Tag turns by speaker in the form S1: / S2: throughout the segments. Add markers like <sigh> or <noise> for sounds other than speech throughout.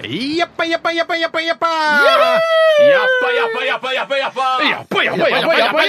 S1: Jappa, jappa, jappa, jappa, jappa! Jappa, jappa, jappa, jappa, jappa! Jappa, jappa,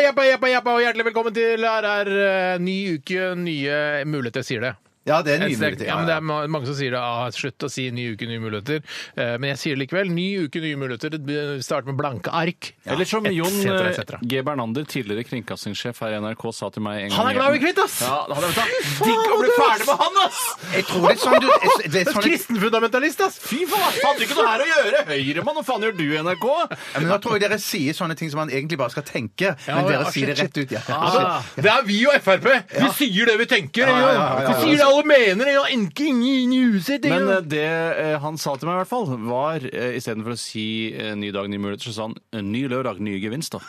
S1: jappa, jappa, jappa, og hjertelig velkommen til her er eh, ny uke, nye muligheter, sier det.
S2: Ja, det er
S1: Jeg
S2: nye
S1: ser-
S2: muligheter.
S1: Ja, men det
S2: ja,
S1: er ma- mange som sier det, ah, slutt å si ny uke, nye muligheter. Eh, Men jeg sier det likevel. Ny uke, nye muligheter. Det be- Start med blanke ark.
S3: Eller som
S1: Et
S3: Jon
S1: cetera, et
S3: eh,
S1: cetera.
S3: G. Bernander, tidligere kringkastingssjef her i NRK, sa til meg en gang
S1: Han er glad i kvitt, ass!
S3: Ja, han er, Digg å bli ferdig med han, ass!
S2: ja. Jeg tror det er sånn du jeg- det er sånn jeg-
S1: Kristenfundamentalist, ass!
S3: Fy faen, han hadde ikke noe her å gjøre! Høyremann, hva faen gjør du i NRK?
S2: ja, men Nå tror jeg dere sier sånne ting som man egentlig bare skal tenke, men
S1: ja,
S2: dere
S1: shit,
S2: sier det rett ut. Ja.
S1: Altså, det er vi og Frp. Vi sier det vi
S2: Ja,
S1: tenker.
S2: ja, ja, ja, ja.
S1: ikke sant? Vi sier det alle mener. Ja, ikke ingen i huset. ikke
S3: Men eh,
S1: sant?
S3: det eh, han sa til meg, i hvert fall, var eh, istedenfor å si eh, 'ny dag, nye muligheter', så sa han eh, 'ny lørdag, nye gevinster'.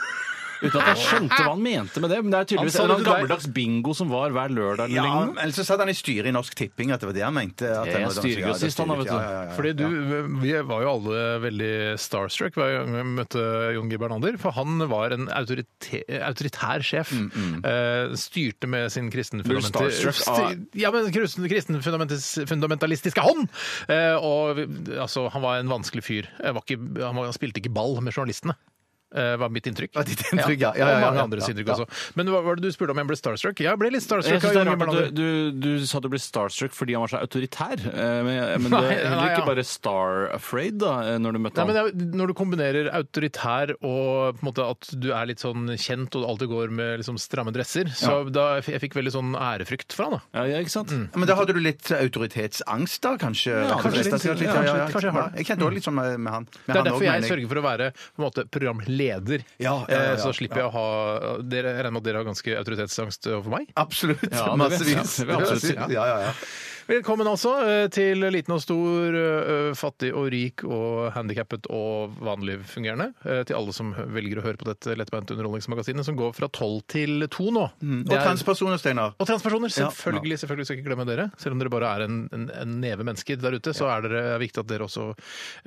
S3: Uten at jeg skjønte hva han mente med det. Men det er tydeligvis
S1: Han sa
S3: en
S1: det
S3: eller annen
S1: til deg.
S3: gammeldags bingo som var hver lørdag. eller
S2: Ja,
S3: lignende.
S2: men så satt han i styret i Norsk Tipping, at det var det han mente. At
S3: Det
S2: han
S3: er
S2: var-
S3: styregrossist, han da, vet du.
S2: Ja, ja, Eh, ja, ja.
S1: Fordi du, Vi var jo alle veldig starstruck hver gang vi møtte Jon G. Bernander. For han var en autorite- autoritær sjef.
S2: Mm,
S1: Eh, styrte med sin
S3: Blir du
S1: kristenfundamenti-
S3: starstruck av-
S1: Sti- ja, men kristen- kristenfundamentis- fundamentalistiske hånd! Eh, og vi, altså, han var en vanskelig fyr. Eh, Var ikke, han, var, han spilte ikke ball med journalistene. eh, var mitt inntrykk.
S2: Var ditt inntrykk, ja. Ja, ja, ja,
S1: Og mange
S2: ja,
S1: andres
S2: ja,
S1: inntrykk
S2: ja.
S1: også. Men hva var det du spurte om jeg ble starstruck? Jeg ble litt
S3: Jeg
S1: starstruck.
S3: synes
S1: av
S3: det
S1: Jon
S3: er
S1: G.
S3: rart
S1: Bernander.
S3: at du, du, du sa du ble starstruck fordi han var så autoritær. eh, Men, men du
S1: Nei,
S3: er heller
S1: nei, ja.
S3: ikke bare star afraid da, eh, når du møtte
S1: Nei, men
S3: ham.
S1: det er- Når du kombinerer autoritær og på en måte at du er litt sånn kjent og alltid går med liksom stramme dresser, så da f- jeg fikk veldig sånn ærefrykt for han. da.
S3: Ja, ja, ikke sant?
S1: Mm.
S2: Men da hadde du litt autoritetsangst, da, kanskje?
S1: kanskje
S2: Kanskje
S1: litt,
S2: litt,
S1: ja,
S2: ja, ja, ja.
S1: kanskje litt, kanskje jeg har det.
S2: Jeg kjente også litt sånn med, med han.
S1: Det er derfor jeg sørger for å være på en måte programleder.
S2: Ja, ja, ja, ja.
S1: Eh, Så slipper jeg å ha dere, Jeg regner med at dere har ganske autoritetsangst overfor meg?
S2: Absolutt.
S3: Ja, det vet jeg.
S2: Massevis.
S3: Det vil jeg absolutt si, ja.
S2: Ja, ja, ja.
S1: Velkommen altså eh, til liten og stor, eh, fattig og rik og handikappet og vanlig fungerende. eh, Til alle som velger å høre på dette lettbeinte underholdningsmagasinet som går fra tolv til to nå.
S2: Mm. Og transpersoner, Steinar.
S1: Og transpersoner.
S2: Ja.
S1: Selvfølgelig, selvfølgelig skal jeg ikke glemme dere. Selv om dere bare er en, en, en neve mennesker der ute, så er det viktig at dere også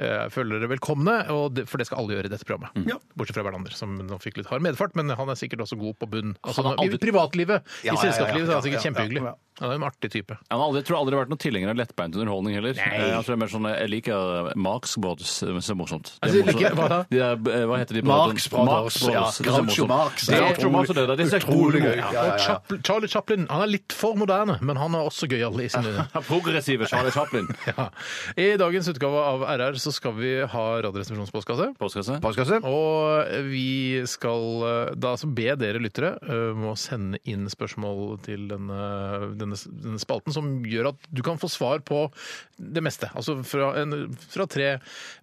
S1: eh, føler dere velkomne. Og det, for det skal alle gjøre i dette programmet.
S2: Ja.
S1: Bortsett fra Bernander, som nå fikk litt hard medfart, men han er sikkert også god på bunn. Altså,
S3: Han har aldri-
S1: I privatlivet,
S2: Ja, ja,
S1: i
S2: ja,
S1: selskapslivet, så er
S2: ja,
S1: han sikkert
S2: ja, ja,
S1: kjempehyggelig.
S2: ja.
S1: Han er en artig type.
S3: Jeg har aldri, jeg tror aldri vært noen tilhenger av lettbeint underholdning heller. Eh, Jeg tror det er mer sånn, jeg liker Marx Brothers, det er morsomt. Det er
S1: Altså,
S3: morsomt.
S1: ikke- hva da?
S3: De er, eh, hva heter de? på
S2: Marx
S3: radioen?
S2: Brothers, ja.
S3: det er så
S2: Groucho
S3: morsomt.
S2: Marx.
S3: Det er
S2: Det er
S3: Groucho Marx, og det der, det er så
S2: utrolig
S3: gode.
S2: gøy. Ja, ja, ja.
S1: Og Chapl- Charlie Chaplin han er litt for moderne, men han er også gøyal
S2: <laughs>
S1: i sine
S3: Ja, Progressive Charlie Chaplin.
S1: ja. I dagens utgave av RR så skal vi ha Radioresepsjonens postkasse.
S3: Postkasse.
S2: Postkasse?
S1: Og vi skal eh, da altså be dere lyttere eh, om å sende inn spørsmål til denne, denne, denne spalten, som gjør at du kan få svar på det meste. Altså fra, en, fra tre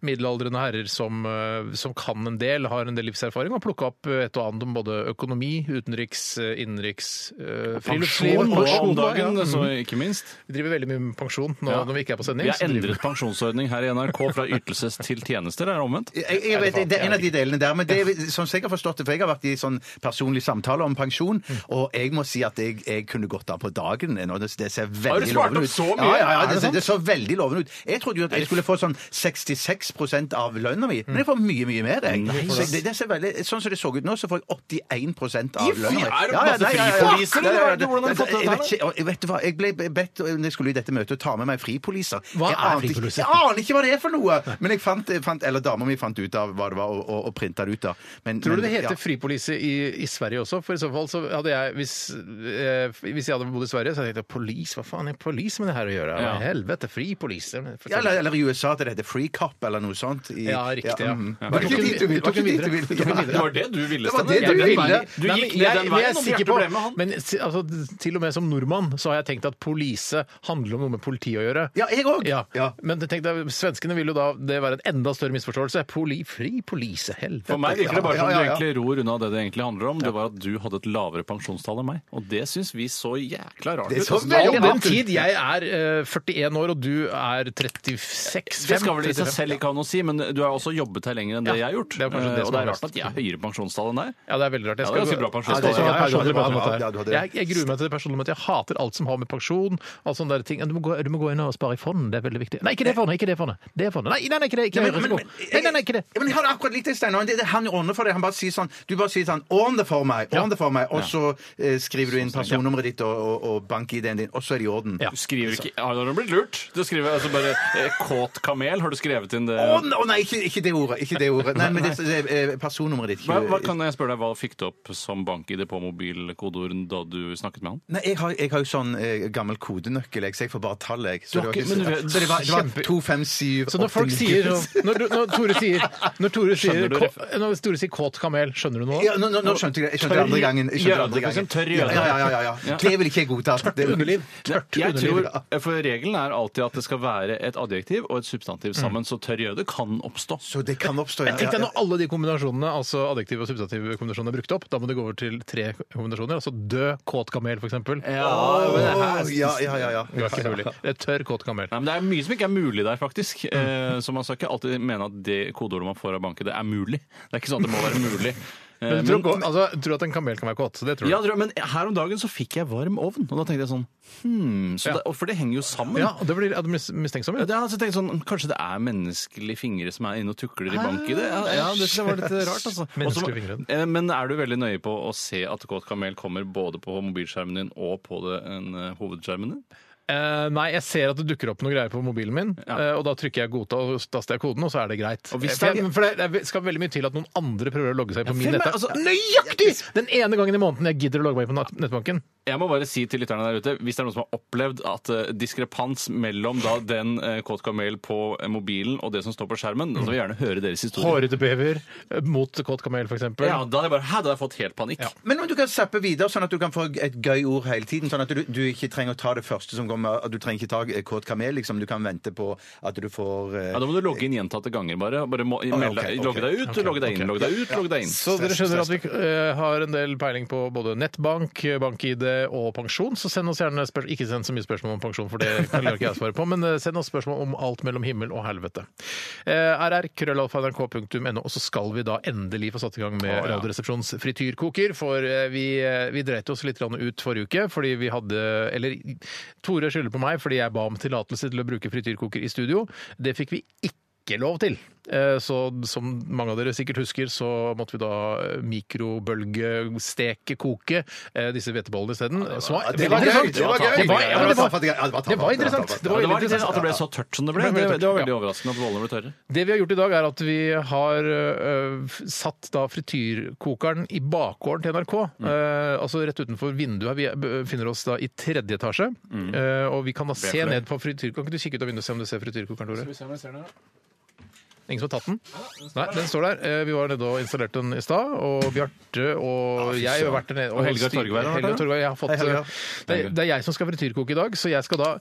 S1: middelaldrende herrer som, eh, som kan en del, har en del livserfaring, og plukka opp eh, et og annet om både økonomi, utenriks, eh, innenriks, eh, friluftsliv
S3: Pensjon nå om
S1: og- ja.
S3: dagen, så
S1: Mhm.
S3: altså, ikke minst.
S1: Vi driver veldig mye med pensjon nå
S3: Ja.
S1: når vi ikke er på sending.
S3: Vi har
S1: så driver-
S3: endret pensjonsordning her i NRK fra ytelses til tjenester, er det omvendt?
S2: Jeg, jeg vet, det er en av de delene der, men det er sånn som jeg har forstått det, for jeg har vært i sånn personlig samtale om pensjon,
S3: Mm.
S2: og jeg må si at jeg, jeg kunne gått av på dagen nå. Det, det ser
S3: Har du
S2: veldig
S3: spart
S2: lovende
S3: opp
S2: ut.
S3: så mye?
S2: Ja, ja,
S3: Er
S2: ja
S3: det
S2: det,
S3: sant?
S2: det, så veldig lovende ut. Jeg trodde jo at jeg skulle få sånn 66 av lønna mi, men jeg får mye, mye mer. Jeg. Så det, det ser veldig, sånn som det så ut nå, så får jeg 81 av lønna mi.
S3: er det
S2: Ja, ja,
S3: masse
S2: nei, ja, ja, ja.
S3: fripoliser, eller
S2: Ja, ja, ja,
S3: hva- hvordan har du fått dette
S2: Jeg
S3: her,
S2: vet ikke, og jeg vet hva, jeg ble bedt når jeg skulle i dette møtet å ta med meg fripoliser.
S1: Hva
S2: Jeg
S1: er
S2: ante ikke-
S1: fripoliser?
S2: Jeg aner ikke hva det er for noe! Men jeg fant, jeg fant eller dama mi fant ut av hva det var, og, og, og printa det ut. da. Men,
S1: Tror du det
S2: men-
S1: heter
S2: ja.
S1: fripolise i, i Sverige også? For i så fall så hadde jeg, hvis, eh, hvis jeg hadde bodd i Sverige, så hadde jeg tenkt police, hva faen er police med det her å gjøre?
S3: Ja.
S1: Helvete, fripolise.
S2: Ja, eller, eller i USA at det heter free cop eller noe sånt. I,
S1: Ja, riktig, ja.
S2: mhm.
S1: Ja.
S2: Var det ikke dit du ville?
S1: Tok en videre.
S2: Tok en dit du ville?
S1: Tok en
S2: Ja.
S1: videre. Det var
S3: det du ville,
S2: Det var det
S3: Steinar.
S2: du
S3: Den
S2: ville.
S3: veien- Du
S1: Nei, men
S3: gikk
S1: jeg-
S3: ned den
S1: jeg er
S3: veien, og
S1: sikker
S3: Bjarte
S1: på-
S3: ble med han.
S1: Men si- altså, til og med som nordmann så har jeg tenkt at police handler om noe med politi å gjøre.
S2: Ja, jeg òg!
S1: Ja.
S2: Ja.
S1: Men tenk deg, svenskene vil jo da det være en enda større misforståelse. Poli, fri polise, helvete.
S3: For meg virker det bare
S2: Ja,
S3: som
S2: ja,
S3: du
S2: ja.
S3: egentlig ror unna det det egentlig handler om. Det var at du hadde et lavere pensjonstall enn meg. Og det syns vi så jækla rart
S2: Det er så
S1: All
S2: veldig
S1: den
S2: rart.
S1: tid jeg er eh, 41 år, og du er 36
S3: Det skal vel i seg
S1: 35.
S3: selv ikke ha noe å si, men du har også jobbet her lenger enn det
S1: Ja,
S3: jeg har gjort.
S1: det er kanskje det
S3: Eh, og
S1: som
S3: det
S1: er
S3: er
S1: mest.
S3: rart at jeg har høyere pensjonstall enn deg.
S1: Ja, det er veldig rart. Jeg
S3: Ja, det er ganske bra pensjonsmåte.
S1: Ja, det er
S2: Ja,
S1: sånn
S2: ja, ja,
S1: personlig
S2: ja,
S1: pensjonsmåte her.
S2: ja, du hadde det.
S1: Jeg, jeg gruer meg til det personlige møtet. Jeg hater alt som har med pensjon alt sånne der ting. Du må, gå, du må gå inn og spare i fond, det er veldig viktig. Nei, ikke det fondet, ikke det fondet. Det fondet. Nei, nei, nei, ikke det. Ikke
S2: Men-
S1: mer
S2: men-
S1: risiko.
S2: men-
S1: Nei, nei, nei, ikke det.
S2: Ja, Men jeg har det akkurat likt det, Steinar. Det, det, han ordner for det. Han bare sier sånn Du bare sier sånn Ordn det for meg! Ordn det for meg! Og så eh, skriver du inn personnummeret ditt og, og, og bank-ID-en din, og så er det i orden.
S1: Ja.
S3: Du skriver ikke Har du blitt lurt? Du skriver altså bare eh, 'kåt kamel'. Har du skrevet inn det?
S2: Å ne- å, nei, ikke, ikke det ordet! Ikke det ordet. Nei, men det, det, eh, personnummeret ditt.
S3: Hva, hva, kan jeg spørre deg, hva fikk du opp som bank-ID på mobilkodeorden da du snakket med han?
S2: Nei, jeg har, jeg har jo sånn eh, gammel kodenøkkel, jeg, så jeg får bare tall, jeg. Så,
S3: Du har
S2: det,
S3: ikke-
S2: var
S3: men
S2: ikke,
S3: du-
S2: så det var, det var
S1: kjempe-
S2: 2, 5, 7,
S1: Så når folk sier Når, du- når Tore
S2: <laughs>
S1: sier Når Tore sier,
S3: Skjønner du
S1: kå, når Tore sier kåt kamel, skjønner du noe?
S2: ja, nå, nå, nå skjønte jeg det. Jeg skjønte det andre gangen. Jeg skjønte det andre
S3: Jøde, for
S2: gangen.
S3: eksempel, tørr
S2: ja,
S3: jøde.
S2: ja, ja, ja, ja. Det vil ikke jeg godta. Det-
S1: Underliv. Tørt
S3: Jeg
S1: underliv.
S3: tror, eh, for Regelen er alltid at det skal være et adjektiv og et substantiv sammen, så tørr jøde kan oppstå.
S2: Så det kan oppstå, ja.
S1: Jeg
S2: ja,
S1: tenkte at
S2: ja.
S1: Når alle de kombinasjonene, altså adjektiv- og substantivkombinasjoner, er brukt opp, da må det gå over til tre kombinasjoner. Altså død kåt kamel, f.eks. Ja.
S2: Å, ja, ja, ja, ja.
S1: Det er ikke mulig. Det er tørr kåt kamel.
S3: Nei, men Det er mye som ikke er mulig der, faktisk.
S1: Mm.
S3: Eh, så man skal ikke alltid mene at det kodeordet man får av banken, det er mulig. Det er ikke sånn at det må være mulig.
S1: <laughs>
S3: Eh,
S1: Men du tror, kå- altså, du tror at en kamel kan være kåt? Så det tror du?
S3: ja, tror jeg, men her om dagen så fikk jeg varm ovn, og da tenkte jeg sånn hmm, så det, og For det henger jo sammen.
S1: Ja, og det blir mis- mistenksom.
S3: Ja,
S1: Ja.
S3: det- altså, jeg tenkte sånn, Kanskje det er menneskelige fingre som er inne og tukler i bank i det? Ja, ja, det synes jeg var litt rart, altså. Også-
S1: Ah, Menneskelige fingre.
S3: eh, men er du veldig nøye på å se at Kåt kamel kommer både på mobilskjermen din og på det, en, eh, hovedskjermen din?
S1: Eh, nei, jeg ser at det dukker opp noen greier på mobilen min, eh, og da trykker jeg 'godta', og taster jeg koden, og så er det greit. Eh,
S3: Og hvis
S1: for
S3: det er-
S1: jeg, for det, det skal veldig mye til at noen andre prøver å logge seg på min
S3: hvem er-
S1: nettbank.
S3: altså-
S1: Nøyaktig! Den ene gangen i måneden jeg gidder å logge meg inn på nett- nettbanken.
S3: Jeg må bare si til lytterne der ute, hvis det er noen som har opplevd at eh, diskrepans mellom da den eh, Kåt kamel på eh, mobilen og det som står på skjermen, da vil vi gjerne høre deres historie.
S1: Hårete bever eh, mot kåt kamel, f.eks.
S3: Ja, da hadde jeg bare, hæ, da hadde jeg fått helt panikk.
S2: Men, men du kan zappe videre, sånn at du kan få et gøy ord hele tiden. Sånn at du, du ikke trenger å ta det første som kommer. at Du trenger ikke ta eh, kåt kamel, liksom. Du kan vente på at du får eh,
S3: Ja, Da må du logge inn gjentatte ganger, bare. bare må, melde
S2: ok,
S3: deg-
S2: ok.
S3: logge deg ut, logge deg inn, logge deg ut, logge deg inn.
S1: Så dere skjønner at vi eh, har en del peiling på både nettbank, bank-ID og pensjon. Så send oss gjerne spørsmål. Ikke send så mye spørsmål om pensjon, for det
S3: <laughs>
S1: kan ikke jeg svare på. Men eh, send oss spørsmål om alt mellom himmel og helvete. Eh, RR, krøllalfa.nrk.no. Og så skal vi da endelig få satt i gang med
S3: Å, ja.
S1: Radioresepsjons frityrkoker. For eh, vi, eh, vi dreit oss litt grann ut forrige uke fordi vi hadde Eller Tore skylder på meg fordi jeg ba om tillatelse til å bruke frityrkoker i studio. Det fikk vi ikke ikke lov til. Eh, Så som mange av dere sikkert husker, så måtte vi da eh, mikrobølgesteke, koke eh, disse hvetebollene isteden. Som var
S2: det var
S1: veldig
S2: gøy,
S1: interessant.
S2: det var gøy.
S1: Det var,
S2: Ja,
S1: ja, men det var,
S2: det var tafatt.
S1: det var interessant.
S2: Det var
S1: Det
S3: Ja,
S1: var
S3: det var
S1: veldig
S3: litt at det
S1: interessant.
S3: ble så tørt som det ble.
S1: Det ble
S3: Det,
S1: veldig
S3: det var
S1: tørt,
S3: veldig
S1: ja.
S3: overraskende at bollene ble tørre.
S1: Det vi har gjort i dag, er at vi har øh, f- satt da frityrkokeren i bakgården til NRK. Eh, altså rett utenfor vinduet. her. Vi er- b- befinner oss da i tredje etasje. Eh, og vi kan da se ned på frityrkokeren. Kan ikke du kikke ut av vinduet og se om du ser frityrkokeren, Tore? Ingen som har tatt den? Nei, den står der. Eh, Vi var nede og installerte den i stad. Og Bjarte og jeg har vært der nede.
S3: Og Helga Torgeir har vært
S1: Helga
S3: der.
S1: Torgeir, jeg har fått, eh,
S2: Hei, Helga.
S1: det, er- det er jeg som skal frityrkoke i dag, så jeg skal da,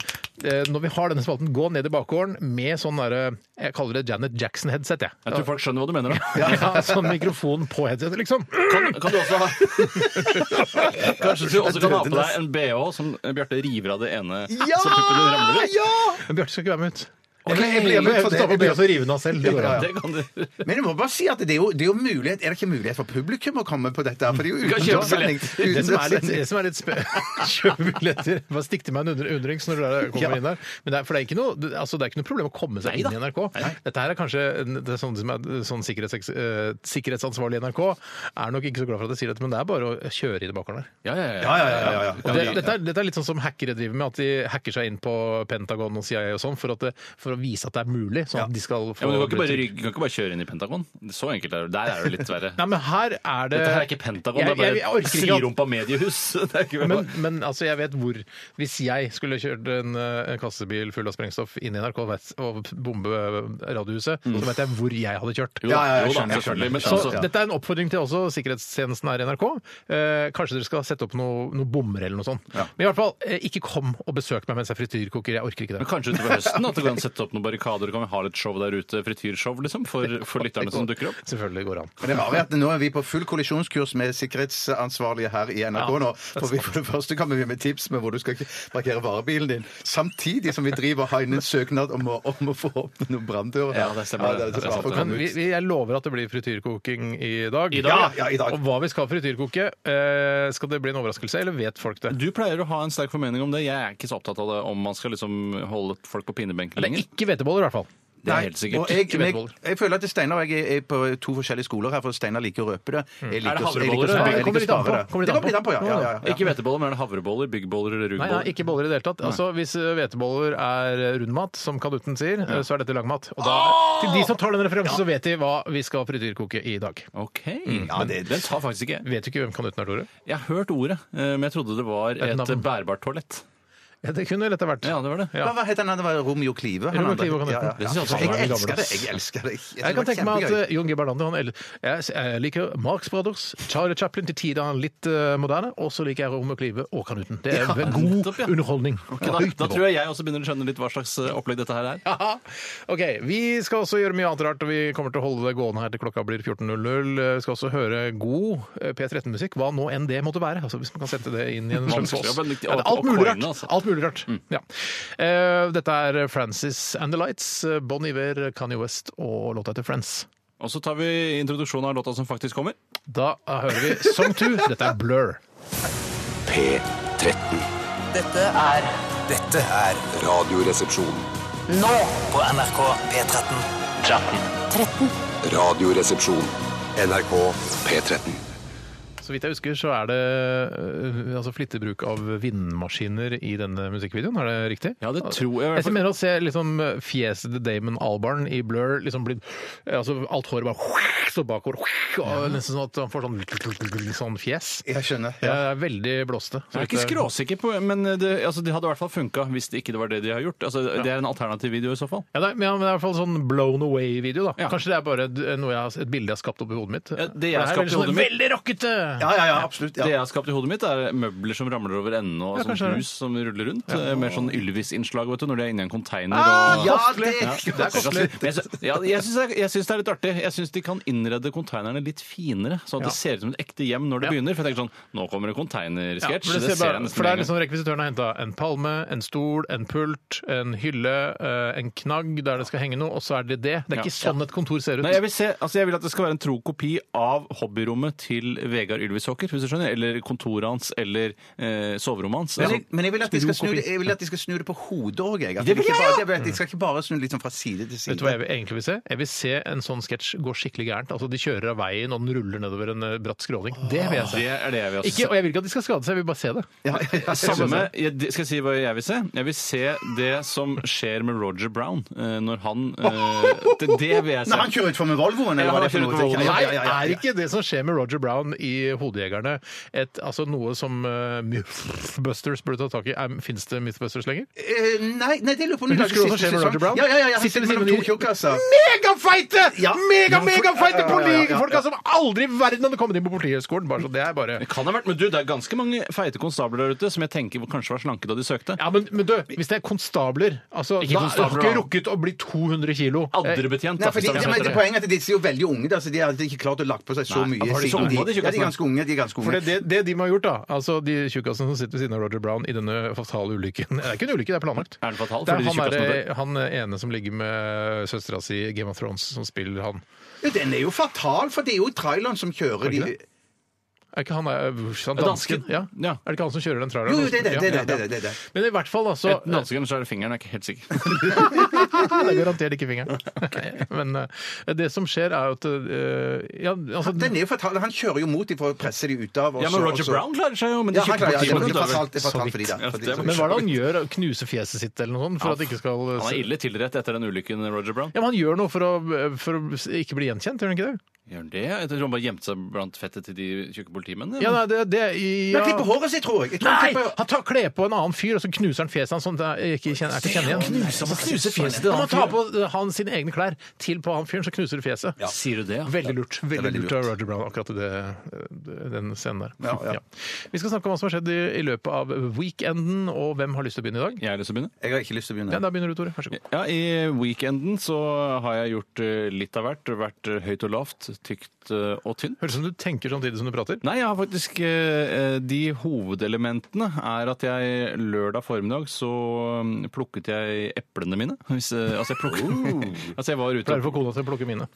S1: eh, når vi har denne spalten, gå ned i bakgården med sånn derre Jeg kaller det Janet Jackson-headset, jeg.
S3: Jeg tror folk skjønner hva du mener. da.
S1: <laughs> Ja, sånn mikrofon på headsetet, liksom.
S3: Kan, kan du også ha <laughs> Kanskje du også kan ha på deg en bh som Bjarte river av det ene så puppen din ramler ut?
S1: Men Bjarte skal ikke være med ut.
S2: jeg blir med ut for det.
S1: Stopper Bjarte og river den av selv. Det går an.
S3: Det kan du.
S2: Men jeg må bare si at det er, jo, det er jo mulighet Er det ikke mulighet for publikum å komme på dette? her? For det er jo
S3: kan kjøpe
S2: utendørs sending.
S1: Det som er litt,
S2: Utendørs
S1: det
S2: sending.
S1: som er litt spe... <laughs> Kjøp billetter. Bare stikk til meg en undre- undrings når du er- kommer
S2: Ja.
S1: inn der. Men det er, for det er, ikke noe, det- altså det er ikke noe problem å komme seg inn i NRK. Dette her er kanskje en- det er sånn, som er, sånn sikkerhets, eh, sikkerhetsansvarlig i NRK er nok ikke så glad for at jeg sier dette, men det er bare å kjøre i det bakgården her.
S3: Ja, ja,
S2: Ja,
S3: ja.
S2: ja, ja, ja, ja.
S1: Og det, dette, er, dette er litt sånn som hackere driver med, at de hacker seg inn på Pentagon og CIA og sånn for, at det, for å vise at det er mulig. Sånn at de skal
S3: Ja,
S1: få
S3: men du kan ikke, bare,
S1: bruk-
S3: rygge- du kan ikke bare kjøre inn i Pentagon. Så enkelt er det. Der er det litt verre.
S1: <laughs> Nei, men her er det
S3: Dette her er ikke Pentagon,
S1: Jeg-
S3: det
S1: jeg-
S3: er
S1: jeg
S3: bare
S1: orker
S3: et
S1: ikke at-
S3: slirumpa mediehus. <laughs> Det er ikke
S1: Men, men altså, jeg vet hvor. Hvis jeg skulle kjørt en, eh, en kassebil full av sprengstoff inn i NRK og vet- og bombe eh, Radiohuset, så vet jeg hvor jeg hadde kjørt.
S3: Mm. Jo
S2: Ja,
S3: da,
S2: ja, jeg
S3: jo da,
S2: skjønner, jeg
S3: selvfølgelig. Men
S1: Så
S3: altså,
S1: dette er en oppfordring til også sikkerhetstjenesten her i NRK. Eh, kanskje dere skal sette opp noe, noe bommer eller noe sånt. Men i hvert fall, eh, ikke kom og besøk meg mens jeg frityrkoker. Jeg orker ikke det.
S3: Men kanskje utover høsten at det går an å sette sette opp noen barrikader, kan vi ha litt show der ute, frityrshow, liksom, for, for lytterne som dukker opp?
S1: Selvfølgelig går det an.
S2: Men det er bare at nå er vi på full kollisjonskurs med sikkerhetsansvarlige her i NRK nå. For vi, for det første kommer vi med tips med hvor du skal parkere varebilen din, samtidig som vi driver og har inn en søknad om å, om å få opp noen branndører.
S3: Ja, det stemmer.
S2: Ja, det er
S3: Det er
S2: bare
S3: sant,
S2: for å
S1: Men
S3: det.
S2: komme
S1: vi,
S2: ut.
S1: vi, jeg lover at det blir frityrkoking i dag.
S3: I dag,
S2: ja. Ja, i dag.
S1: Og hva vi skal frityrkoke, eh, skal det bli en overraskelse, eller vet folk det?
S3: Du pleier å ha en sterk formening om det. Jeg er ikke så opptatt av det om man skal liksom holde folk på pinnebenken
S1: Det er
S3: lenger.
S1: ikke hveteboller, i hvert fall.
S3: Det
S2: Nei,
S3: er helt sikkert.
S2: og jeg,
S3: Ikke
S2: men
S3: hveteboller.
S2: jeg, jeg føler at Steinar og jeg er- er på to forskjellige skoler her, for Steinar liker å
S3: Mm.
S2: røpe det. Jeg liker, å- jeg
S3: Er det
S2: liker
S3: havreboller,
S2: å spare- jeg liker
S3: eller?
S2: å
S1: Kommer litt an på.
S2: spare det.
S1: Kommer litt
S2: Det
S1: an
S2: kommer litt an på, ja. ja, ja, ja.
S3: Ikke hveteboller, men er det havreboller, byggboller eller
S1: Nei, nei,
S3: rugboller?
S1: ikke boller i det hele tatt. Altså, hvis eh, hveteboller er eh, rundmat, som kadutten sier, eh, så er dette langmat. Og da, til de som tar den referansen, så vet de hva vi skal frityrkoke i dag.
S3: OK.
S1: Mm,
S3: men
S2: det-
S3: Den sa faktisk ikke jeg.
S1: Vet du ikke hvem kadutten er, Tore?
S3: Jeg har hørt ordet, eh, men jeg trodde det var
S1: et
S3: et
S1: navn.
S3: bærbart toalett.
S1: Ja, det kunne lett ha vært.
S3: Ja, det var det.
S1: Ja.
S2: Hva- Hva het han andre? Det var Romeo Clive? han
S1: Romeo
S2: andre.
S1: Clive og
S2: Ja, ja,
S1: Kanetten.
S2: ja.
S3: Det synes jeg også var
S2: Jeg
S3: en
S2: elsker
S1: gammel
S2: det.
S1: ass.
S2: Jeg elsker det.
S1: Jeg kan tenke meg at eh, Jon Gibber Lande han el- jeg, s- jeg liker Marx Brothers, Charlie Chaplin til tider han er litt eh, moderne, og så liker jeg Romeo Clive og Kanuten. Det er ve- god
S3: nettopp, ja.
S1: underholdning.
S3: Da,
S1: <laughs>
S3: da tror jeg jeg også begynner å skjønne litt hva slags eh, opplegg dette her er.
S1: Haha. OK. Vi skal også gjøre mye annet rart, og vi kommer til å holde det gående her til klokka blir 14.00. Vi Eh, skal også høre god eh, P13-musikk, hva nå enn det måtte være. Altså, hvis man kan sette det inn i en slags
S3: Vanskelig å
S1: Ja, det
S3: benekte-
S1: er alt mulig
S3: å
S1: rart.
S3: coine, altså.
S1: Alt mulig rart. Ja. Eh, Dette er Francis and the Lights, eh, Bon Iver, Kanye West og låta etter Friends.
S3: Og så tar vi introduksjonen av låta som faktisk kommer.
S1: Da hører vi Song 2. Dette er Blur.
S4: P13.
S5: Dette er
S4: Dette er Radioresepsjon.
S5: nå på NRK P13.
S4: Radioresepsjon. NRK P13.
S1: Så vidt jeg husker, så er det øh, altså flittig bruk av vindmaskiner i denne musikkvideoen. Er det riktig?
S3: Ja, det tror jeg i hvert
S1: Jeg
S3: fall.
S1: mener å se liksom fjeset til Damon Albarn i Blur liksom blitt altså Alt håret bare <laughs> står bakover. Og nesten sånn <laughs> at han får sånn, sånn fjes.
S2: Jeg skjønner.
S1: Jeg er veldig blåste.
S3: Jeg er ikke skråsikker på men det, altså, de hadde i hvert fall funka hvis det ikke var det de har gjort. Altså, Det er en alternativ video i så fall.
S1: Ja, nei, men det er i hvert fall sånn blown away-video. da.
S3: Ja.
S1: Kanskje det er bare d- noe jeg, har- et bilde jeg har skapt oppi hodet mitt.
S3: Ja, det jeg
S1: For
S3: har
S1: her er
S3: skapt i hodet mitt-
S1: Veldig rockete!
S2: Ja, ja, ja, absolutt.
S3: Det
S2: Ja.
S3: jeg har skapt i hodet mitt, er møbler som ramler over ende, og
S1: Ja, kanskje
S3: sånn
S1: det.
S3: hus som ruller rundt. Eh, Mer sånn Ylvis-innslag, vet du, når de er inni en container. og...
S2: ja,
S3: Ah, Ja,
S2: det
S3: det er kostelig. Men Jeg sy- ja, jeg syns det er- jeg syns det er litt artig. Jeg syns de kan innrede konteinerne litt finere, sånn at det ser ut som et ekte hjem når det
S1: Ja.
S3: begynner. For jeg tenker sånn Nå kommer det
S1: Ja,
S3: konteinersketsj.
S1: for det,
S3: det
S1: ser
S3: ser jeg
S1: bare,
S3: nesten
S1: for det er
S3: med en gang.
S1: liksom rekvisitøren har henta en palme, en stol, en pult, en hylle, eh, en knagg der det skal henge noe, og så er det det. Det er
S3: Ja.
S1: ikke sånn et kontor ser ut.
S3: Nei, jeg vil, se, altså jeg vil at det skal være en tro kopi av hobbyrommet til Vegard Ylvisåker, hvis du skjønner. Eller kontoret hans, eller eh, soverommet hans.
S2: Men
S3: Altså,
S2: jeg, men jeg, vil at de skal snu, det- jeg vil at de skal snu det på hodet òg. Jeg. At de ikke bare- jeg vet, De skal ikke bare snu det litt sånn fra side til side.
S1: Vet du hva jeg vil- egentlig vil se? Jeg vil se en sånn sketsj gå skikkelig gærent. Altså, de kjører av veien, og den ruller nedover en eh, bratt skråning. Det vil jeg se.
S3: det er det jeg vil også
S1: Ikke, og jeg vil ikke at de skal skade seg, jeg vil bare se det.
S2: Ja, ja, ja.
S3: Samme, jeg, det- skal jeg si hva jeg vil se? Jeg vil se det som skjer med Roger Brown eh, når han eh, det, det vil <laughs> jeg se.
S2: Nei, han kjører utfor med Volvoen, eller
S3: Ja,
S2: hva det er
S3: han
S2: for noe?
S3: kjører utfor med
S2: Ja,
S1: Nei,
S2: ja, ja, ja,
S1: er
S2: ja.
S1: ikke det som skjer med Roger Brown i Hodejegerne, et, altså noe som eh, Mythbusters burde ta tak i? Fins det Mythbusters lenger?
S2: Eh, Nei, nei, det lurer jeg på om de
S1: Men
S2: lagde
S1: husker du hva som
S2: siste
S1: skjer med
S2: sesong.
S1: Roger Brown?
S2: Ja, ja, ja, ja. Han
S1: Sitter
S2: sitter
S1: ved siden
S2: mellom
S1: av
S2: to
S1: de-
S2: tjukkaser.
S1: megafeite!
S2: Ja.
S1: Mega,
S2: Ja, for-
S1: megafeite
S2: ja, ja, ja, ja, ja.
S1: politifolka som altså, aldri i verden hadde kommet inn på Politihøgskolen. Bare så det er bare
S3: Det kan ha vært, men du, det er ganske mange feite konstabler der ute som jeg tenker kanskje var slanke da de søkte.
S1: ja, men, men du, hvis det er konstabler altså,
S3: Ikke
S1: Da har du
S3: konstabler,
S1: ikke
S3: da.
S1: rukket å bli 200 kilo. Eh,
S3: Aldrebetjent.
S2: Eh, Nei,
S3: da,
S2: for de,
S3: hvis det
S2: ja,
S3: er
S2: men det
S3: det som heter.
S2: Poenget er at disse er jo veldig unge. da, så De har ikke klart å lagt på seg så
S3: Nei,
S2: mye.
S3: har de så
S2: siden
S3: unge, de
S2: ja, de er
S3: tjukkassene?
S2: ganske unge. De er ganske
S1: For
S2: unge.
S1: det, det, det de har gjort, da, altså de tjukkassene som sitter ved siden av Roger Brown i denne fatale ulykken <laughs> Det er ikke en ulykke, det er planlagt.
S3: Er den fatal
S1: Det er
S3: fordi de
S1: han,
S3: tjukkassene
S1: er, han ene som ligger med søstera si i Game of Thrones, som spiller han.
S2: Ja, Den er jo fatal, for det er jo traileren som kjører de
S1: ikke Er ikke han, er, han
S3: Dansken?
S1: dansken? Ja.
S3: Ja.
S1: Er det ikke han som kjører den
S2: Jo,
S1: traileren?
S2: jo, det er det. det, er det, det, er det, det, er det.
S1: Men i hvert fall, altså
S3: Enten danskeren eller så er det fingeren, jeg er ikke helt sikker.
S1: Ja, det er garantert ikke fingeren. Men eh, det som skjer, er jo at eh, ja, altså,
S2: Den er jo fatal. Han kjører jo mot dem for å presse dem ut av. og
S3: Ja,
S2: så-
S3: men
S2: og
S3: Roger
S2: så-
S3: Brown klarer seg jo, men de
S2: Ja, han
S3: tjukke
S2: klarer ja, det. er
S3: politifolkene klarer
S2: fatalt- det er
S3: vel-
S2: fatalt for de der.
S3: Ja,
S2: for de
S3: det
S2: som-
S1: Men hva er det han gjør? Knuser fjeset sitt eller noe sånt? For at det ikke skal
S3: Han er ille tilrett etter den ulykken, Roger Brown.
S1: Ja, men Han gjør noe for å, for å ikke bli gjenkjent, gjør han ikke det?
S3: Gjør han det? Jeg tror han bare gjemte seg blant fettet til de tjukke politimennene.
S1: Ja, nei, det, det ja.
S2: Han klipper håret sitt, tror jeg. jeg tror han
S1: Nei!
S2: klipper-
S1: Han tar kle på en annen fyr, og så knuser han fjeset hans sånn at jeg ikke kjenner, er til å kjenne igjen.
S3: Knuser man knuser fjeset til
S1: Når man
S3: en annen
S1: tar
S3: fyr?
S1: på eh, han sine egne klær til på han fyren, så knuser du fjeset.
S3: Sier du det? ja?
S1: Veldig lurt. Veldig,
S2: veldig
S1: lurt av Roger Brown, akkurat i det, eh, den scenen der.
S2: Ja, ja.
S1: Vi skal snakke om hva som har skjedd i, i løpet av weekenden, og hvem har lyst til å begynne i dag?
S3: Jeg har lyst til å begynne.
S2: Jeg har ikke lyst til å begynne.
S1: Ja, da begynner du, Tore. Vær så god.
S3: Ja, I weekenden så har jeg gjort eh, litt av hvert. Vært eh, høyt og lavt, tykt eh, og tynt.
S1: Høres ut som du tenker samtidig som du prater.
S3: Nei, jeg har faktisk eh, De hovedelementene er at jeg lørdag formiddag så mm, plukket jeg eplene mine. <laughs> Hvis, eh, altså, jeg plukket <laughs> Altså, jeg var ute
S1: Pleier å få kona til å plukke
S2: <laughs>
S1: mine.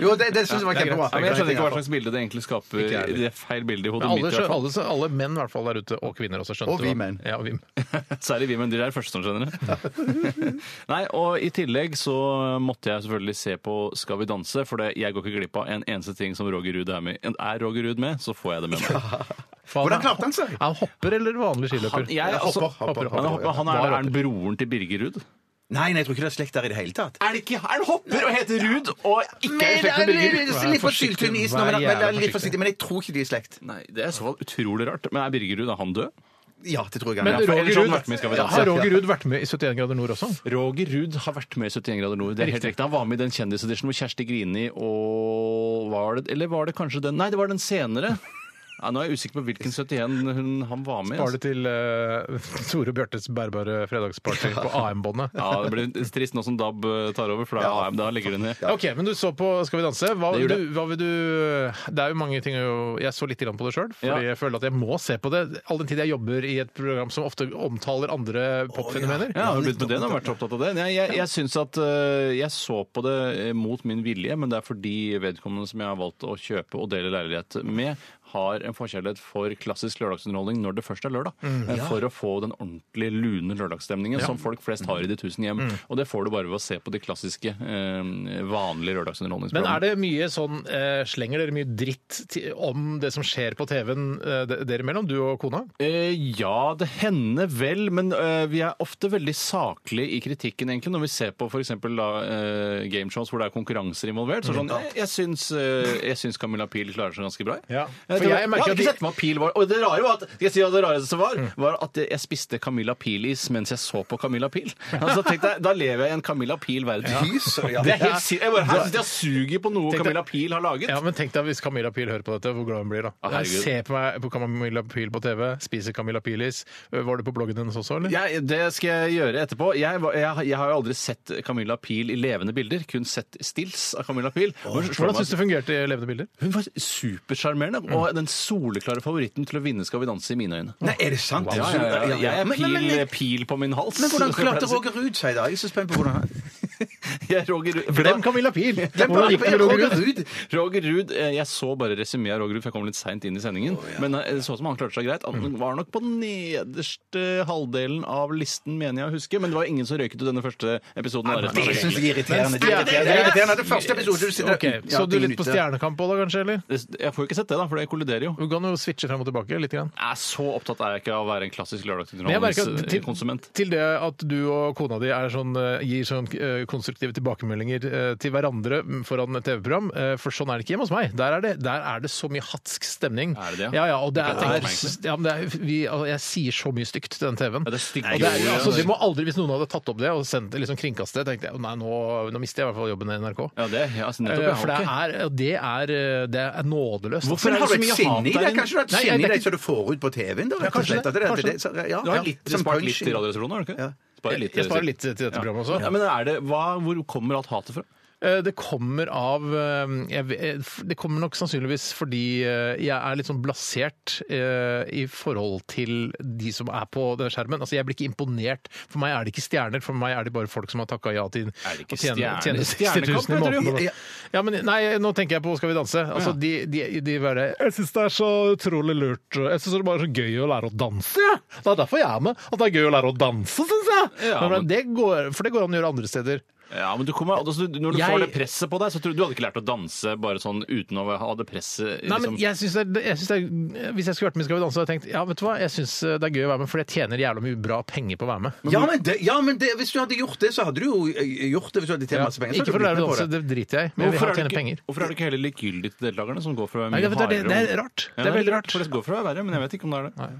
S2: Jo, det, det syns jeg var kjempebra.
S3: Ja, men jeg skjønner ikke hva slags bilde det egentlig skaper.
S2: Ikke jeg heller.
S3: Det er feil bilde i hodet
S1: Alle,
S3: mitt. i hvert fall.
S1: alle, alle menn i hvert fall der ute, og kvinner også, skjønte
S2: Og vi
S1: hva-
S2: menn.
S1: Ja, og vi menn.
S3: <laughs> Særlig vi, men dere er første som skjønner det. <laughs> Nei, og I tillegg så måtte jeg selvfølgelig se på Skal vi danse, for det, jeg går ikke glipp av en eneste ting som Roger Ruud er med Er Roger Ruud med, så får jeg det
S2: <laughs>
S3: med meg.
S1: Faen,
S2: Hvordan klarte han seg?
S1: Er han hopper eller vanlig skiløper?
S3: Han, jeg, altså,
S2: hopper, hopper,
S3: han, er,
S2: hopper.
S3: han er, er han broren til Birger Ruud?
S2: Nei, nei, jeg tror ikke det er slekt der i det hele tatt.
S3: Er det ikke? Er han hopper og heter Ruud og ikke
S2: Men,
S3: er i slekt med Birger?
S2: det er litt for
S1: forsiktig,
S2: syltynn is nå,
S1: vær
S2: men, men,
S1: jævla
S2: litt
S1: forsiktig.
S2: forsiktig, men jeg tror ikke de er i slekt.
S3: Nei, det er i så fall utrolig rart. Men er Birger Ruud er han død?
S2: Ja, det tror jeg.
S1: Men
S2: han er.
S3: for
S1: Roger Ruud
S3: ellers hadde han vært med i Skal vi
S1: Ja,
S3: danse.
S1: har Roger Ruud vært med i 71 grader nord også?
S3: Roger Ruud har vært med i 71 grader nord. Det er helt riktig. Han var med i den kjendisedition hvor Kjersti Grini og var det, Eller var det kanskje den Nei, det var den <laughs> senere. Ja, nå er jeg usikker på hvilken 71 hun, han var med. i,
S1: Spar det
S3: Altså.
S1: til eh, <laughs> Tore Bjørtes bærbare fredagsparty på AM-båndet.
S3: Ja, Det blir trist nå som DAB eh, tar over, for da, da legger det ned.
S1: Ok, men du så på Skal vi danse. Hva,
S3: Det
S1: vil
S3: gjorde
S1: du, hva vil du Det er jo mange ting å- Jeg så litt grann på det sjøl, fordi
S3: Ja.
S1: jeg føler at jeg må se på det. All den tid jeg jobber i et program som ofte omtaler andre popfenomener.
S3: Ja, har du begynt med det? Nå har vært opptatt av det. Jeg, jeg, jeg syns at øh, jeg så på det øh, mot min vilje, men det er fordi vedkommende som jeg har valgt å kjøpe og dele leilighet med, har en forkjærlighet for klassisk lørdagsunderholdning når det først er lørdag. Eh, For å få den ordentlig lune lørdagsstemningen som folk flest har i de tusen hjem. Og det får du bare ved å se på de klassiske, øh, vanlige
S1: Men
S3: lørdagsunderholdningsprogrammene.
S1: er det mye sånn eh, Slenger dere mye dritt ti- om det som skjer på TV-en eh, de- dere imellom, du og kona?
S3: Eh, ja, det hender vel, men eh, vi er ofte veldig saklige i kritikken, egentlig. Når vi ser på f.eks. Uh, gameshows hvor det er konkurranser involvert. Så er det sånn, jeg, jeg, syns, eh, jeg syns Camilla Pil klarer seg ganske bra.
S1: Ja,
S3: For jeg, Eh, merker at Mm. ikke sett meg at Pil var, og det rare var at, skal jeg si at det rareste som var, var at jeg spiste Camilla Pil-is mens jeg så på Camilla Pil. Altså, tenk deg, da lever jeg i en Camilla Pil-verden. Det er helt sykt. Jeg bare, her sitter jeg og suger på noe
S1: Tenk deg-
S3: Camilla Pil har laget.
S1: Ja, men tenk deg hvis Camilla Pil hører på dette, hvor glad hun blir da.
S3: Å, herregud.
S1: Jeg ser på meg på Camilla Pil på TV, spiser Camilla Pilis. Var det på bloggen hennes også, eller?
S3: Jeg, det skal jeg gjøre etterpå. Jeg, var- jeg, jeg har jo aldri sett Camilla Pil i levende bilder, kun sett stills av Camilla Pil. Hun,
S1: Hvordan syns du det fungerte i levende bilder?
S3: hun var supersjarmerende
S2: Mm.
S3: og den soleklare favoritten til å vinne Skal vi danse, i mine øyne.
S2: Nei, er det sant?
S3: Ja, ja, ja, ja. Jeg er
S2: Men- men- men-
S3: pil, pil på min hals.
S2: Men hvordan
S3: som jeg <laughs>
S2: klarte
S3: pleier å si.
S2: Roger Ruud seg da? Jeg er så spent på hvordan han
S3: Jeg, Roger,
S1: Glem Camilla
S3: <laughs>
S1: Pil!
S2: Glem
S1: Hvordan gikk det med Roger
S2: Roger
S1: Ruud?
S2: Ruud!
S3: Roger Ruud, eh, Jeg så bare resymeet av Roger Ruud, for jeg kom litt seint inn i sendingen. Men eh, det så ut som han klarte seg greit.
S2: Mm.
S3: Han var nok på den nederste halvdelen av listen, mener jeg å huske. Men det var ingen som røyket ut denne første episoden. av Rett og
S2: Jeg
S3: slett.
S2: syns de er irriterende. De er irriterende.
S1: Men-
S2: Det er irriterende. Det er første episode du sitter
S1: Ok, Så du litt på Stjernekamp òg, da, kanskje? eller?
S3: Det- Jeg får jo ikke sett det, da, for det kolliderer jo.
S1: Du kan jo switche frem og tilbake litt. Grann.
S3: Jeg er så opptatt er jeg ikke av å være en klassisk eh,
S1: Men jeg merker at til,
S3: lørdagsunderholdningskonsument.
S1: til det at du og kona di er sånn, eh, gir sånn eh, konstruktive tilbakemeldinger eh, til hverandre foran et TV-program, eh, for sånn er det ikke hjemme hos meg. Der er det, der er det så mye hatsk stemning.
S3: Er det det,
S1: Ja, ja,
S3: ja?
S1: og det
S3: Det
S1: er,
S3: kan jeg tenke meg, egentlig.
S1: ja, men det er, vi, altså, jeg sier så mye stygt til den TV-en.
S3: Ja, det er stygt.
S1: Og det er-
S3: Jo, jo, jo.
S1: altså, det må aldri, hvis noen hadde tatt opp det og sendt det liksom kringkastet, tenkte jeg nei, nå, nå mister jeg i hvert fall jobben i NRK.
S3: Ja, det, ja, altså, nettopp,
S1: Eh,
S3: ja,
S1: For det
S3: ok.
S1: er, det er, det er nådeløst.
S2: Men
S3: Hvorfor er
S2: har
S3: det
S2: du
S3: så
S2: et
S3: mye
S2: sinne
S3: hat
S2: i
S3: der
S2: deg?
S3: inne?
S2: Kanskje du har et
S1: liksom
S2: sinne
S1: Nei,
S2: i
S1: det er
S2: deg som du får ut på TV-en? da, rett og
S1: kanskje
S2: slett,
S1: det.
S2: at det-
S1: Kanskje
S2: det-
S1: det.
S2: så- ja,
S3: Du
S2: ja.
S3: har litt,
S2: Som
S3: spart
S2: punch
S3: litt til
S2: inn.
S3: Radioresepsjonen, har du ikke?
S2: Ja.
S3: Sparer litt
S1: sånn Jeg sparer litt til dette programmet også.
S3: Ja, men er det, hva, hvor kommer alt hatet fra?
S1: Eh, Det kommer av eh, jeg, ve- f- Det kommer nok sannsynligvis fordi eh, jeg er litt sånn blasert eh, i forhold til de som er på den skjermen. Altså, jeg blir ikke imponert. For meg er det ikke stjerner, for meg er det bare folk som har takka ja til
S3: Er det ikke
S1: å tjene,
S3: stjerner?
S1: tjene 60 000 i
S3: Stjernekamp, heter det jo.
S1: måneden. på det. Ja, men nei, nå tenker jeg på Skal vi danse. Altså, de, de, de bare Jeg syns det er så utrolig lurt. Jeg syns det er bare så gøy å lære å danse, jeg. Det er derfor jeg er med. At det er gøy å lære å danse, syns jeg.
S3: Ja,
S1: Men det går, for det går an å gjøre andre steder.
S3: Ja, men du kommer, altså, du- Når du
S1: Jeg-
S3: får det presset på deg, så tror du du hadde ikke lært å danse bare sånn uten å ha det presset
S1: Nei,
S3: liksom.
S1: men jeg synes det, er- jeg synes det er, Hvis jeg skulle vært med i Skal vi danse, hadde jeg tenkt ja, vet du hva, jeg syns det er gøy å være med, for jeg tjener jævla mye bra penger på å være med.
S2: Ja, men, det, ja, men det, hvis du hadde gjort det, så hadde du jo eh, gjort det. Hvis du hadde tjent
S1: Ja,
S2: masse penger. så hadde du
S1: ikke for å
S2: blitt
S1: lære å
S2: med på
S1: danse,
S2: det.
S1: det driter jeg i, men jeg vil ha
S3: Hvorfor er, du
S1: tjene
S3: ikke,
S1: penger.
S3: hvorfor er du ikke heller likegyldig til deltakerne, som går for å være
S1: Nei,
S3: mye
S1: det, er,
S3: hardere?
S1: det
S3: om-
S1: er rart.
S3: Ja,
S1: Det er veldig rart.
S3: For det går for å være verre, men jeg vet ikke om det er det.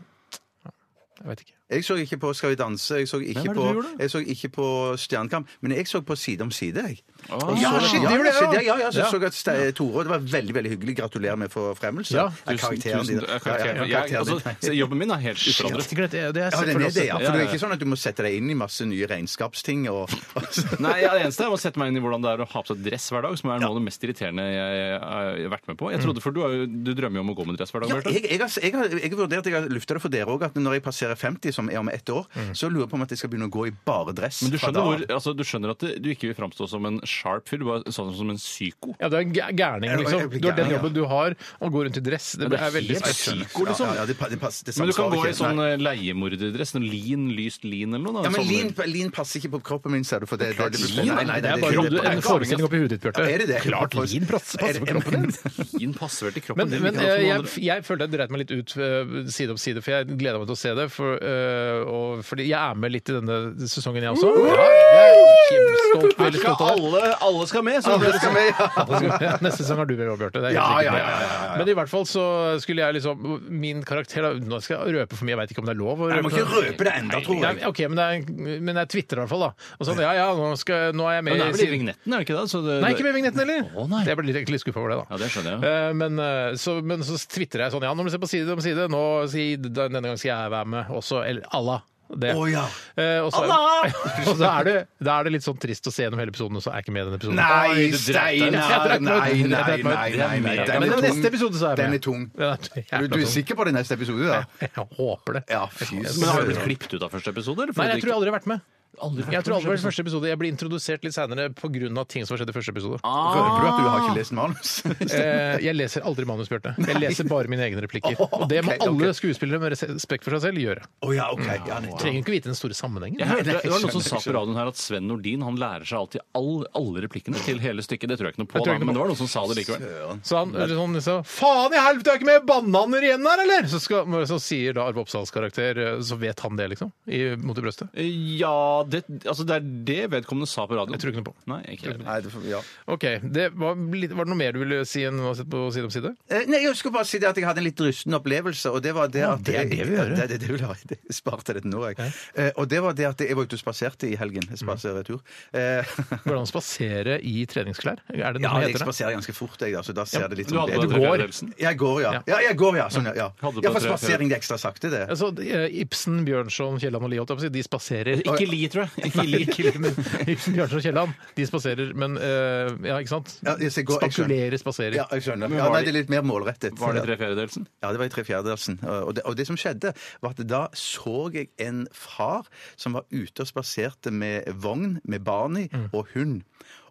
S1: Jeg vet ikke.
S2: Jeg så ikke på Skal vi danse, jeg så ikke,
S3: Nei, hva er det
S2: på,
S3: du gjorde?
S2: jeg så ikke på Stjernekamp, men jeg så på Side om side, jeg.
S3: Ah.
S2: Og
S3: Ja,
S2: så-
S3: shit,
S1: det gjorde jeg
S2: shit,
S1: også.
S2: Ja, ja, ja, så
S1: Ja.
S2: så jeg at Ste- Tore, og det var veldig veldig hyggelig. Gratulerer med forfremmelse.
S1: Ja,
S2: Ja, karakteren din. Ja,
S3: Tusen-
S2: ja,
S3: tusen- karakteren.
S2: ja,
S3: Jeg,
S2: karakteren
S3: altså,
S2: din.
S3: se, jobben min er helt uforandret.
S1: Det er, det er
S2: Ja, den er
S1: selvfølgelig
S2: det, ja.
S1: også-
S2: For det er
S3: ja.
S2: ikke sånn at du må sette deg inn i masse nye regnskapsting og, og
S3: Nei, ja, det eneste Jeg må sette meg inn i hvordan det er å ha på seg dress hver dag, som er noe av det mest irriterende jeg har vært med på. Jeg trodde, for Du, har jo- du drømmer jo om å gå med dress hver dag,
S2: Mm. Ja,
S3: Bjarte.
S2: jeg, jeg, har, jeg, har, jeg har vurdert, jeg har lufta det for dere òg, at når jeg passerer 50, som er om ett år,
S1: Mm.
S2: så lurer jeg på om at jeg skal begynne å gå i bare dress.
S3: Men du
S2: fra
S3: skjønner,
S2: da
S3: hvor,
S2: av.
S3: altså, du skjønner at du ikke vil framstå som en sharp fyr, du bare sånn som en psyko.
S1: Ja, du er en gæ- gærning,
S2: Jeg
S1: liksom.
S2: blir
S1: Du har den
S2: gærning, ja.
S1: jobben du har, og går rundt i dress. Det
S3: Men det er
S1: er veldig
S3: helt
S1: spesielt.
S3: psyko, liksom.
S1: sånn-
S2: Ja, ja, det, pa- det, passer- det
S3: Men du kan
S2: samsvarer
S3: gå i
S2: ikke.
S3: sånn
S2: Nei.
S3: eh, leiemorderdress, noen lin, lyst lin eller
S1: eh,
S3: noe. Da,
S2: ja, men
S3: Sånn-
S2: lin, lin passer ikke på kroppen min, ser du. For det, det, det,
S3: Lin?
S1: Nei, nei, det er bare
S3: det- det-
S1: en forestilling oppi hudet ditt, Bjarte.
S2: Ja, er det det?
S1: Klart lin passer
S2: Er det-
S1: passer på kroppen din.
S3: Lin passer vel til kroppen
S1: Men,
S3: din?
S1: men
S3: ikke
S1: eh,
S3: noe
S1: jeg,
S3: andre-
S1: jeg følte jeg dreit meg litt ut eh, side om side, for jeg gleda meg til å se det. For, eh, og, fordi jeg er med litt i denne sesongen, jeg også. Ja, jeg er kjempestolt,
S3: Her
S1: veldig
S3: skal
S1: stolt av det.
S3: alle, alle skal med! Så
S2: Alle skal med, ja.
S1: Alle skal med. Neste sesong har du vel òg, Bjarte. det er jeg
S2: Ja,
S1: helt
S2: ja,
S1: sikker
S2: ja,
S1: på.
S2: ja, ja, ja.
S1: Men i hvert fall så skulle jeg liksom Min karakter da, Nå skal jeg røpe for mye, jeg veit ikke om det er lov
S2: <laughs>
S1: å
S2: Jeg må
S1: røpe.
S2: ikke røpe det enda, tror
S1: Nei,
S2: jeg.
S1: ok, men, det er, men jeg tvitrer i hvert fall, da. Og sånn, ja ja, nå, skal, nå er jeg
S3: Men
S1: med
S3: det er vel i
S1: siden-
S3: vignetten, er det ikke det? Så det
S1: Nei, ikke med vignetten heller.
S3: Å, nei.
S1: Jeg ble litt, litt skuffa over det, da.
S3: Ja, det skjønner jeg.
S1: Eh, men, eh, så, men så tvitrer jeg sånn Ja, nå må du se på side om side. Nå, si, denne gang skal jeg være med også. Eller Allah. Det.
S2: Å, ja.
S1: Eh, og så,
S2: Allah!
S1: og <laughs> så er det, da er det litt sånn trist å se gjennom hele episoden, og så er jeg ikke med i denne episoden.
S2: Nei,
S3: Oi, du dreit deg.
S2: Steinar! Nei, nei, nei. nei, nei.
S1: Ja, men
S2: tung.
S1: neste episode så er jeg
S2: Den
S1: med.
S2: er tung.
S1: Den er
S2: Du,
S1: jævla
S2: du er
S1: tung.
S2: sikker på det neste episode, da?
S1: <laughs> Jeg håper det.
S2: Ja, fy
S3: Men har du blitt
S2: søren.
S3: klippet ut av første episode? Eller?
S1: Nei, jeg tror jeg aldri har vært med.
S3: aldri
S1: Jeg tror aldri har vært
S2: <laughs>
S1: i første episode. Jeg ble introdusert litt seinere pga. ting som skjedde i første episode.
S2: Røper du at du har ikke lest manus?
S1: Eh, jeg leser aldri manus, Bjarte. Jeg leser bare mine egne
S2: <laughs>
S1: replikker.
S2: Åh,
S1: Og det må
S2: Ah, ok, ok.
S1: alle skuespillere med respekt for seg selv gjøre.
S2: Å ja, OK. Ja, nettopp.
S1: Trenger ikke vite den store sammenhengen.
S3: Jeg hørte,
S2: Nei,
S3: det var noen som
S2: skjønner,
S3: sa på radioen her at Sven Nordin han lærer seg alltid all, alle replikkene til hele stykket. Det tror jeg ikke noe på,
S1: Jeg tror
S3: da,
S1: ikke noe
S3: men det
S1: på.
S3: var noen som sa det likevel.
S1: Så han eller sånn, så, Faen i helvete, er ikke med bananer igjen her, eller?! Så, skal, så sier da Arve Oppsals karakter eh, Så vet han det, liksom? I, mot i brøstet.
S3: Eh, Ja, det, altså det er det vedkommende sa på radioen.
S1: Jeg tror ikke noe på.
S3: Nei, ikke heller.
S2: Nei, det får- ja.
S1: OK. Det var, litt, var det noe mer du ville si enn å sette på side om side?
S2: Eh, Nei, Jeg skulle bare si det at jeg hadde en litt rusten opplevelse. og det var det at...
S1: det er det vi gjør.
S2: Ja, Det, det, det vil jeg, <laughs> det jeg sparte det til nå, jeg. Eh, Og det var det at jeg var ute og spaserte i helgen. Jeg spaserer tur. Eh, <laughs>
S1: Går det an å spasere i treningsklær? Er det noe
S2: Ja,
S1: som
S2: jeg
S1: heter det?
S2: spaserer ganske fort, jeg, da, så da ser det litt
S3: Du
S2: sånn
S3: hadde på
S2: bedre
S3: deg
S2: ut.
S1: går.
S3: treningsledelsen.
S2: Jeg går, ja. ja. Jeg går, ja. Sånn, ja. ja.
S3: Hadde på
S2: ja for
S3: tre-
S2: spasering det er ekstra sakte, det.
S1: Altså, eh, Ibsen, Bjørnson, Kielland og Lie, holdt jeg på å si, de spaserer
S3: Ikke li, tror jeg. Ikke li.
S1: Ikke men <laughs> Ibsen, Bjørnson og Kielland, de spaserer, men eh, Ja, ikke sant?
S2: Ja, jeg skal gå- jeg skjønner.
S1: Spakulerer, spaserer.
S2: Ja, jeg skjønner.
S3: Men
S2: Ja,
S3: var
S2: nei,
S3: det-
S2: det er litt mer målrettet.
S3: Var det tre fjerdedelsen?
S2: Ja, det var i tre fjerdedelsen. Og det, og det som <laughs> skjedde, var at da så jeg en far som var ute og spaserte med vogn med barn i
S1: Mm.
S2: og hund.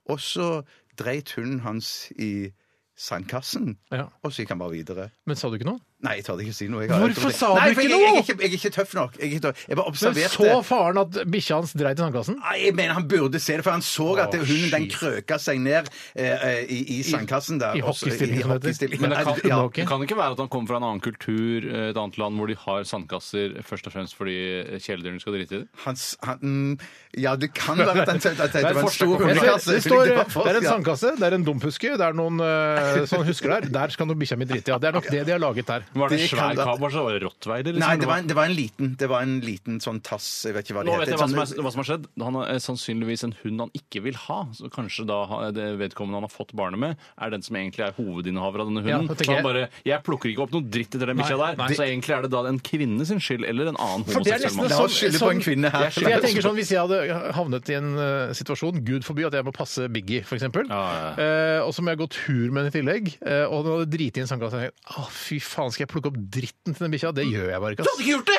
S2: Og så dreit hunden hans i sandkassen,
S1: Ja.
S2: og så gikk han bare videre.
S1: Men sa du ikke noe?
S2: Nei, jeg tør ikke si noe. Jeg
S1: Hvorfor
S2: jeg-
S1: sa du
S2: Nei, for
S1: ikke
S2: jeg- Jeg,
S1: noe?
S2: er ikke- jeg er ikke tøff nok. Jeg, er ikke tøff. jeg bare
S1: Men
S2: observerte.
S1: så faren at bikkja hans dreit i sandkassen?
S2: Nei, jeg mener han burde se det, for han så at det- hunden den krøka seg ned eh, eh, i, i sandkassen der.
S1: i
S2: også,
S1: hockeystilling, som det heter.
S2: hockeystilling.
S3: Men det kan,
S2: ja.
S1: Ok.
S3: det kan ikke være at han kommer fra en annen kultur, eh, et annet land, hvor de har sandkasser først og fremst fordi kjæledyrene skal drite i det?
S2: han, s- han, mm, ja, det kan være at han tenkte at det var en stor
S1: Jeg ser-
S2: hundekasse.
S1: Det står,
S2: fordi var
S1: det er en
S2: ja.
S1: sandkasse, det er en dumphuske, det er noen eh, sånn husker der. Der skal noen bikkja mi drite. Ja, det er nok det de har laget der.
S3: Var det,
S2: Det
S3: en
S2: kan
S3: svær
S2: være-
S3: kabel? Var det rottweiler? Liksom?
S2: Nei, det var, en, det var en liten Det var en liten sånn tass Jeg vet ikke hva det
S3: Nå vet
S2: heter.
S3: jeg hva som,
S2: Sånn-
S3: er, hva som har skjedd. Han har eh, sannsynligvis en hund han ikke vil ha. Så kanskje da ha- det vedkommende han har fått barnet med, er den som egentlig er hovedinnehaver av denne
S1: Ja,
S3: hunden.
S1: da tenker
S3: så han
S1: jeg-
S3: bare Jeg plukker ikke opp noe dritt etter den bikkja
S1: Nei,
S3: der.
S1: nei.
S3: Så egentlig er det da en kvinne sin skyld, eller en annen
S1: For det er
S3: homoseksuell
S1: nesten
S3: mann.
S2: La
S1: sånn-
S2: oss skylde på en kvinne her.
S1: For jeg tenker sånn, Hvis jeg hadde havnet i en eh, situasjon, gud forby at jeg må passe Biggie f.eks.,
S3: Ja, ja,
S1: eh, og så må jeg gå tur med henne i tillegg, eh, og den hadde driti i en sandkasse jeg tenkte, Å, fy faen, skal jeg plukke opp dritten til den bikkja? Det gjør jeg bare ikke. ass.
S2: gjort det!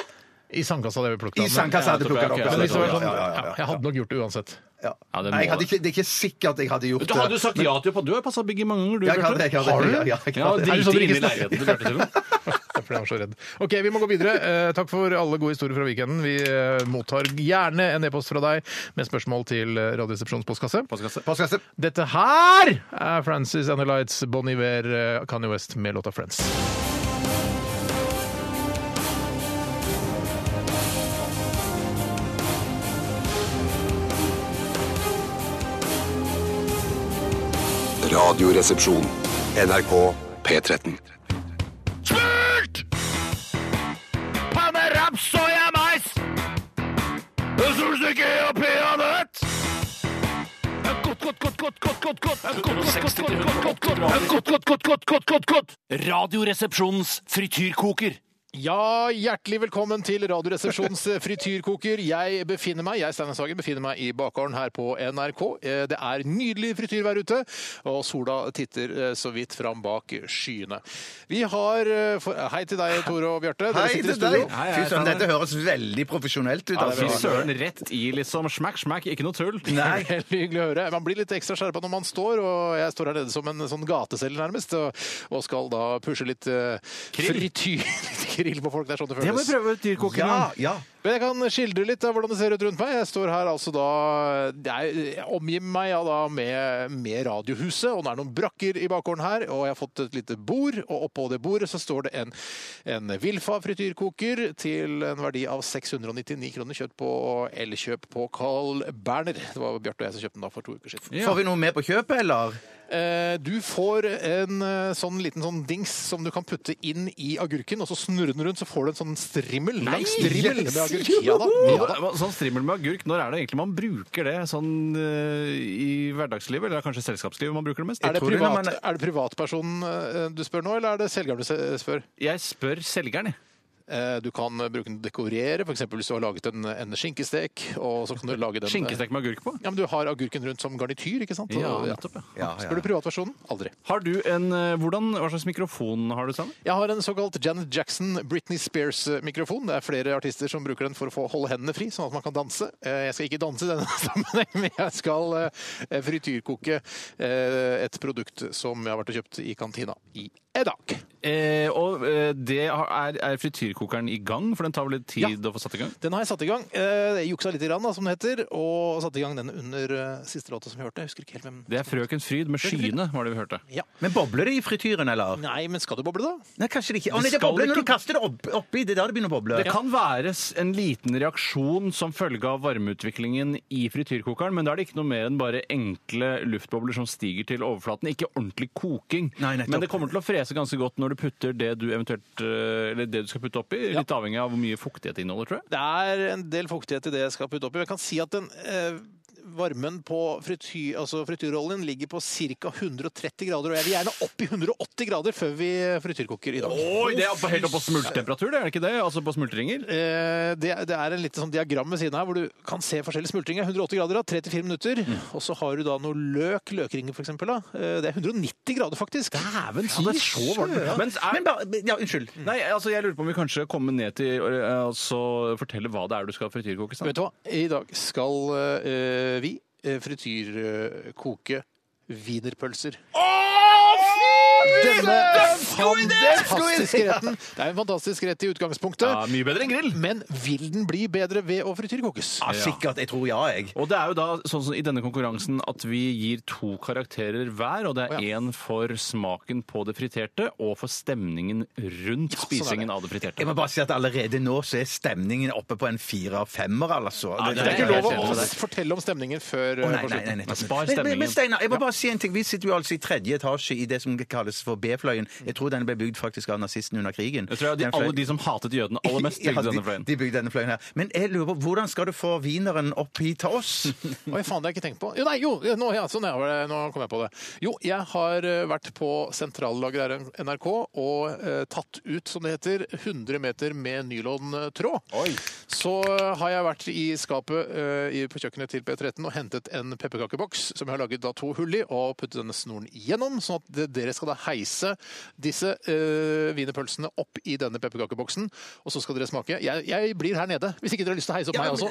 S1: I sandkassa hadde jeg vel plukket
S2: I
S1: den, men-
S2: sandkassa hadde jeg plukket
S3: ok,
S2: det
S3: ok,
S2: opp.
S1: Men hvis det var sånn,
S2: Ja, ja, ja,
S1: ja, jeg hadde nok gjort det uansett.
S2: ja.
S3: Ja, det må
S2: Nei, jeg hadde
S3: det.
S2: ikke, det er ikke sikkert jeg hadde gjort
S3: Du
S2: det.
S3: hadde jo sagt ja til å passe Biggie mange ganger, du.
S2: Jeg hadde-
S3: Bjarte.
S2: jeg hadde-
S3: Har du?
S2: ja, ja, jeg hadte-
S3: Ja,
S1: Er det sånn
S3: drite
S1: dere
S3: inn i
S1: snakker? <laughs>
S3: leiligheten til Bjarte til og med.
S1: Fordi jeg var så redd. Ok, vi må gå videre. Eh, takk for alle gode historier fra weekenden. Vi eh, mottar gjerne en e-post fra deg med spørsmål til eh, Radioresepsjonens postkasse.
S3: Postkasse.
S2: Postkasse.
S1: Dette her er Francis and the Lights, Bon Iver, eh, Kanye West med låta 'Friends'.
S4: Radioresepsjon. NRK P13.
S3: Smurt! Panne, raps, soya, mais! Solstykke og peanøtt! Godt, godt, godt, godt, godt, godt, godt, godt, godt, godt, godt, godt, godt, godt, godt.
S5: Radioresepsjonens frityrkoker.
S1: Ja, hjertelig velkommen til Radioresepsjonens eh, frityrkoker. Jeg befinner meg, jeg Steinar Sagen, befinner meg i bakgården her på NRK. Eh, Det er nydelig frityr ute, og sola titter eh, så vidt fram bak skyene. Vi har eh, for... Hei til deg, Tore og Bjarte. Dere
S2: Hei
S1: sitter i
S2: til
S1: studio.
S2: deg! Fy søren, dette høres veldig profesjonelt ut.
S3: <laughs> Fy
S2: altså.
S3: søren, rett i liksom smack, smack, ikke noe tull.
S1: Nei. Veldig hyggelig å høre. Man blir litt ekstra skjerpa når man står, og jeg står her nede som en sånn gateselger nærmest, og, og skal da pushe litt eh, frityr, <laughs> litt grill på folk. Det er sånn det føles.
S3: prøve dyrkoken.
S2: Ja, ja.
S1: Men jeg kan skildre litt av hvordan det ser ut rundt meg. Jeg står her altså da Jeg jeg omgir meg ja da med, med Radiohuset, og det er noen brakker i bakgården her. Og jeg har fått et lite bord, og oppå det bordet så står det en, en Wilfa frityrkoker til en verdi av 699 kroner kjøpt på Elkjøp på Carl Berner. Det var Bjarte og jeg som kjøpte den da for to uker siden.
S2: Får vi noe med på kjøpet, eller?
S1: Eh, Du får en eh, sånn liten sånn dings som du kan putte inn i agurken, og så snurrer den rundt, så får du en sånn strimmel. Lang strimmel med agurk. Ja da. Ja, da.
S3: Hva- Sånn strimmel med agurk, når er det egentlig man bruker det sånn eh, i hverdagslivet, eller er det kanskje selskapslivet man bruker det mest?
S1: Er det,
S2: tror det når
S1: privat,
S2: man-
S1: er det privatpersonen eh, du spør nå, eller er det selgeren du se- spør?
S3: Jeg spør selgeren, jeg.
S1: Eh, Du kan bruke den til å dekorere, f.eks. hvis du har laget en, en skinkestek. og så kan du lage den... eh,
S3: Skinkestek med agurk på.
S1: Ja, men Du har agurken rundt som garnityr, ikke sant?
S3: Ja,
S1: Og-
S3: nettopp, ja.
S2: Ja, ja.
S1: Spør du privatpersonen? Aldri.
S3: Har du en, eh, hvordan, Hva slags mikrofon har du, Sanne?
S1: Jeg har en såkalt Janet Jackson, Britney Spears-mikrofon. Det er flere artister som bruker den for å få holde hendene fri, sånn at man kan danse. Eh, Jeg skal ikke danse i denne <laughs> sammenheng, men jeg skal eh, frityrkoke eh, et produkt som jeg har vært og kjøpt i kantina i dag.
S3: Eh, og eh, det har- er, er frityrkokeren i gang, for den tar vel litt tid
S1: Ja.
S3: å få satt i gang?
S1: Den har jeg satt i gang. Eh, juksa litt, i rann, da, som det heter, og satte i gang den under eh, siste låta som vi hørte. Jeg husker ikke helt hvem.
S3: Det er Frøken Fryd med skyene, var det vi hørte.
S2: Men bobler det i frityren, eller?
S1: Nei, men skal du boble, da?
S2: Nei, kanskje det ikke. Å, nei, det
S3: skal
S2: bobler når
S3: ikke-
S2: du kaster det opp, oppi. Det er da det begynner å boble.
S3: Det kan være s- en liten reaksjon som følge av varmeutviklingen i frityrkokeren, men da er det ikke noe mer enn bare enkle luftbobler som stiger til overflaten. Ikke ordentlig koking.
S2: Nei, nettopp.
S3: men det kommer til å frese ganske godt når du putter det du eventuelt eh, Eller det du skal putte oppi. Litt avhengig av hvor mye fuktighet det inneholder, tror jeg.
S1: Det er en del fuktighet i det jeg skal putte oppi. Jeg kan si at den eh, varmen på frityr, altså frityroljen ligger på ca. 130 grader, og jeg vil gjerne opp i 180 grader før vi frityrkoker i dag.
S3: Oi, det er helt opp på smultetemperatur, det er det ikke det? Altså på smultringer?
S1: Eh, Det, det er en liten sånn diagram ved siden her hvor du kan se forskjellige smultringer. 180 grader, da, 3-4 minutter. Og så har du da noe løk, løkringer f.eks. Eh, Det er 190 grader, faktisk. Dæven,
S3: Ja, det er så varmt. Men er,
S2: Men bare, ja, unnskyld.
S3: Nei, altså jeg lurer på om vi kanskje kommer ned til å altså, fortelle hva det er du skal frityrkoke. sant?
S1: Vet du hva? I dag skal eh, vi eh, frityrkoke wienerpølser. Denne fantastiske retten. Det er en fantastisk rett i utgangspunktet.
S3: Ja, mye bedre enn grill.
S1: Men vil den bli bedre ved å frityrkokes?
S2: Ja, sikkert. Jeg tror ja, jeg.
S3: Og det er jo da sånn som i denne konkurransen at vi gir to karakterer hver, og det
S1: Å,
S3: er
S1: ja.
S3: én for smaken på det friterte og for stemningen
S1: er
S3: rundt
S1: det.
S3: spisingen av det
S2: Jeg
S3: friterte.
S2: må bare si at allerede nå så er stemningen oppe på en fire av femmer, altså.
S3: det
S1: Det er
S3: jeg
S1: ikke
S3: helt
S1: lov
S3: enig
S1: å
S3: med
S1: s- fortelle om stemningen
S2: Å,
S1: før
S2: nei,
S1: eh, på
S2: nei, nei,
S1: slutten.
S2: nettopp.
S3: Spar
S2: Men- men- Men
S3: stemningen.
S2: Steinar, jeg må bare si en ting. Vi sitter jo altså i tredje etasje i det som kalles for B-fløyen. Jeg tror den ble bygd faktisk av nazistene under krigen.
S3: Jeg tror de,
S2: Den fløyen-
S3: alle de som hatet jødene aller mest,
S2: <laughs> Ja,
S3: bygde
S2: de-
S3: denne fløyen.
S2: De bygde denne fløyen her. Men jeg lurer på, hvordan skal du få wieneren opp hit til
S3: <laughs>
S2: oss?
S1: Oi, faen, det har jeg ikke tenkt på. Jo, nei, jo, nå, ja, sånn er det. nå kom jeg på det. Jo, jeg har eh, vært på sentrallageret her i NRK og eh, tatt ut, som det heter, 100 meter med nylontråd. Så eh, har jeg vært i skapet eh, i- på kjøkkenet til P13 og hentet en pepperkakeboks som jeg har laget da to hull i, og puttet denne snoren gjennom, sånn at det- dere skal da heise disse eh, wienerpølsene opp i denne pepperkakeboksen, og så skal dere smake. Jeg, jeg blir her nede, hvis ikke dere har lyst til å heise opp meg også.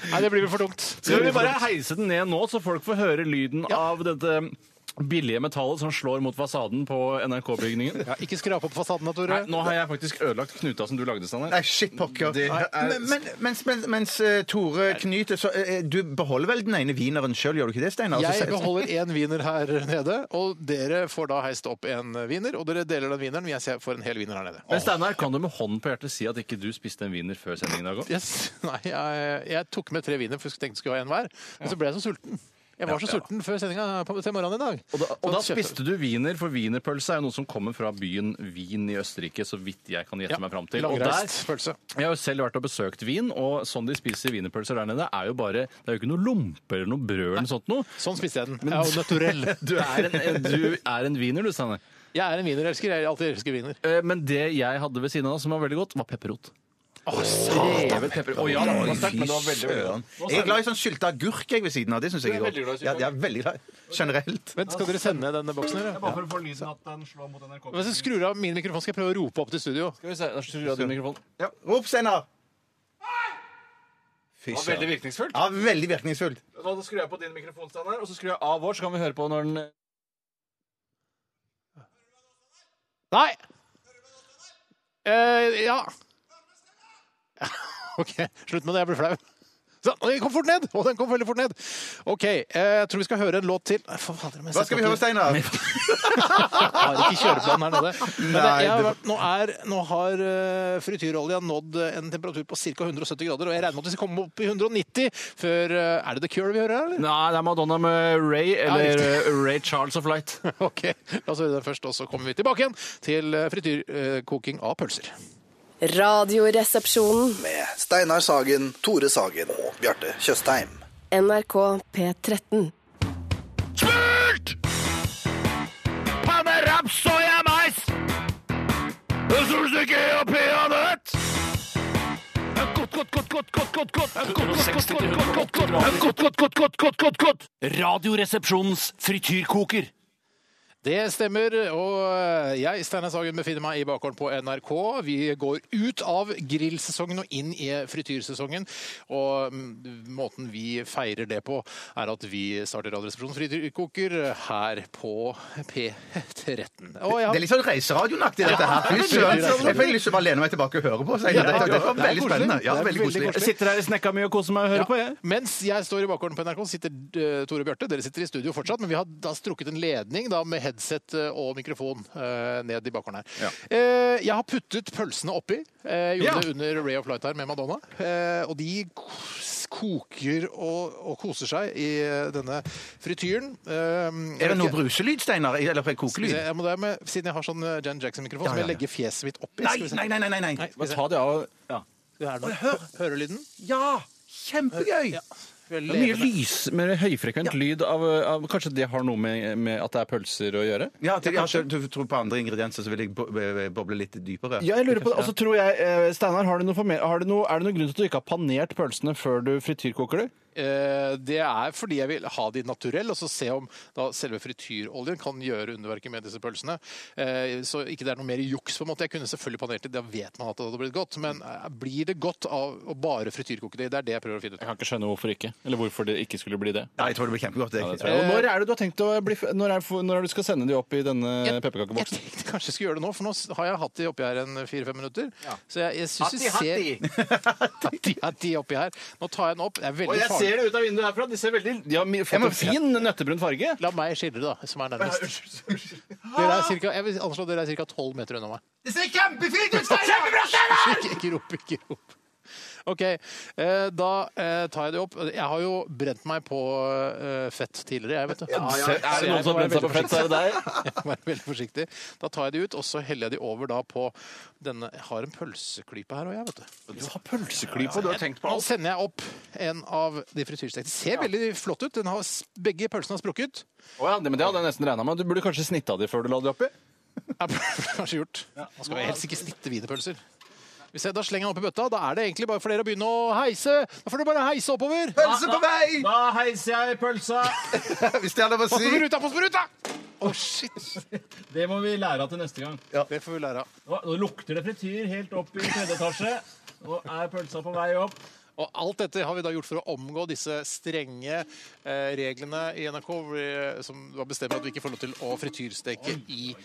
S1: Nei,
S6: Nei, det blir vel for tungt.
S3: Skal vi bare heise den ned nå, så folk får høre lyden av dette billige metallet som slår mot fasaden på NRK-bygningen?
S1: Ja, ikke skrap opp fasadene, Tore.
S3: Nei, nå har jeg faktisk ødelagt knuta som du lagde, Steinar.
S7: Nei, shit pokker.
S3: Det er-
S7: Men, men, mens, mens, mens eh, Tore knyter, så eh, Du beholder vel den ene wieneren sjøl, gjør du ikke det, Steinar?
S3: Altså,
S7: Altså, Så
S1: Jeg
S7: setter-
S1: beholder én wiener her nede, og dere får da heist opp en wiener. Og dere deler den wieneren, men jeg ser- får en hel wiener her nede.
S3: Men Steinar, kan du med hånden på hjertet si at ikke du spiste en wiener før sendingen i dag òg?
S1: Yes. <laughs> Nei, jeg, jeg tok med tre wiener, for jeg tenkte jeg skulle ha en hver. Men så ble jeg så sulten. Jeg var så sulten før sendinga på- til morgenen i dag.
S3: Og, da- og da
S1: Så kjøpte-
S3: spiste du wiener, for wienerpølse er jo noe som kommer fra byen Wien i Østerrike, så vidt jeg kan gjette
S1: Ja,
S3: meg fram til. Og der,
S1: Langreist pølse.
S3: jeg har jo selv vært og besøkt Wien, og sånn de spiser wienerpølser der nede, er jo bare Det er jo ikke noe lompe eller noe brød eller noe sånt noe.
S1: Sånn spiste jeg den. Jeg er jo naturell.
S3: <laughs> Du er en, du er en wiener, du, Steinar.
S1: Jeg er en wienerelsker. Jeg alltid elsker wiener.
S3: Eh, Men det jeg hadde ved siden av som var veldig godt, var pepperrot. Revet pepper. Å ja, det var sterkt, men det var veldig, veldig godt.
S7: Jeg er glad i sånn sylta agurk jeg, ved siden av. Det syns jeg er godt. Ja, jeg er veldig glad. Generelt.
S1: Men skal dere sende denne boksen, eller?
S3: Bare for å få lyden at den slår mot NRK.
S1: Hvis jeg skrur av min mikrofon, skal jeg prøve å rope opp til studio.
S3: Skal vi se, da skrur jeg av din mikrofon.
S7: Ja. Rop, Steinar! Fy
S3: Det var
S7: søren.
S3: veldig virkningsfullt.
S7: Ja, veldig virkningsfullt.
S3: Da skrur jeg på din mikrofon, Steinar, og så skrur jeg av vår, så kan vi høre på når den
S1: Nei! Eh, ja. <laughs> OK, slutt med det. Jeg blir flau. Sånn, oi, kom fort ned! Å, den kom veldig fort ned. OK, eh, jeg tror vi skal høre en låt til. Nei, for fader, men jeg
S7: Hva skal vi høre, Steinar?
S1: har ikke kjøreplanen
S7: <laughs>
S1: her nede. Men det,
S7: Nei,
S1: jeg har
S7: det-
S1: vært, nå, er, nå har eh, frityrolja nådd eh, en temperatur på ca. 170 grader, og jeg regner med at vi skal komme opp i 190 før eh, Er det The Cure vi hører her, eller? <laughs>
S3: Nei, det er Madonna med Ray,
S1: Ja,
S3: eller
S1: riktig.
S3: eh, Ray Charles of Light. <laughs>
S1: OK, la oss høre den først, og så kommer vi tilbake igjen til eh, frityrkoking av pølser.
S8: Radioresepsjonen.
S9: med Steinar Sagen, Tore Sagen og Bjarte Tjøstheim.
S8: NRK P13.
S3: Smurt! Panne, raps, soya, mais! Solstykke og peanøtt! Godt, godt, godt, godt, godt, godt, godt, godt, godt, godt, godt, godt, godt, godt, godt, godt, godt, godt, godt.
S10: Radioresepsjonens frityrkoker.
S1: Det stemmer, og eh, jeg, Steinar Sagen, befinner meg i bakgården på NRK. Vi går ut av grillsesongen og inn i frityrsesongen. Og mm, måten vi feirer det på, er at vi starter Radioresepsjonen frityrkoker her på P13. Og
S7: Det er
S1: jeg,
S7: litt sånn reiseradionaktig, dette her. Fy søren. Jeg fikk lyst til å bare lene meg tilbake og høre på. Steinar.
S1: Ja,
S7: Det var
S1: det er
S7: veldig
S1: koselig.
S7: spennende. Ja,
S1: Det er
S7: veldig
S1: veldig
S7: koselig.
S1: koselig.
S3: Sitter her i snekka mi og koser meg og hører på, jeg.
S1: Mens jeg står i bakgården på NRK, sitter eh, Tore og Bjarte. Dere sitter i studio fortsatt, men vi har da strukket en ledning da, med headset eh, og mikrofon eh, ned i bakgården her. Eh, jeg har puttet pølsene oppi. Eh, gjorde
S3: Ja.
S1: det under Ray of Light her med Madonna. Eh, og de kos- koker og, og koser seg i eh, denne frityren.
S7: Er
S1: Eh,
S7: det noe
S1: jeg vet ikke-
S7: bruselyd, Steinar? Eller kokelyd?
S1: Jeg må det med, siden jeg har sånn eh, Jan Jackson-mikrofon, så må
S7: ja,
S1: jeg
S7: ja.
S1: legge fjeset mitt oppi.
S7: Nei,
S1: Skal vi se.
S7: nei, nei. nei, nei.
S1: Nei, skal vi se.
S3: Ta det av. Ja.
S1: Hør, hører lyden?
S7: Ja! Kjempegøy!
S1: Veldig
S3: Mye lys, mer høyfrekvent lyd av, av Kanskje det har noe med, med at det er pølser å gjøre?
S7: Ja, til, ja, så du tror på andre ingredienser, så vil jeg bo- bo- boble litt dypere.
S3: Ja, jeg lurer på det. Og så tror jeg, eh, Steinar, har du noe forme- har du noe- er det noen grunn til at du ikke har panert pølsene før du frityrkoker dem?
S1: Eh, Det er fordi jeg vil ha de naturell, og så se om da selve frityroljen kan gjøre underverket med disse pølsene. Eh, Så ikke det er noe mer juks, på en måte. Jeg kunne selvfølgelig panert det, da vet man at det hadde blitt godt. Men eh, blir det godt av å bare frityrkoke det? Det er det jeg prøver å finne ut.
S3: Jeg kan ikke skjønne hvorfor ikke. Eller hvorfor det ikke skulle bli det.
S7: Nei, jeg tror det blir kjempegodt. Det.
S3: Eh, Og når er det du har tenkt å bli, f- når er, f- når er du skal sende de opp i denne
S1: Jeg
S3: pepperkakeboksen?
S1: tenkte <laughs> kanskje jeg skulle gjøre det nå, for nå s- har jeg hatt de oppi her en fire-fem minutter. Så jeg, jeg syns vi ser <laughs> Hatti, hatti oppi her. Nå tar jeg den opp. Det er veldig farlig.
S3: det ut av vinduet herfra. De ser veldig De har mi- fått
S7: må-
S3: en fin nøttebrun farge.
S1: La meg skildre, da, som er nærmest. Dere er cirka, jeg vil anslå dere er ca. 12 meter unna meg. <laughs> Ikke, ikke rop, ikke rop. OK, eh, da eh, tar jeg det opp. Jeg har jo brent meg på eh, fett tidligere, jeg, vet du.
S3: Se- Er det noen som har brent seg på fett, så er det deg.
S1: <laughs> Jeg må være veldig forsiktig. Da tar jeg de ut, og så heller jeg de over da på denne Jeg har en pølseklype her òg, jeg, vet du.
S3: Du har pølseklype, du har tenkt
S1: Nå sender jeg opp en av de frityrstekte. Det ser veldig flott ut. Den har, s- begge pølsene har sprukket.
S3: Å ja, det- men det hadde jeg nesten regna med. Du burde kanskje snitta de før du la de oppi.
S1: Ja, <laughs> Kanskje gjort. Man skal jo helst ikke snitte wienerpølser. Hvis jeg da slenger den opp i bøtta, da er det egentlig bare for dere å begynne å heise. Da får dere bare heise oppover.
S7: Pølse på vei!
S3: Da heiser jeg pølsa.
S7: Hvis det er lov å
S1: Pass
S7: si.
S1: på ruta, pass på ruta! Å, shit.
S3: Det må vi lære av til neste gang.
S1: Det får vi lære av.
S3: Nå lukter det frityr helt opp i tredje etasje. Nå er pølsa på vei opp.
S1: Og alt dette har vi da gjort for å omgå disse strenge eh, reglene i NRK, hvor vi, eh, som da bestemmer at vi ikke får lov til å frityrsteke i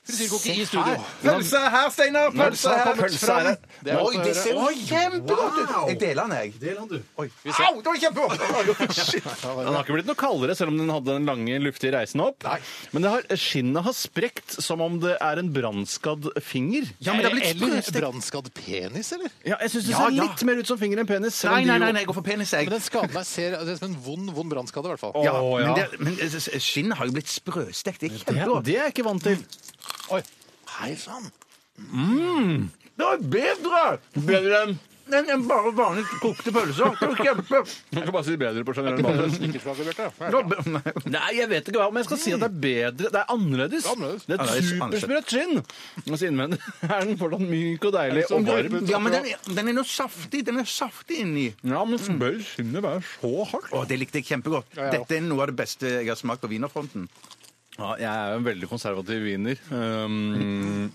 S1: frityrkoke i studio.
S7: Pølse her, Steinar! Pølse her!
S1: Pølse er det. Det er
S7: Oi,
S1: godt å
S7: det
S1: høre.
S7: ser jo kjempegodt ut! Jeg deler den, jeg. Au, det var kjempegodt!
S3: Den har ikke blitt noe kaldere, selv om den hadde den lange, luftige reisen opp. Men det har, skinnet har sprekt som om det er en brannskadd finger.
S1: Ja, men det er blitt Eller
S3: sprøstekt.
S1: brannskadd penis, eller?
S3: Ja, jeg syns det
S7: Ja,
S3: ser
S7: ja.
S3: litt mer ut som finger enn penis. selv
S7: Nei,
S3: om
S7: nei,
S3: de
S7: nei,
S3: jo-
S7: nei, jeg går for penis, jeg.
S1: Men den skaden her ser det er som en vond, vond brannskade, i hvert fall.
S7: Ja,
S3: Å, ja.
S7: men, det, men skinnet har jo blitt sprøstekt. Det er
S3: Ja,
S7: kjempegodt.
S3: det er jeg ikke vant til.
S1: Oi. Hei sann!
S7: Det var bedre!
S3: Bedre enn
S7: enn enn bare vanlig kokte pølser. Det var kjempe...
S3: Man kan bare si bedre på generell
S7: <laughs>
S3: basis.
S7: Det var be- Nei.
S3: Nei, jeg vet ikke hva, men jeg skal si at det er bedre. Det er annerledes.
S1: Annerledes.
S3: Det er et
S7: Annerledes.
S3: supersprøtt skinn. Mens innvendig <laughs> er den fortsatt myk og deilig og varm.
S7: Ja, men den er, den er noe saftig. Den er saftig inni.
S3: Ja, men bør skinnet være så hardt?
S7: Å, det likte jeg kjempegodt. Dette er noe av det beste jeg har smakt på Wienerfronten.
S3: Ja, jeg er jo en veldig konservativ wiener. Um,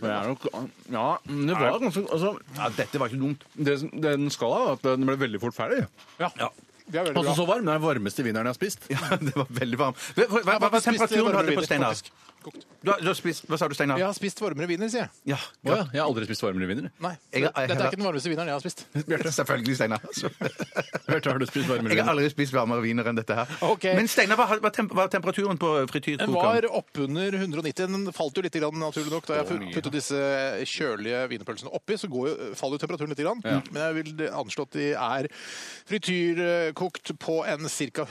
S3: men jeg er nok Ja, men det var ganske altså,
S7: Ja, dette var ikke dumt.
S3: det, som- det den skal ha, er at den ble veldig fort ferdig.
S1: Ja. Det er veldig
S3: Altså
S1: bra.
S3: så varm. Det er den varmeste wieneren jeg har spist.
S7: <laughs> Ja, det var veldig varmt. Hva, hva, hva,
S1: Jeg
S7: hva
S1: har spist
S7: temperaturen
S1: varmere
S7: hadde du
S1: viner,
S7: på Steinar?
S1: faktisk.
S7: Du, har- du har spist, hva sa du, Steinar?
S1: Jeg har spist varmere viner, sier jeg.
S7: Ja.
S3: Å ja, jeg har aldri spist varmere wiener.
S1: Nei.
S7: Jeg- jeg-
S1: Dette er ikke den varmeste vineren jeg har spist.
S7: Selvfølgelig, Steinar.
S3: <laughs> Bjarte, har du spist varmere
S7: Jeg har
S3: wiener?
S7: aldri spist varmere viner enn dette her.
S1: Ok.
S7: Men Steinar, hva hva temp var temperaturen på
S1: Den var
S7: frityrkokeren?
S1: oppunder 190. Den falt jo litt, grann, naturlig nok. Da jeg pu- puttet disse kjølige wienerpølsene oppi, så går, jo- faller jo temperaturen litt. Grann. Men jeg vil anslå at de er frityrkokt på en ca.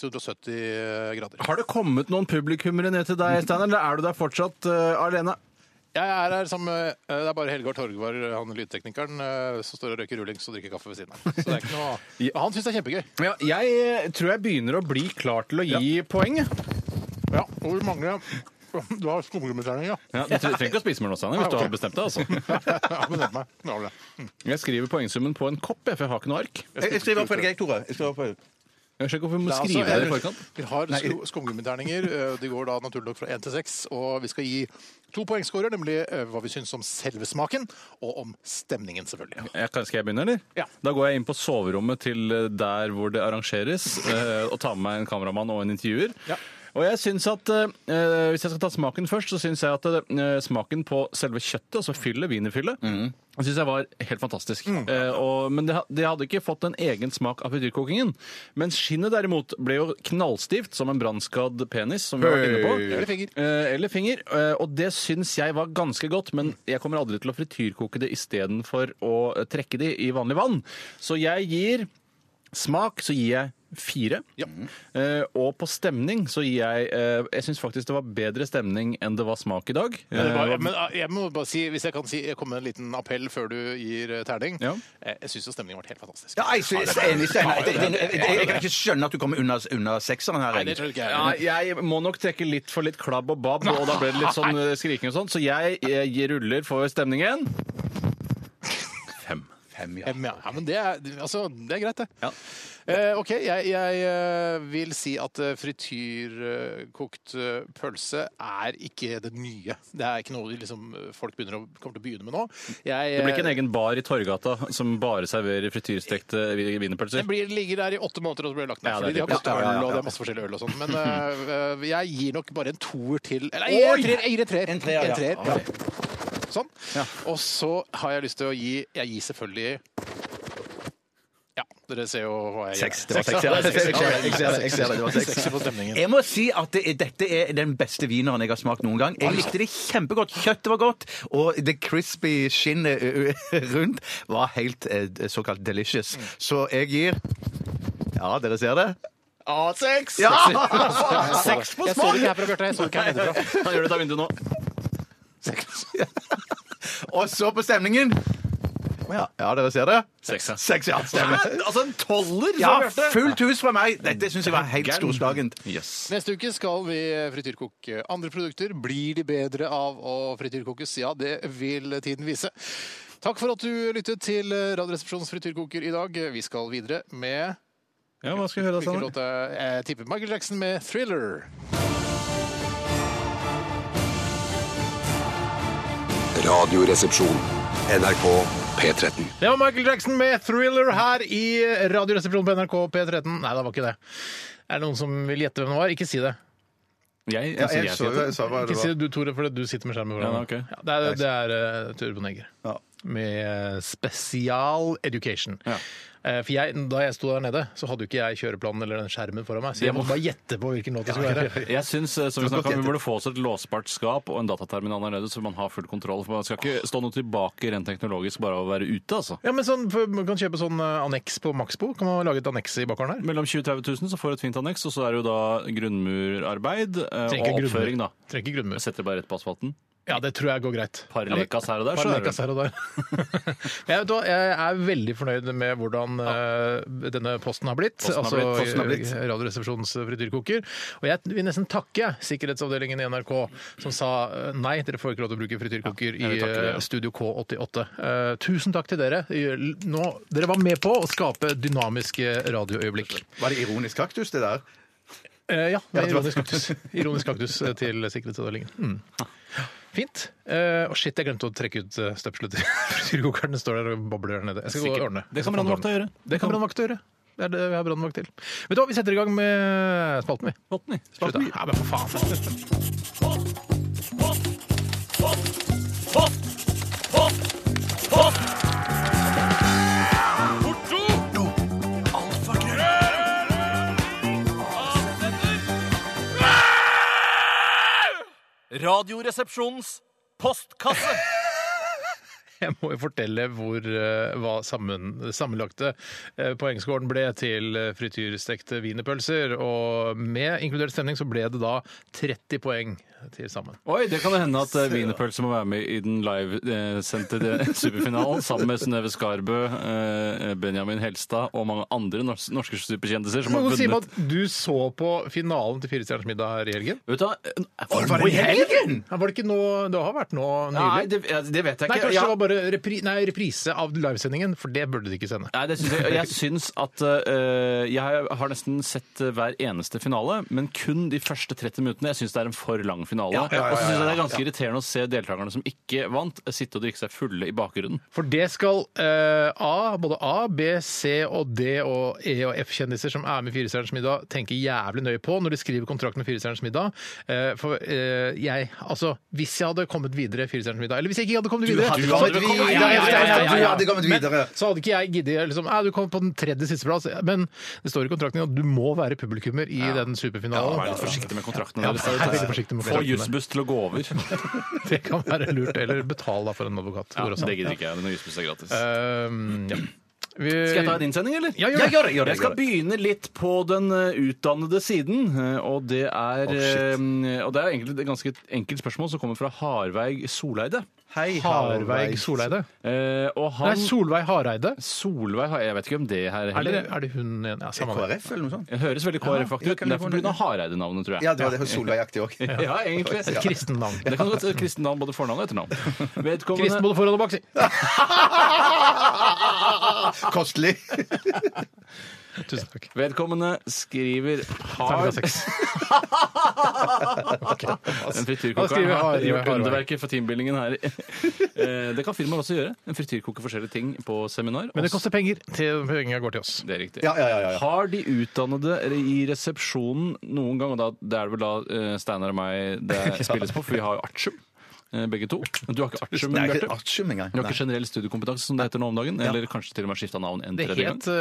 S1: 160-170 grader.
S3: Har det kommet noen publikummere ned til deg, Steinar, eller er du der fortsatt eh, alene?
S1: Jeg er her sammen med eh, Det er bare Helgar Torgvar, han lydteknikeren, eh, som står og røyker rullings og drikker kaffe ved siden av. Så det er ikke
S7: <laughs>
S1: noe... Men Han syns det er kjempegøy.
S3: Ja, jeg eh, tror jeg begynner å bli klar til å gi poeng. jeg.
S1: Ja, og vi mangler <laughs> Du har skumgummiterning, <laughs> ja.
S3: Ja, du tre- trenger ikke å spise mer nå, Steinar, <laughs> hvis du har bestemt deg. altså. <laughs>
S1: ja men det er meg. Det er det.
S3: Jeg skriver poengsummen på en kopp, jeg, for jeg har ikke noe ark.
S7: Jeg jeg skriver opp for deg, jeg, Tore. Jeg skriver opp for deg.
S3: Jeg skjønner ikke hvorfor vi må
S1: Det er
S3: skrive
S1: altså-
S3: det i forkant.
S1: Vi har sko- skumgummiterninger. eh, De går da naturlig nok fra 1 til 6. Og vi skal gi to poengscorer, nemlig eh, hva vi syns om selve smaken, og om stemningen, selvfølgelig.
S3: Jeg kan, skal jeg begynne, eller?
S1: Ja.
S3: Da går jeg inn på soverommet til eh, der hvor det arrangeres, eh, og tar med meg en kameramann og en intervjuer.
S1: Ja.
S3: Og jeg synes at, eh, Hvis jeg skal ta smaken først, så syns jeg at eh, smaken på selve kjøttet, altså fyllet, wienerfyllet,
S1: Mm.
S3: jeg synes jeg var helt fantastisk. Eh, og, men det, ha- det hadde ikke fått en egen smak av frityrkokingen. Men skinnet derimot ble jo knallstivt som en brannskadd penis, som vi var inne på.
S1: Eller finger.
S3: Eh, eller finger. Eh, og det syns jeg var ganske godt, men jeg kommer aldri til å frityrkoke det istedenfor å eh, trekke det i vanlig vann. Så jeg gir smak, så gir jeg fire. Eh, og på stemning så gir jeg eh, Jeg syns faktisk det var bedre stemning enn det var smak i dag.
S1: Men, det er bare,
S3: Eh,
S1: men eh, jeg må bare si, hvis jeg kan si, jeg kommer med en liten appell før du gir eh, terning.
S3: Ja.
S1: Eh, Jeg syns jo stemningen var helt fantastisk.
S7: Ja, jeg synes- jeg er enig, Steinar. Jeg, jeg, jeg, jeg, jeg kan ikke skjønne at du kommer under, under sekseren her.
S1: Nei, det
S7: jeg.
S1: tror jeg ikke
S3: ja,
S1: jeg.
S3: jeg må nok trekke litt for litt klabb og babb, og da ble det litt sånn eh, skriking og sånn. Så jeg, eh, gir ruller for stemningen. Fem.
S7: Fem, ja.
S1: Ja, Eh, men- ja, men det er, altså, det er greit, det.
S3: Ja.
S1: Eh, OK, jeg, jeg eh, vil si at eh, frityrkokt eh, pølse er ikke det nye. Det er ikke noe de liksom, eh, folk begynner å, kommer til å begynne med nå. Jeg,
S3: Det blir ikke en
S1: eh,
S3: egen bar i Torgata som bare serverer frityrstekte
S1: den
S3: wienerpølser?
S1: blir, ligger der i åtte måneder og så blir det lagt ned.
S3: Ja,
S1: fordi
S3: det
S1: de
S3: er
S1: har gått
S7: typisk. Ja, ja, ja,
S1: øl, og det
S7: ja.
S1: er masse forskjellig øl og
S7: <laughs>
S1: sånn. Men eh, eh, jeg gir nok bare en toer til Eller jeg gir en treer, jeg gir en treer.
S7: En treer, ja.
S1: Sånn. Og så har jeg lyst til å gi Jeg gir selvfølgelig Ja, dere ser jo hva jeg
S7: Seks.
S1: gjør.
S7: Det var seks, ja. Jeg ser det, jeg ser det, jeg ser det, det var seks.
S1: Seks på stemningen.
S7: Jeg må si at det, er- dette er den beste wieneren jeg har smakt noen gang. Jeg likte det kjempegodt. Kjøttet var godt, og det crispy skinnet ø, ø, <laughs> rundt var helt eh, såkalt delicious. Så jeg gir Ja, dere ser det.
S3: A6!
S7: <laughs> Ja!
S3: Seks på
S1: Jeg så det ikke her fra Bjarte. Jeg så det ikke her nedefra.
S3: Han gjør det ut av vinduet nå.
S7: Og så på stemningen. Å Ja, ja, dere ser det.
S3: Seks, ja.
S7: Seks, ja. Stemmer.
S3: Altså en toller!
S7: Ja, fullt hus fra meg. Dette syns jeg var helt storslagent.
S3: Yes.
S1: Neste uke skal vi frityrkoke andre produkter. Blir de bedre av å frityrkokes? Ja, det vil tiden vise. Takk for at du lyttet til Radioresepsjonens frityrkoker i dag. Vi skal videre med
S3: Ja, hva skal vi høre da,
S1: Hvilken
S3: Steinar?
S1: låt er Jeg tipper Michael Jackson med 'Thriller'.
S4: Radioresepsjon. NRK P13.
S1: Det var Michael Jackson med 'Thriller' her i Radioresepsjonen på NRK P13. Nei, det var ikke det. Er det noen som vil gjette hvem det var? Ikke si det.
S3: Jeg,
S2: Ja,
S3: jeg,
S2: jeg så, jeg sa hva
S1: Ikke
S2: det
S1: si
S2: var.
S1: det du, Tore, fordi du sitter med skjermen foran.
S3: Ja, ok.
S1: deg. Ja, det er, det er eh, Turbo Neger.
S2: Ja.
S1: Med Spesial Education.
S3: Ja.
S1: Eh, For jeg, da jeg sto der nede, så hadde jo ikke jeg kjøreplanen eller den skjermen foran meg. Så jeg
S3: må-
S1: måtte bare gjette på hvilken låt det skulle være.
S3: jeg syns eh, som vi snakket om, vi burde få oss et låsbart skap og en dataterminal der nede, så man har full kontroll. For man skal ikke stå noe tilbake rent teknologisk bare av å være ute, altså.
S1: Ja, men sånn, for Man kan kjøpe sånn eh, anneks på Maxbo. Kan man lage et anneks i bakgården her?
S3: Mellom 20 og 30 000 så får du et fint anneks, og så er det jo da grunnmurarbeid eh,
S1: Trenger ikke
S3: og
S1: grunnmur.
S3: oppføring, da.
S1: Trenger ikke grunnmur.
S3: Setter bare rett på asfalten.
S1: Ja, det tror jeg går greit.
S3: Par lekas her og der,
S1: Par
S3: så er
S1: lekas
S3: det.
S1: her og der. <laughs> jeg, vet, hva, jeg er veldig fornøyd med hvordan eh, denne posten har blitt.
S3: Posten har
S1: altså
S3: blitt, posten har
S2: blitt.
S1: Radioresepsjonens frityrkoker. Og jeg vil nesten takke jeg, sikkerhetsavdelingen i NRK som sa eh, nei, dere får ikke lov til å bruke frityrkoker
S3: Ja, jeg vil
S1: i
S3: takke dere.
S1: eh, Studio K88. Eh, tusen takk til dere. Nå, dere var med på å skape dynamiske radioøyeblikk.
S2: Var det ironisk kaktus, det der?
S1: Eh, ja, det
S2: Ja, det
S1: er
S2: var-
S1: ironisk kaktus. Ironisk kaktus eh, til sikkerhetsavdelingen. Mm. Fint. Eh, Og shit, jeg glemte å trekke ut eh, <laughs> støpselet til frityrkokeren. Den står der og bobler der nede. Jeg skal gå og ordne.
S3: Det kan brannvakta gjøre.
S1: Det kan brannvakta gjøre. Det er det vi har brannvakt til. Vet du hva, vi setter i gang med spalten, vi.
S3: Botten i.
S1: Slutt, da. Ja, men for faen.
S5: Radioresepsjonens postkasse.
S1: Jeg må jo fortelle hvor, eh, hva sammen, sammenlagte eh, poengscoren ble til eh, frityrstekte wienerpølser. Og med inkludert stemning så ble det da 30 poeng til sammen.
S3: Oi, det kan det hende at eh, wienerpølse må være med i den livesendte eh, <laughs> superfinalen sammen med Synnøve Skarbø, eh, Benjamin Helstad og mange andre nors- norske superkjendiser som har
S1: Noen sier meg
S3: vunnet.
S1: at du så på finalen til Firestjerners middag her i helgen.
S3: Vet du hva? Eh,
S2: Var det i helgen?!
S1: Ja, Var det ikke nå Det har vært nå
S3: Nei,
S1: nylig?
S3: det, ja, det vet jeg
S1: Nei,
S3: ikke.
S1: kanskje
S3: Ja.
S1: det var bare repri, nei, reprise av livesendingen, for det burde de ikke sende.
S3: Nei, det syns jeg, jeg syns at eh, Jeg har nesten sett eh, hver eneste finale, men kun de første 30 minuttene. Jeg syns det er en for lang finale.
S2: Ja, ja, ja, ja, ja.
S3: Og så syns jeg det er ganske irriterende å se deltakerne som ikke vant, sitte og drikke seg fulle i bakgrunnen.
S1: For det skal eh, A, både A, B, C og D og E og F-kjendiser som er med i Firestjerners middag, tenke jævlig nøye på når de skriver kontrakten med Firestjerners middag. Eh, for eh, jeg Altså, hvis jeg hadde kommet videre i Firestjerners middag, eller hvis jeg ikke hadde kommet videre
S2: hadde
S1: Du hadde
S2: kommet
S1: kommet
S2: videre,
S1: Ja, ja, ja, ja, ja, ja.
S2: du hadde kommet
S1: Men
S2: videre.
S1: Så hadde ikke jeg giddet liksom, «Æ, Du kom på den tredje sisteplass, men det står i kontrakten at du må være publikummer i den superfinalen.
S3: Vær litt forsiktig med kontraktene
S1: Ja,
S3: deres.
S1: vær veldig forsiktig med
S3: Få
S1: kontraktene.
S3: jussbuss til å gå
S1: <laughs>
S3: over.
S1: Det kan være lurt. Eller betal da for en advokat.
S3: Ja,
S1: Går også.
S3: det gidder ikke jeg. Denne jussbussen er gratis.
S1: Ehm, ja. Vi...
S3: Skal jeg ta din sending, eller?
S1: Ja, gjør det.
S3: det, jeg skal begynne litt på den eh, utdannede siden, eh, og det er eh, Og det er egentlig et ganske enkelt spørsmål som kommer fra Harveig Soleide.
S2: Hei,
S1: Harveig Soleide?
S3: Eh, og
S1: Nei,
S3: han
S1: Solveig Hareide.
S3: Solveig har Jeg vet ikke om det her
S1: Er det,
S3: heller.
S1: er det hun igjen? Ja, samme det.
S2: KrF eller noe sånt?
S3: Det høres veldig KrF-aktig
S2: Ja,
S3: ut,
S2: kan
S3: men
S2: vi
S3: det er
S2: få
S3: pga.
S2: det?
S3: Hareide-navnet, tror jeg.
S2: Ja, det var det hos Solveig-aktig òg.
S3: Ja, egentlig.
S1: Et kristent navn.
S3: Det kan godt være kristent navn, både fornavn og
S1: <laughs>
S3: etternavn.
S1: Kristen
S3: Vedkommende
S1: både foran og bak, si.
S2: Kostelig.
S1: Tusen takk.
S3: Vedkommende skriver
S1: Terningkast
S3: hard <laughs>
S1: seks.
S3: En
S1: Da
S3: frityrkoker
S1: skriver jeg
S3: har
S1: Harvey,
S3: gjort
S1: Harvey.
S3: underverket for teambuildingen her. <laughs> Eh, Det kan firmaer også gjøre. En frityrkoker forskjellige ting på seminar.
S1: Men det koster penger. Til pengene går til oss.
S3: Det er riktig.
S2: Ja, ja, ja, ja, ja.
S3: Har de utdannede i resepsjonen noen gang, og da, det er det vel da eh, Steinar og meg
S2: <laughs>
S3: det spilles på, for vi har jo artium, eh, begge to. Du har ikke artium,
S2: Nei, ikke
S3: Bjarte?
S2: artium engang.
S3: Du har ikke generell studiekompetanse, som det heter nå om dagen? Eller kanskje til og med skifta navn en
S1: Det
S3: tredje gang?
S1: het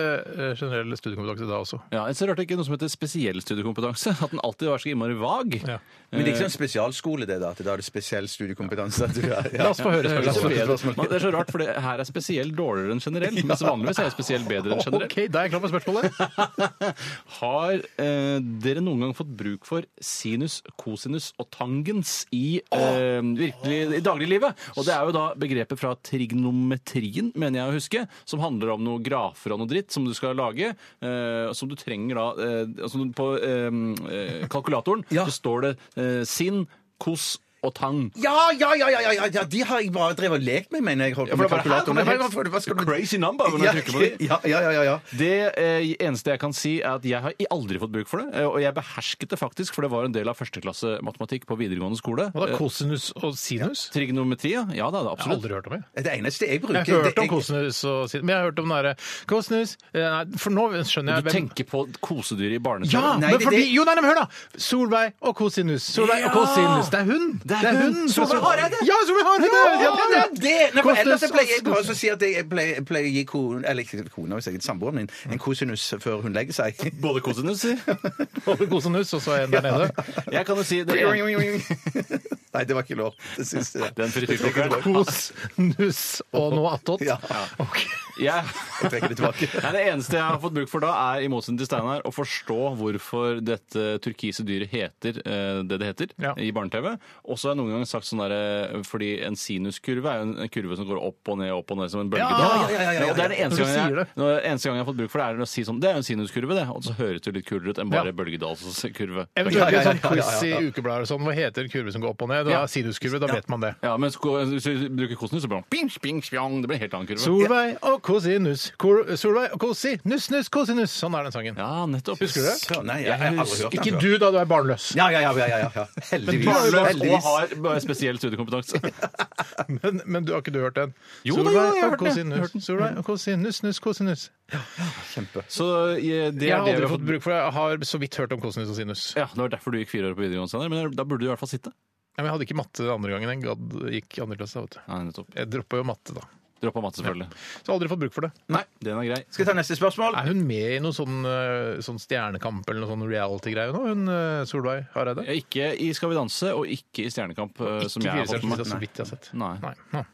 S1: eh, generell studiekompetanse da også.
S3: Ja, så rart det ikke er noe som heter spesiell studiekompetanse. At den alltid var så innmari vag.
S1: Ja.
S2: Men det er ikke sånn spesialskole, det, da? At da er det spesiell studiekompetanse? At du er, ja.
S1: La oss få høre
S3: Det høres
S1: spørsmålet.
S3: bedre ut. Men Det er så rart, for det her er spesielt dårligere enn generell. Mens vanligvis er jeg spesielt bedre enn generell.
S1: <laughs> OK, da er jeg klar for spørsmålet.
S3: Har eh, dere noen gang fått bruk for sinus, kosinus og tangens i, eh, virkelig, i dagliglivet? Og det er jo da begrepet fra trignometrien, mener jeg å huske, som handler om noen grafer og noe dritt som du skal lage, eh, og som du trenger da eh, altså På eh, eh, kalkulatoren så står det eh, sin, kos og tang.
S7: Ja, ja, ja, ja, ja, ja, de har jeg bare drevet og lekt med, mener jeg. Holdt
S3: Ja,
S7: på med
S3: for det var-
S7: kalkulatoren.
S3: Hæ?
S7: Men hva- hva- hva skal du-
S3: Crazy number, når jeg trykker på det.
S7: Ja, ja, ja, ja, ja.
S3: Det eh, eneste jeg kan si, er at jeg har i- aldri fått bruk for det. eh, Og jeg behersket det faktisk, for det var en del av førsteklasse matematikk på videregående skole.
S1: Hva da,
S3: Eh,
S1: kosinus og sinus?
S3: Trigonometri, ja. Ja, da, da,
S1: Jeg har
S3: absolutt.
S1: aldri hørt om det.
S7: Det eneste jeg bruker
S1: Jeg har
S7: det-
S1: hørt om kosinus og sinus, men jeg har hørt om den derre Kosinus eh, Nei, for nå skjønner jeg
S3: Du tenker på kosedyr i barneskolen.
S1: Ja,
S7: Nei,
S1: men
S7: det-
S1: fordi
S7: det-
S1: Jo, nei, nei, men hør, da! Solveig og kosinus. Solveig og kosinus. Det er hun!
S3: Det er hun.
S1: Solveig
S3: Solveig
S1: Hareide!
S3: Hareide.
S1: Ja, Solveig Hareide!
S7: Ja, men det er det! Nei, for
S1: Kosinus
S7: ellers så pleier jeg
S1: og-
S7: bare å si at jeg pleier, pleier å gi kone, eller ikke kona, hvis jeg er samboeren min, en kosinus før hun legger seg.
S3: Både kosinus
S1: Både kosinus og så en der nede.
S3: Jeg kan jo si det.
S7: Nei, det var ikke lov. Det synes jeg.
S3: Den frityrkokeren.
S1: Kosinus og noe attåt.
S7: Ja.
S1: Ok.
S3: Jeg
S7: Jeg trekker det tilbake.
S3: Nei, det eneste jeg har fått bruk for da, er i motsetning til Steinar å forstå hvorfor dette turkise dyret heter eh, det det heter
S1: Ja.
S3: i barne-TV. Og så har jeg noen ganger sagt sånn derre Fordi en sinuskurve er jo en- en kurve som går opp og ned, opp og ned som en bølgedal.
S7: ja,
S1: Ja,
S7: ja, ja, ja.
S3: Og det
S1: Når
S3: er den
S1: du
S3: eneste gangen,
S1: sier
S3: jeg,
S1: det.
S3: når, eneste gangen jeg har fått bruk for det, er å si sånn Det er jo en sinuskurve, det. Og så høres det jo litt kulere ut enn bare bølgedalskurve.
S7: Ja,
S1: Eventuelt
S7: ja,
S1: en
S7: ja,
S1: sånn
S7: ja, ja,
S1: quiz i ukeblader og sånn. Hva heter en kurve som går opp og ned? Det
S3: Ja.
S1: er sinuskurve, da vet man det.
S3: Ja, men sko- hvis du bruker kosinus, så blir det sånn ping, ping, spjong. Det blir en helt annen kurve.
S1: Solveig og kosinus. Kor Solveig og kosinus, nus, kosinus. Sånn er den sangen.
S3: Ja, nettopp.
S1: Husker du det?
S7: Ja, Nei, jeg har aldri hørt den.
S1: Ikke du, da. Du er barnløs.
S7: Ja, ja, ja, ja, ja, ja. Heldigvis.
S3: Barnløs og
S7: Heldigvis.
S3: har bare spesiell studiekompetanse.
S1: Men, men du har ikke du hørt den?
S3: Jo da, jo,
S1: Solveig
S3: jeg har
S1: og
S3: hørt den. Jeg har hørt
S1: kosinus. Solveig og kosinus, nus, kosinus.
S3: Så eh, det
S1: Jeg
S3: er
S1: har
S3: det vi
S1: aldri
S3: har
S1: fått
S3: fått
S1: bruk for det. Jeg har så vidt hørt om kosinus og sinus.
S3: Ja, Det var derfor du gikk fire år på videregående, Steinar, men da burde du i hvert fall sitte.
S1: Ja, men jeg hadde ikke matte den andre gangen jeg gadd gikk i andre klasse. Vet du.
S3: Nei, nettopp.
S1: Jeg droppa jo matte, da.
S3: Droppa matte, selvfølgelig.
S1: Så aldri fått bruk for det.
S3: Nei, den er grei.
S7: Skal jeg ta neste spørsmål?
S1: Er hun med i noe sånn, eh, sånn Stjernekamp eller noe sånn reality-greie nå, hun eh, Solveig Hareide?
S3: Ikke i Skal vi danse og ikke i Stjernekamp, eh, som jeg har fått med
S1: meg. Så
S3: meg.
S1: vidt jeg har sett.
S3: Nei.
S1: Nei.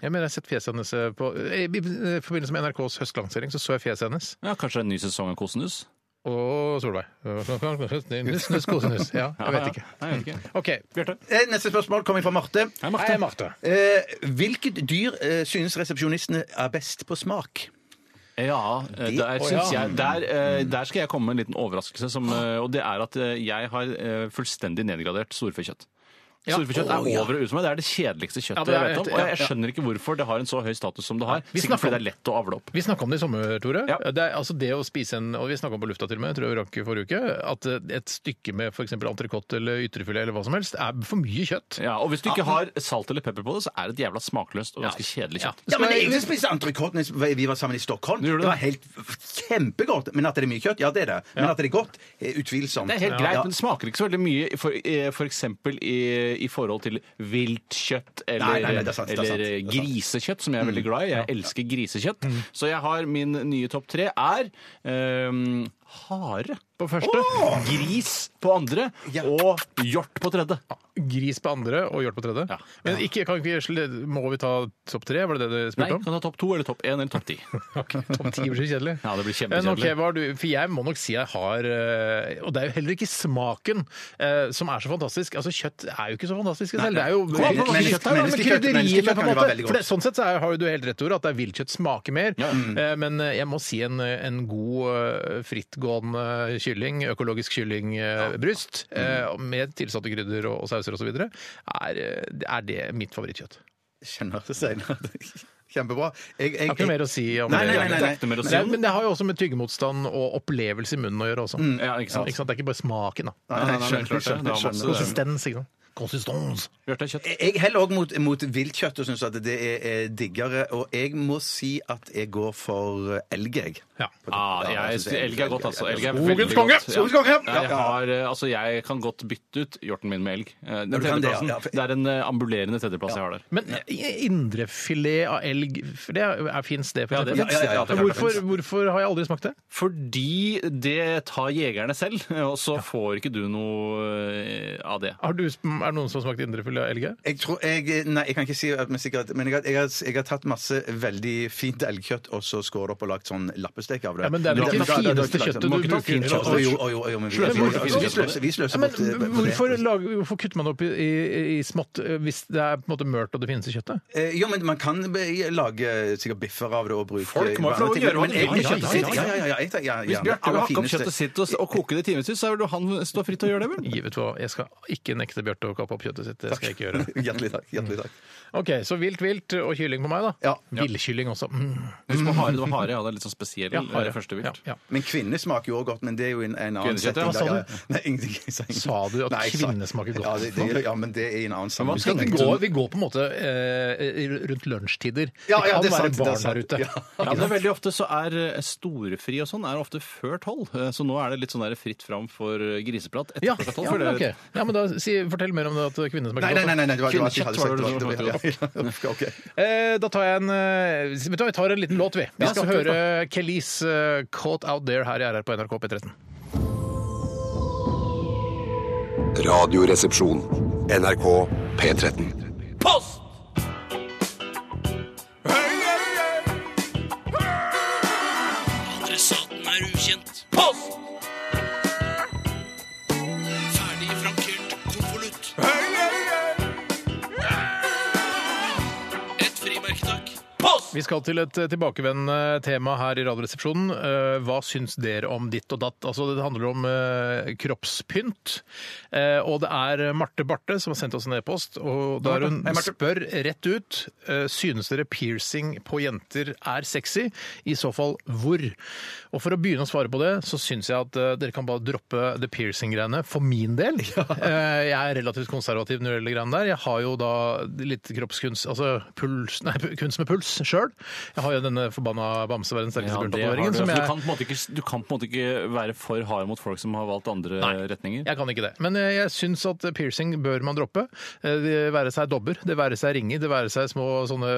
S1: Jeg mener jeg har sett fjeset hennes eh, på eh, I eh, forbindelse med NRKs høstlansering så så jeg fjeset hennes
S3: Ja, Kanskje en ny sesong av Kosenus?
S1: og Solveig. Nuss, nuss, kosenus. Ja, jeg vet ikke.
S3: Nei, jeg vet ikke.
S1: OK.
S3: Bjarte?
S7: Eh, Neste spørsmål kommer fra Marte.
S3: Hei,
S1: Hei,
S3: Marte.
S1: Marte.
S7: Eh, hvilket dyr eh, synes resepsjonistene er best på smak?
S3: Ja, eh, der,
S1: Å,
S3: synes
S1: ja.
S3: Jeg, der, eh, der skal jeg komme med en liten overraskelse. Som, eh, og det er at eh, jeg har eh, fullstendig nedgradert storfekjøtt.
S1: Ja.
S3: Storfekjøtt
S1: Å,
S3: er
S1: ja.
S3: over og ut for meg. Det er det kjedeligste kjøttet
S1: Ja, det er
S3: jeg vet om.
S1: et-
S3: Og jeg
S1: ja, ja.
S3: skjønner ikke hvorfor det har en så høy status som det har.
S1: vi
S3: Sikkert
S1: snakker
S3: fordi
S1: om-
S3: det er lett å avle opp.
S1: Vi snakka om det i sommer, Tore.
S3: Ja.
S1: Det, er, altså det å spise en, og Vi snakka om på lufta til og med, tror jeg vi rakk i forrige uke, at eh, et stykke med f.eks. entrecôte eller ytrefilet eller hva som helst er for mye kjøtt.
S3: Ja, og hvis du ikke har salt eller pepper på det, så er det et jævla smakløst og ganske kjedelig kjøtt.
S7: Ja, men jeg vil spise entrecôte når vi var sammen i Stockholm.
S3: Du gjorde
S7: Det
S3: det?
S7: var helt kjempegodt. Men at det er mye kjøtt, ja det er det. Men at det er godt, er utvilsomt.
S3: Det er helt greit,
S7: Ja.
S3: men det smaker ikke så veldig mye for, eh, for eksempel i, i forhold til vilt kjøtt eller,
S7: Nei, nei, nei, det er sant, det er sant,
S3: eller
S7: det er sant. Mm.
S3: grisekjøtt, som jeg er veldig glad i. Jeg elsker grisekjøtt. Så jeg har min nye topp tre er ehm, hare på første, gris på andre
S7: Ja.
S3: og hjort på tredje.
S1: Gris på andre og hjort på tredje.
S3: Ja.
S1: Men ikke, kan ikke, vi sle- må vi ta topp tre? Var det det du
S3: Nei,
S1: spurte om?
S3: kan du ha topp to eller topp én eller topp ti?
S1: Ok, <laughs> Topp ti blir så kjedelig.
S3: Ja, det blir
S1: Men ok,
S3: kjempekjedelig.
S1: hva har du, for jeg må nok si jeg har eh, Og det er jo heller ikke smaken eh, som er så fantastisk. Altså, Kjøtt er jo ikke så fantastisk selv. Det er jo
S7: Kom an på hva slags kjøtt det er, da.
S1: Menneskekjøtt-
S7: Men krydderiene,
S1: menneskekjøtt kan jo være
S7: godt.
S1: veldig godt. For det- Sånn sett så er, har jo du helt rett, Tore, at det er viltkjøtt smaker mer.
S3: Ja.
S1: Eh, Men eh, jeg må si en, en god eh, frittgående kylling, eh, økologisk kyllingbryst, med tilsatte krydder og, og sauser osv., er, eh, er det mitt favorittkjøtt.
S7: Skjønner det senere. <laughs> Kjempebra. Jeg, jeg,
S1: Jeg har ikke noe mer å si om
S7: Nei,
S1: det.
S7: nei, nei, nei, nei.
S3: Dette med å
S1: Men
S3: si
S1: det,
S3: om-
S1: er, men det har jo også med tyggemotstand og opplevelse i munnen å gjøre også.
S3: Ja, ikke sant?
S1: Ikke sant? Mm. Det er ikke bare smaken, da.
S3: Nei, nei, nei,
S7: Skjønner,
S3: men klart det.
S7: skjønner,
S3: Det var
S7: skjønner.
S3: masse-
S1: Konsistens, ikke sant. Konsistens.
S3: Bjarte, kjøtt.
S7: Jeg- Jeg heller òg mot, mot viltkjøtt og syns at det er, er diggere. Og jeg må si at jeg går for elg, jeg.
S1: Ja.
S3: Ah, jeg,
S7: synes
S3: elg er godt, altså. Elg er
S7: Skogens
S3: veldig
S7: konge!
S3: godt. Ja.
S7: Skogens konge!
S3: Ja, Jeg,
S7: Ja.
S3: har, eh, altså, jeg kan godt bytte ut hjorten min med elg. Eh, Den
S7: du kan det, ja.
S3: tredjeplassen,
S7: Ja, for-
S3: det er en eh, ambulerende tredjeplass jeg har der.
S1: Men indrefilet av elg, for det er, fins det? For
S3: Ja, det
S1: eksempel?
S3: finnes det, ja, det finnes.
S1: hvorfor, hvorfor har jeg aldri smakt det?
S3: Fordi det tar jegerne selv, <laughs> og så får ikke du noe eh, av det.
S1: Har du, sm- er det noen som har smakt indrefilet av elg? her?
S7: Jeg tror jeg, Nei, jeg kan ikke si at med sikkerhet, men jeg har, jeg, har, jeg har tatt masse veldig fint elgkjøtt og så skåret opp og lagt sånn lappestek av det.
S1: Ja, men det er vel ikke det fineste kjøttet du bruker?
S7: Å, jo, å, jo, å, jo, men vi-
S1: Sløser bort
S7: vi-
S1: fint
S7: vi
S1: kjøtt.
S7: sløser- Vi
S1: Ja,
S7: sløser
S1: men
S7: bort eh,
S1: hvorfor, lager, hvorfor kutter man opp i, i, i smått eh, hvis det er på en måte mørt og det finnes i kjøttet?
S7: Eh, Jo, men man kan be- lage sikkert biffer av det og bruke
S3: Folk må jo få lov å gjøre hva de vil.
S7: Ja, ja, ja, ja, ja, ja, ja, ja, ja.
S3: Hvis Bjarte vil
S7: Aller
S3: hakke opp
S7: fineste-
S3: kjøttet sitt og, og koke det i timevis, så vil du han stå fritt til å gjøre det, vel?
S1: Vet du hva, jeg skal ikke nekte Bjarte å kappe opp kjøttet sitt. Det skal jeg ikke <laughs> gjøre.
S2: Hjertelig takk. hjertelig takk.
S1: OK, så vilt vilt og kylling på meg, da. Villkylling også. Mm.
S3: Husk <laughs> på hare, det var hare, ja. Det er litt sånn spesiell
S1: Ja, hare.
S3: eh, første vilt.
S1: Ja, ja.
S2: Men kvinne smaker jo også godt, men det er jo en, en annen
S3: Kvinnekjøtt, ja. Hva
S2: setting.
S3: sa
S2: der. Nei, ingenting. jeg sa ingenting.
S1: Sa du at
S2: Nei, jeg sa-
S1: kvinne smaker godt?
S2: Ja, det, det, ja, men det er i en annen
S1: Vi, skal,
S2: sammenheng.
S1: vi, går, vi går på en måte eh, rundt lunsjtider.
S2: Ja, ja, det er sant,
S1: det kan
S2: det er
S1: være barn
S2: sant.
S1: der ute.
S2: Ja.
S3: Ja, men det er veldig ofte så er eh, storefri og sånn er ofte før tolv. Eh, Så nå er det litt sånn der fritt fram for eh, griseprat etter
S1: Ja,
S3: klokka
S1: ja,
S3: tolv. for
S1: men,
S3: det-
S1: ok. ja, men da si, Fortell mer om det at kvinner smaker
S2: Nei,
S1: godt.
S2: nei, nei, nei, nei, det var det var ikke
S3: Kvinnekjøtt
S2: hadde
S3: var det
S2: sagt.
S3: du
S2: det var- ja, <laughs> ja, ok.
S1: Eh, da tar jeg en eh, Vet du hva, vi tar en liten låt, vi. Vi
S3: Ja,
S1: skal
S3: så kult,
S1: høre Kelis eh, 'Caught Out There' her i RR på NRK P13.
S4: Radioresepsjon. NRK P13.
S5: Post! Adressaten er ukjent. Post! Ferdig frankert konvolutt. Et frimerke, takk. Post!
S1: Vi skal til et eh, tilbakevendende tema her i Radioresepsjonen. Eh, Hva syns dere om ditt og datt? Altså, det handler om eh, kroppspynt. Eh, Og det er Marte Barthe som har sendt oss en e-post, og der hun spør rett ut eh, Synes dere piercing på jenter er sexy? I så fall hvor? Og for å begynne å svare på det, så syns jeg at eh, dere kan bare droppe the piercing-greiene for min
S3: <laughs>
S1: del. Eh, Jeg er relativt konservativ når det gjelder de greiene der. Jeg har jo da litt kroppskunst, altså puls, nei, kunst med puls sjøl. Jeg har jo denne forbanna bamse, verdens
S3: Ja,
S1: sterkeste
S3: det har du.
S1: bjørntatoveringen,
S3: Altså,
S1: som
S3: du,
S1: jeg
S3: kan på en måte ikke, du kan på en måte ikke være for hard mot folk som har valgt andre retninger.
S1: jeg kan ikke det. Men eh, jeg syns at piercing bør man droppe. Eh, Det være seg dobber, det være seg ringer, det være seg små sånne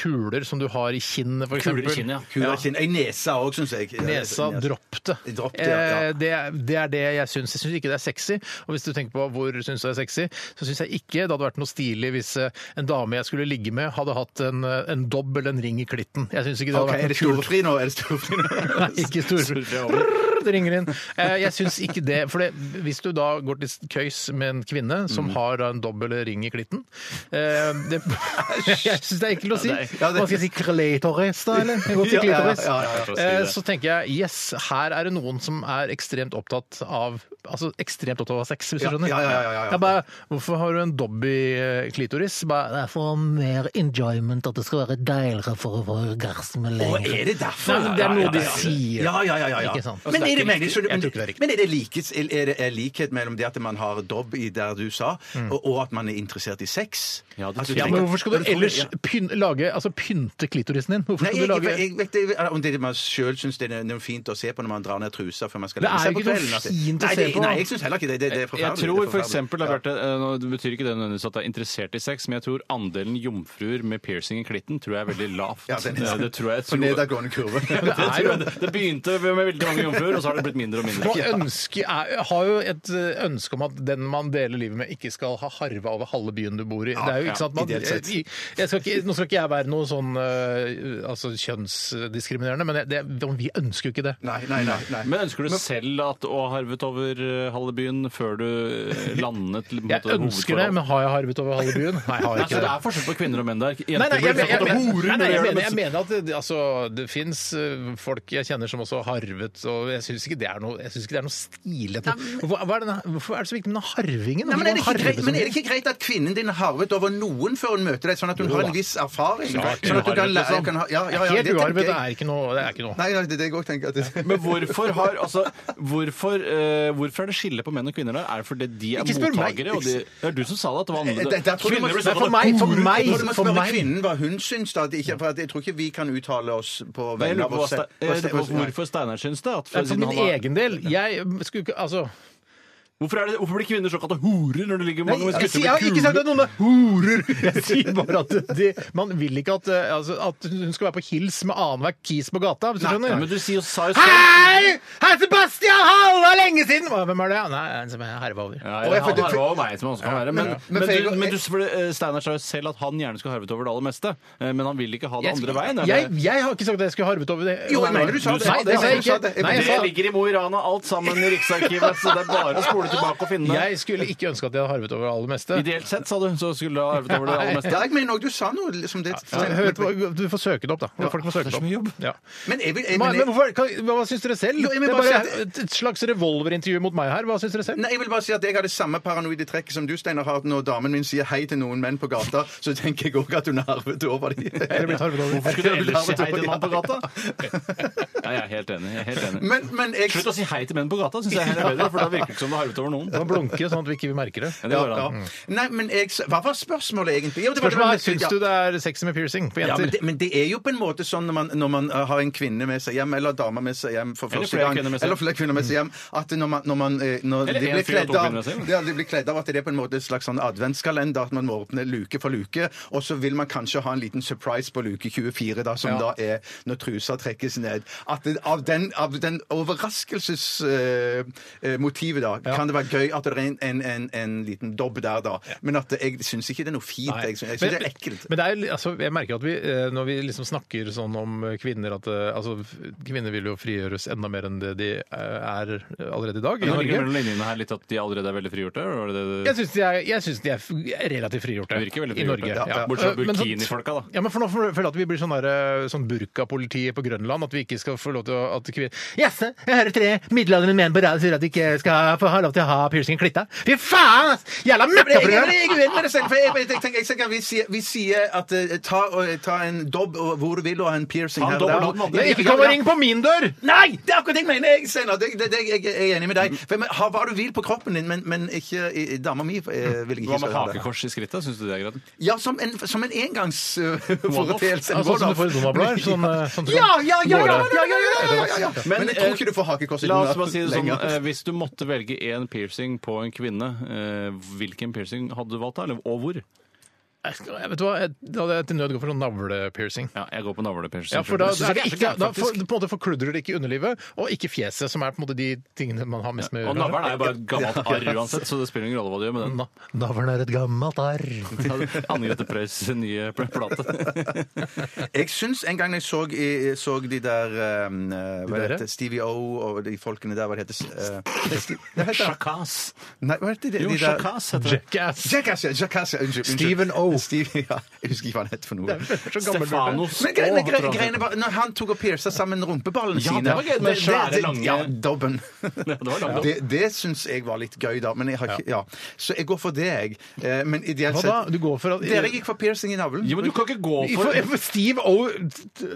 S1: kuler som du har i kinnet, f.eks.
S3: Kuler i kinnet, ja.
S2: Kul av kinn. Ei nese òg, syns jeg. Ja,
S1: Nesa,
S2: nese.
S1: dropp det.
S2: Dropp det, ja, ja.
S1: Eh, Det, er- det er det jeg syns. Jeg syns ikke det er sexy. Og hvis du tenker på hvor syns du det er sexy, så syns jeg ikke det hadde vært noe stilig hvis eh, en dame jeg skulle ligge med, hadde hatt en, eh, en dobb eller en ring i klitten. Jeg syns ikke det hadde
S2: Ok, er det
S1: vært noe <laughs> kult.
S2: storefri nå? Er det
S1: <laughs>
S2: storefri nå?
S1: Nei,
S2: <laughs>
S1: ikke storfri. Det ringer inn. Eh, Jeg syns ikke det. For det, hvis du da går til køys med en kvinne
S2: Mm.
S1: som har da en dobbel ring i klitten eh, det, <laughs> Jeg syns det er ekkelt å si.
S2: Ja, det-
S1: Hva skal jeg si? Klitoris, da? Eller? Jeg går til
S2: Ja, ja,
S1: klitoris.
S2: ja, ja,
S3: ja.
S1: Eh, Så tenker jeg yes, her er det noen som er ekstremt opptatt av Altså ekstremt opptatt av sex, hvis du
S2: Ja,
S1: skjønner.
S2: ja, ja, ja, ja, ja.
S1: Jeg bare, hvorfor har du en dobb i eh, klitoris? Bare, det er for mer enjoyment, at det skal være deiligere for å få orgasme
S2: Og er det derfor?
S1: Nei, men det er noe
S2: Ja, ja,
S1: de
S2: ja, ja.
S1: sier.
S2: Ja, ja, ja, ja, ja.
S1: Ikke sant?
S2: Men er det, meningen-
S1: Jeg tror ikke det er riktig.
S2: men er det likhet, er det, er likhet mellom det at man har dobb i der du sa, og, og at man er interessert i sex?
S3: Ja, det
S2: At du
S3: tror jeg.
S1: Ja,
S2: tenker-
S1: men hvorfor skal
S2: Ja,
S1: du ellers pyn, lage, altså pynte klitorisen din? Hvorfor
S2: Nei, jeg,
S1: skal du lage
S2: jeg, vet ikke om det er man sjøl syns det er noe fint å se på når man drar ned trusa før man skal
S1: Det
S2: legge
S1: er
S2: seg
S1: jo
S2: på
S1: ikke noe
S2: kvelden. altså.
S1: fint å
S2: nei, det,
S1: se på.
S2: Nei, jeg syns heller ikke det. Det, det er
S3: Jeg
S2: forferdelig. det
S3: tror
S2: er
S3: for
S2: forferdelig.
S3: eksempel, da, Bjarte, eh, nå det betyr ikke det nødvendigvis at det er interessert i sex, men jeg tror andelen jomfruer med piercing i klitten tror jeg er veldig lavt.
S2: Ja, den er-
S3: Eh, det tror jeg, jeg
S2: På
S3: tror, <laughs>
S2: nedadgående kurve. <laughs>
S3: det, tror jeg, det begynte med veldig mange jomfruer, og så har det blitt mindre og mindre.
S1: Man ønsker, er, har jo et eh, ønske om at den man deler livet med, ikke skal ha harva over halve byen du bor i. det er jo
S2: ja,
S1: ikke sant, man,
S2: ideelt sett.
S1: jeg, jeg skal ikke, Nå skal ikke jeg være noe sånn eh, altså, kjønnsdiskriminerende, men jeg- det, vi ønsker jo ikke det.
S2: Nei, nei, nei. nei.
S3: Men ønsker du selv at å ha harvet over eh, halve byen før du eh, landet til, på en
S1: Jeg
S3: måte,
S1: ønsker det,
S3: hovedforhold?
S1: men har jeg harvet over halve byen? Nei, jeg har
S3: Nei,
S1: ikke
S3: så det
S1: det.
S3: er forskjell på kvinner og menn der. Jenter
S1: Nei, nei, jeg,
S3: blir
S1: jeg, jeg,
S3: kalt horer
S1: nei,
S3: når
S1: nei,
S3: de
S1: jeg,
S3: gjør det,
S1: mener,
S3: mens-
S1: jeg mener at det, altså, det fins folk jeg kjenner som også har harvet, og jeg syns ikke det er noe, jeg synes ikke det er noe stilig. at- Hvorfor, hva er denne, hvorfor er det så viktig med denne harvingen?
S2: Nei, men, er det
S1: Hvorfor
S2: ikke
S1: harve
S2: greit,
S1: så
S2: men er
S1: mye?
S2: det ikke greit at kvinnen din har arvet over noen før hun møter deg, sånn at hun har en viss erfaring? Sånn at du kan lære kan ha- ja, ja, ja,
S1: Helt
S2: det tenker
S1: liksom? uarvet
S2: jeg.
S1: det er ikke noe. Det er ikke noe.
S2: Nei, nei, det er det jeg òg tenker. At det,
S3: Men hvorfor, har, altså, hvorfor, eh, hvorfor er det skille på menn og kvinner der? Er det fordi de er
S1: Ikke spør meg.
S3: mottakere? Og de, det er du som sa det, at det var
S2: Eh, det-
S3: annerledes.
S2: der tror jeg du må-
S3: Kvinner blir
S2: Nei,
S3: sånn
S1: for
S3: at-
S1: meg- for
S3: Horer.
S1: meg-
S2: Jeg <laughs> tror du må
S1: for
S2: spørre
S1: meg.
S2: kvinnen hva hun syns, da. at det Ikke, for at jeg tror ikke vi kan uttale oss på
S3: Jeg
S2: vegne
S3: lurer
S2: av
S3: på hva
S2: oss
S3: Ste-
S2: selv.
S3: jeg lurer på hvorfor Steinar syns det. At
S1: Det er for
S3: siden
S1: min
S3: han har-
S1: egen del. Jeg skulle ikke Altså.
S3: hvorfor, er det, hvorfor blir kvinner såkalte horer når det ligger mange
S1: jeg,
S3: gutter
S1: sier- jeg har
S3: med
S1: ikke sagt
S3: kuler?
S1: at noen er horer! Jeg sier bare at de, man vil ikke at, eh, altså, at hun skal være på hils med annenhver kis på gata. Hvis du skjønner?
S3: Ja, men du sier, sa jo selv
S1: Hei! Hei, Sebastian! Halla, lenge siden! Hva, Hvem er det? Nei, en som er herva over.
S3: ja,
S2: Og jeg-
S3: ja, han
S2: for-
S3: harva over meg, som han også kan være. Men,
S2: men-
S3: men,
S2: for jeg-
S3: du, men du, for, eh, Steinar sa jo selv at han gjerne skulle harvet over det aller meste. eh, Men han vil ikke ha det andre veien. eller?
S1: Jeg, jeg har ikke sagt at jeg skulle harvet over det.
S2: Jo, jeg mener du sa det.
S1: Nei, det sa jeg
S2: Du sa
S1: ikke.
S2: det.
S1: Nei, jeg
S3: det
S1: sa
S3: ligger i Mo i Rana, alt sammen i Riksarkivet, så det er bare å spole du tilbake og finne det.
S1: Jeg skulle ikke ønske at jeg hadde harvet over det aller meste.
S3: Ideelt sett, sa du, så skulle du ha arvet over det aller meste.
S7: Ja, jeg mener òg du sa noe liksom det
S1: Ja, hør, du får søke det opp, da. Folk må søke det opp. Ja.
S7: Men jeg vil jeg,
S1: Men,
S7: men jeg,
S1: hvorfor, hva, hva syns dere selv?
S7: Jo, jeg
S1: det
S7: vil
S1: er
S7: bare
S1: bare
S7: si
S1: et et slags revolverintervju mot meg her. Hva syns dere selv?
S7: Nei, jeg vil bare si at jeg har det samme paranoide trekket som du, Steinar, har at når damen min sier hei til noen menn på gata, så tenker jeg òg at hun har arvet over dem.
S1: Eller blitt harvet over.
S3: Hvorfor skulle du ellers si hei til en mann på
S7: Ja,
S3: gata? Ja, jeg er helt enig. Jeg er helt enig.
S7: Men, men jeg
S3: Slutt å si hei til menn på gata, syns jeg er bedre, for da virker det ikke som du har arvet over noen.
S1: Man blunker sånn at vi ikke merker det.
S3: Ja, det
S7: ja,
S3: går
S7: ja.
S3: an.
S7: Nei, men jeg, Hva var spørsmålet egentlig? Jo, det var det
S1: Spørsmålet
S7: med-
S1: er, Syns du det er sexy med piercing på
S7: Ja, men,
S1: jenter?
S7: det, men det er jo på en måte sånn når man, når man eh, har en kvinne med seg hjem, eller dame med seg hjem for
S3: Eller
S7: første
S3: flere
S7: gang,
S3: kvinner med seg
S7: eller flere kvinner med seg hjem, at når man, når man eh, når
S3: Eller
S7: de
S3: en
S7: blir
S3: fyr og
S7: kledd av
S3: to kvinner med seg hjem.
S7: ja, de blir kledd av at det er på en måte et slags sånn adventskalender, at man må åpne luke for luke, og så vil man kanskje ha en liten surprise på luke 24, da, som da er når trusa trekkes ned. At det, av den, av den overraskelsesmotivet, da, kan det være gøy at det er en, en, en, en liten dobb der, da. Men at det- jeg syns ikke det er noe fint.
S1: Nei.
S7: Jeg syns jeg syns det er ekkelt.
S1: Men det er, li- altså, jeg merker at vi, eh, når vi liksom snakker sånn om eh, kvinner at eh, altså, f- Kvinner vil jo frigjøres enda mer enn det de eh, er allerede i dag i
S3: Nå ligger det
S1: Norge.
S3: mellom linjene her litt at de allerede er veldig frigjorte? var det det du-
S1: Jeg syns de er, jeg synes de er f- relativt frigjorte
S3: Det virker
S1: i
S3: veldig
S1: Norge.
S3: frigjorte, ja. Bortsett fra
S1: Men sånn-
S3: burkinifolka, da.
S1: Ja, men for nå føler jeg at vi blir sånn, der, eh, sånn burkapolitiet på Grønland. At vi ikke skal få lov til å at kvinner Jaså, jeg hører tre middelaldrende menn på rad sier at de ikke skal få ha lov til å ha piercingen klitta. Fy faen, ass! Jævla
S7: Jeg, jeg, jeg
S1: møkkabrød!
S7: er uenig med deg selv. For jeg, jeg, jeg, tenker, jeg tenker vi sier, vi sier at eh, ta, og- ta en dobb og hvor du vil og en piercing
S3: Ta en
S7: her
S3: dobb
S7: og
S3: og dobb,
S7: der.
S1: Ikke kom og ring på min dør!
S7: Nei! Det er akkurat det jeg mener! Jeg, Steinar. Det, det, det, jeg, jeg er enig med deg. For, men, ha hva du vil på kroppen din, men, men ikke i- i dama mi eh, vil jeg
S3: Hva
S7: ikke
S3: med
S7: skal ha det.
S3: hakekors i skrittet? Syns du det er greit?
S7: Ja, som en, som en engangsforeteelse.
S1: Ja, sånn som du får
S7: <laughs>
S1: i Donald-blader, sånn, eh, sånn som
S7: Altså, ja, ja, ja, ja,
S1: måle.
S7: ja, ja, ja, ja, ja, ja.
S3: Men,
S7: Men, jeg tror
S3: eh,
S7: ikke du får hakekors i
S3: La oss
S7: Donald
S3: bare si det sånn,
S7: lenger.
S3: eh, Hvis du måtte velge én piercing på en kvinne, eh, hvilken piercing hadde du valgt da? Eller, og hvor?
S1: Jeg skal- jeg vet hva, jeg, da hadde jeg til nød gått for sånn navlepiercing.
S3: Ja, jeg går på navlepiercing.
S1: Ja, for da,
S3: Jeg synes
S1: er det
S3: ikke
S1: ikke,
S3: så
S1: da
S3: gærent,
S1: for,
S3: faktisk.
S1: på en måte forkludrer det ikke underlivet, og ikke fjeset, som er på en måte de tingene man har mest med å
S3: Og
S1: gjøre.
S3: navlen er jo bare et gammelt arr uansett, så det spiller ingen rolle hva du gjør med den. <laughs>
S1: Na- Navlen er et gammelt arr.
S3: Anne Grete Preus' nye plate. <laughs>
S7: Jeg syns en gang jeg så, eh, i- så de der um, eh, hva
S1: der,
S7: heter det? Stevie O og de folkene der, hva det heter eh, det sti- det? heter-
S3: Sjakas.
S7: Nei, hva heter det?
S3: Jo,
S7: de der-
S3: sjakas heter det.
S1: Jackass!
S7: Jackass, ja. Jackass, ja. Unnskyld. unnskyld.
S1: Steven O.
S7: Steve, ja. Jeg husker ikke hva han het for noe.
S1: Så gammel burde jeg.
S3: Stefanos.
S7: Men greiene,
S3: Å,
S7: greiene, greiene var Når han tok og pierca sammen rumpeballene
S3: Ja,
S7: sine
S3: det var gøy, med svære,
S7: det-
S3: lange-
S7: Ja, dobben.
S3: det var langt opp.
S7: Det, det syns jeg var litt gøy, da. Men <laughs> jeg har ikke, ja. Så jeg går for det, jeg. Eh, Men ideelt
S1: Hva
S7: sett
S1: da? Du går for at
S7: Dere gikk for piercing i navlen.
S3: Jo, men du kan ikke gå
S1: I-
S3: for
S1: for- for Steve O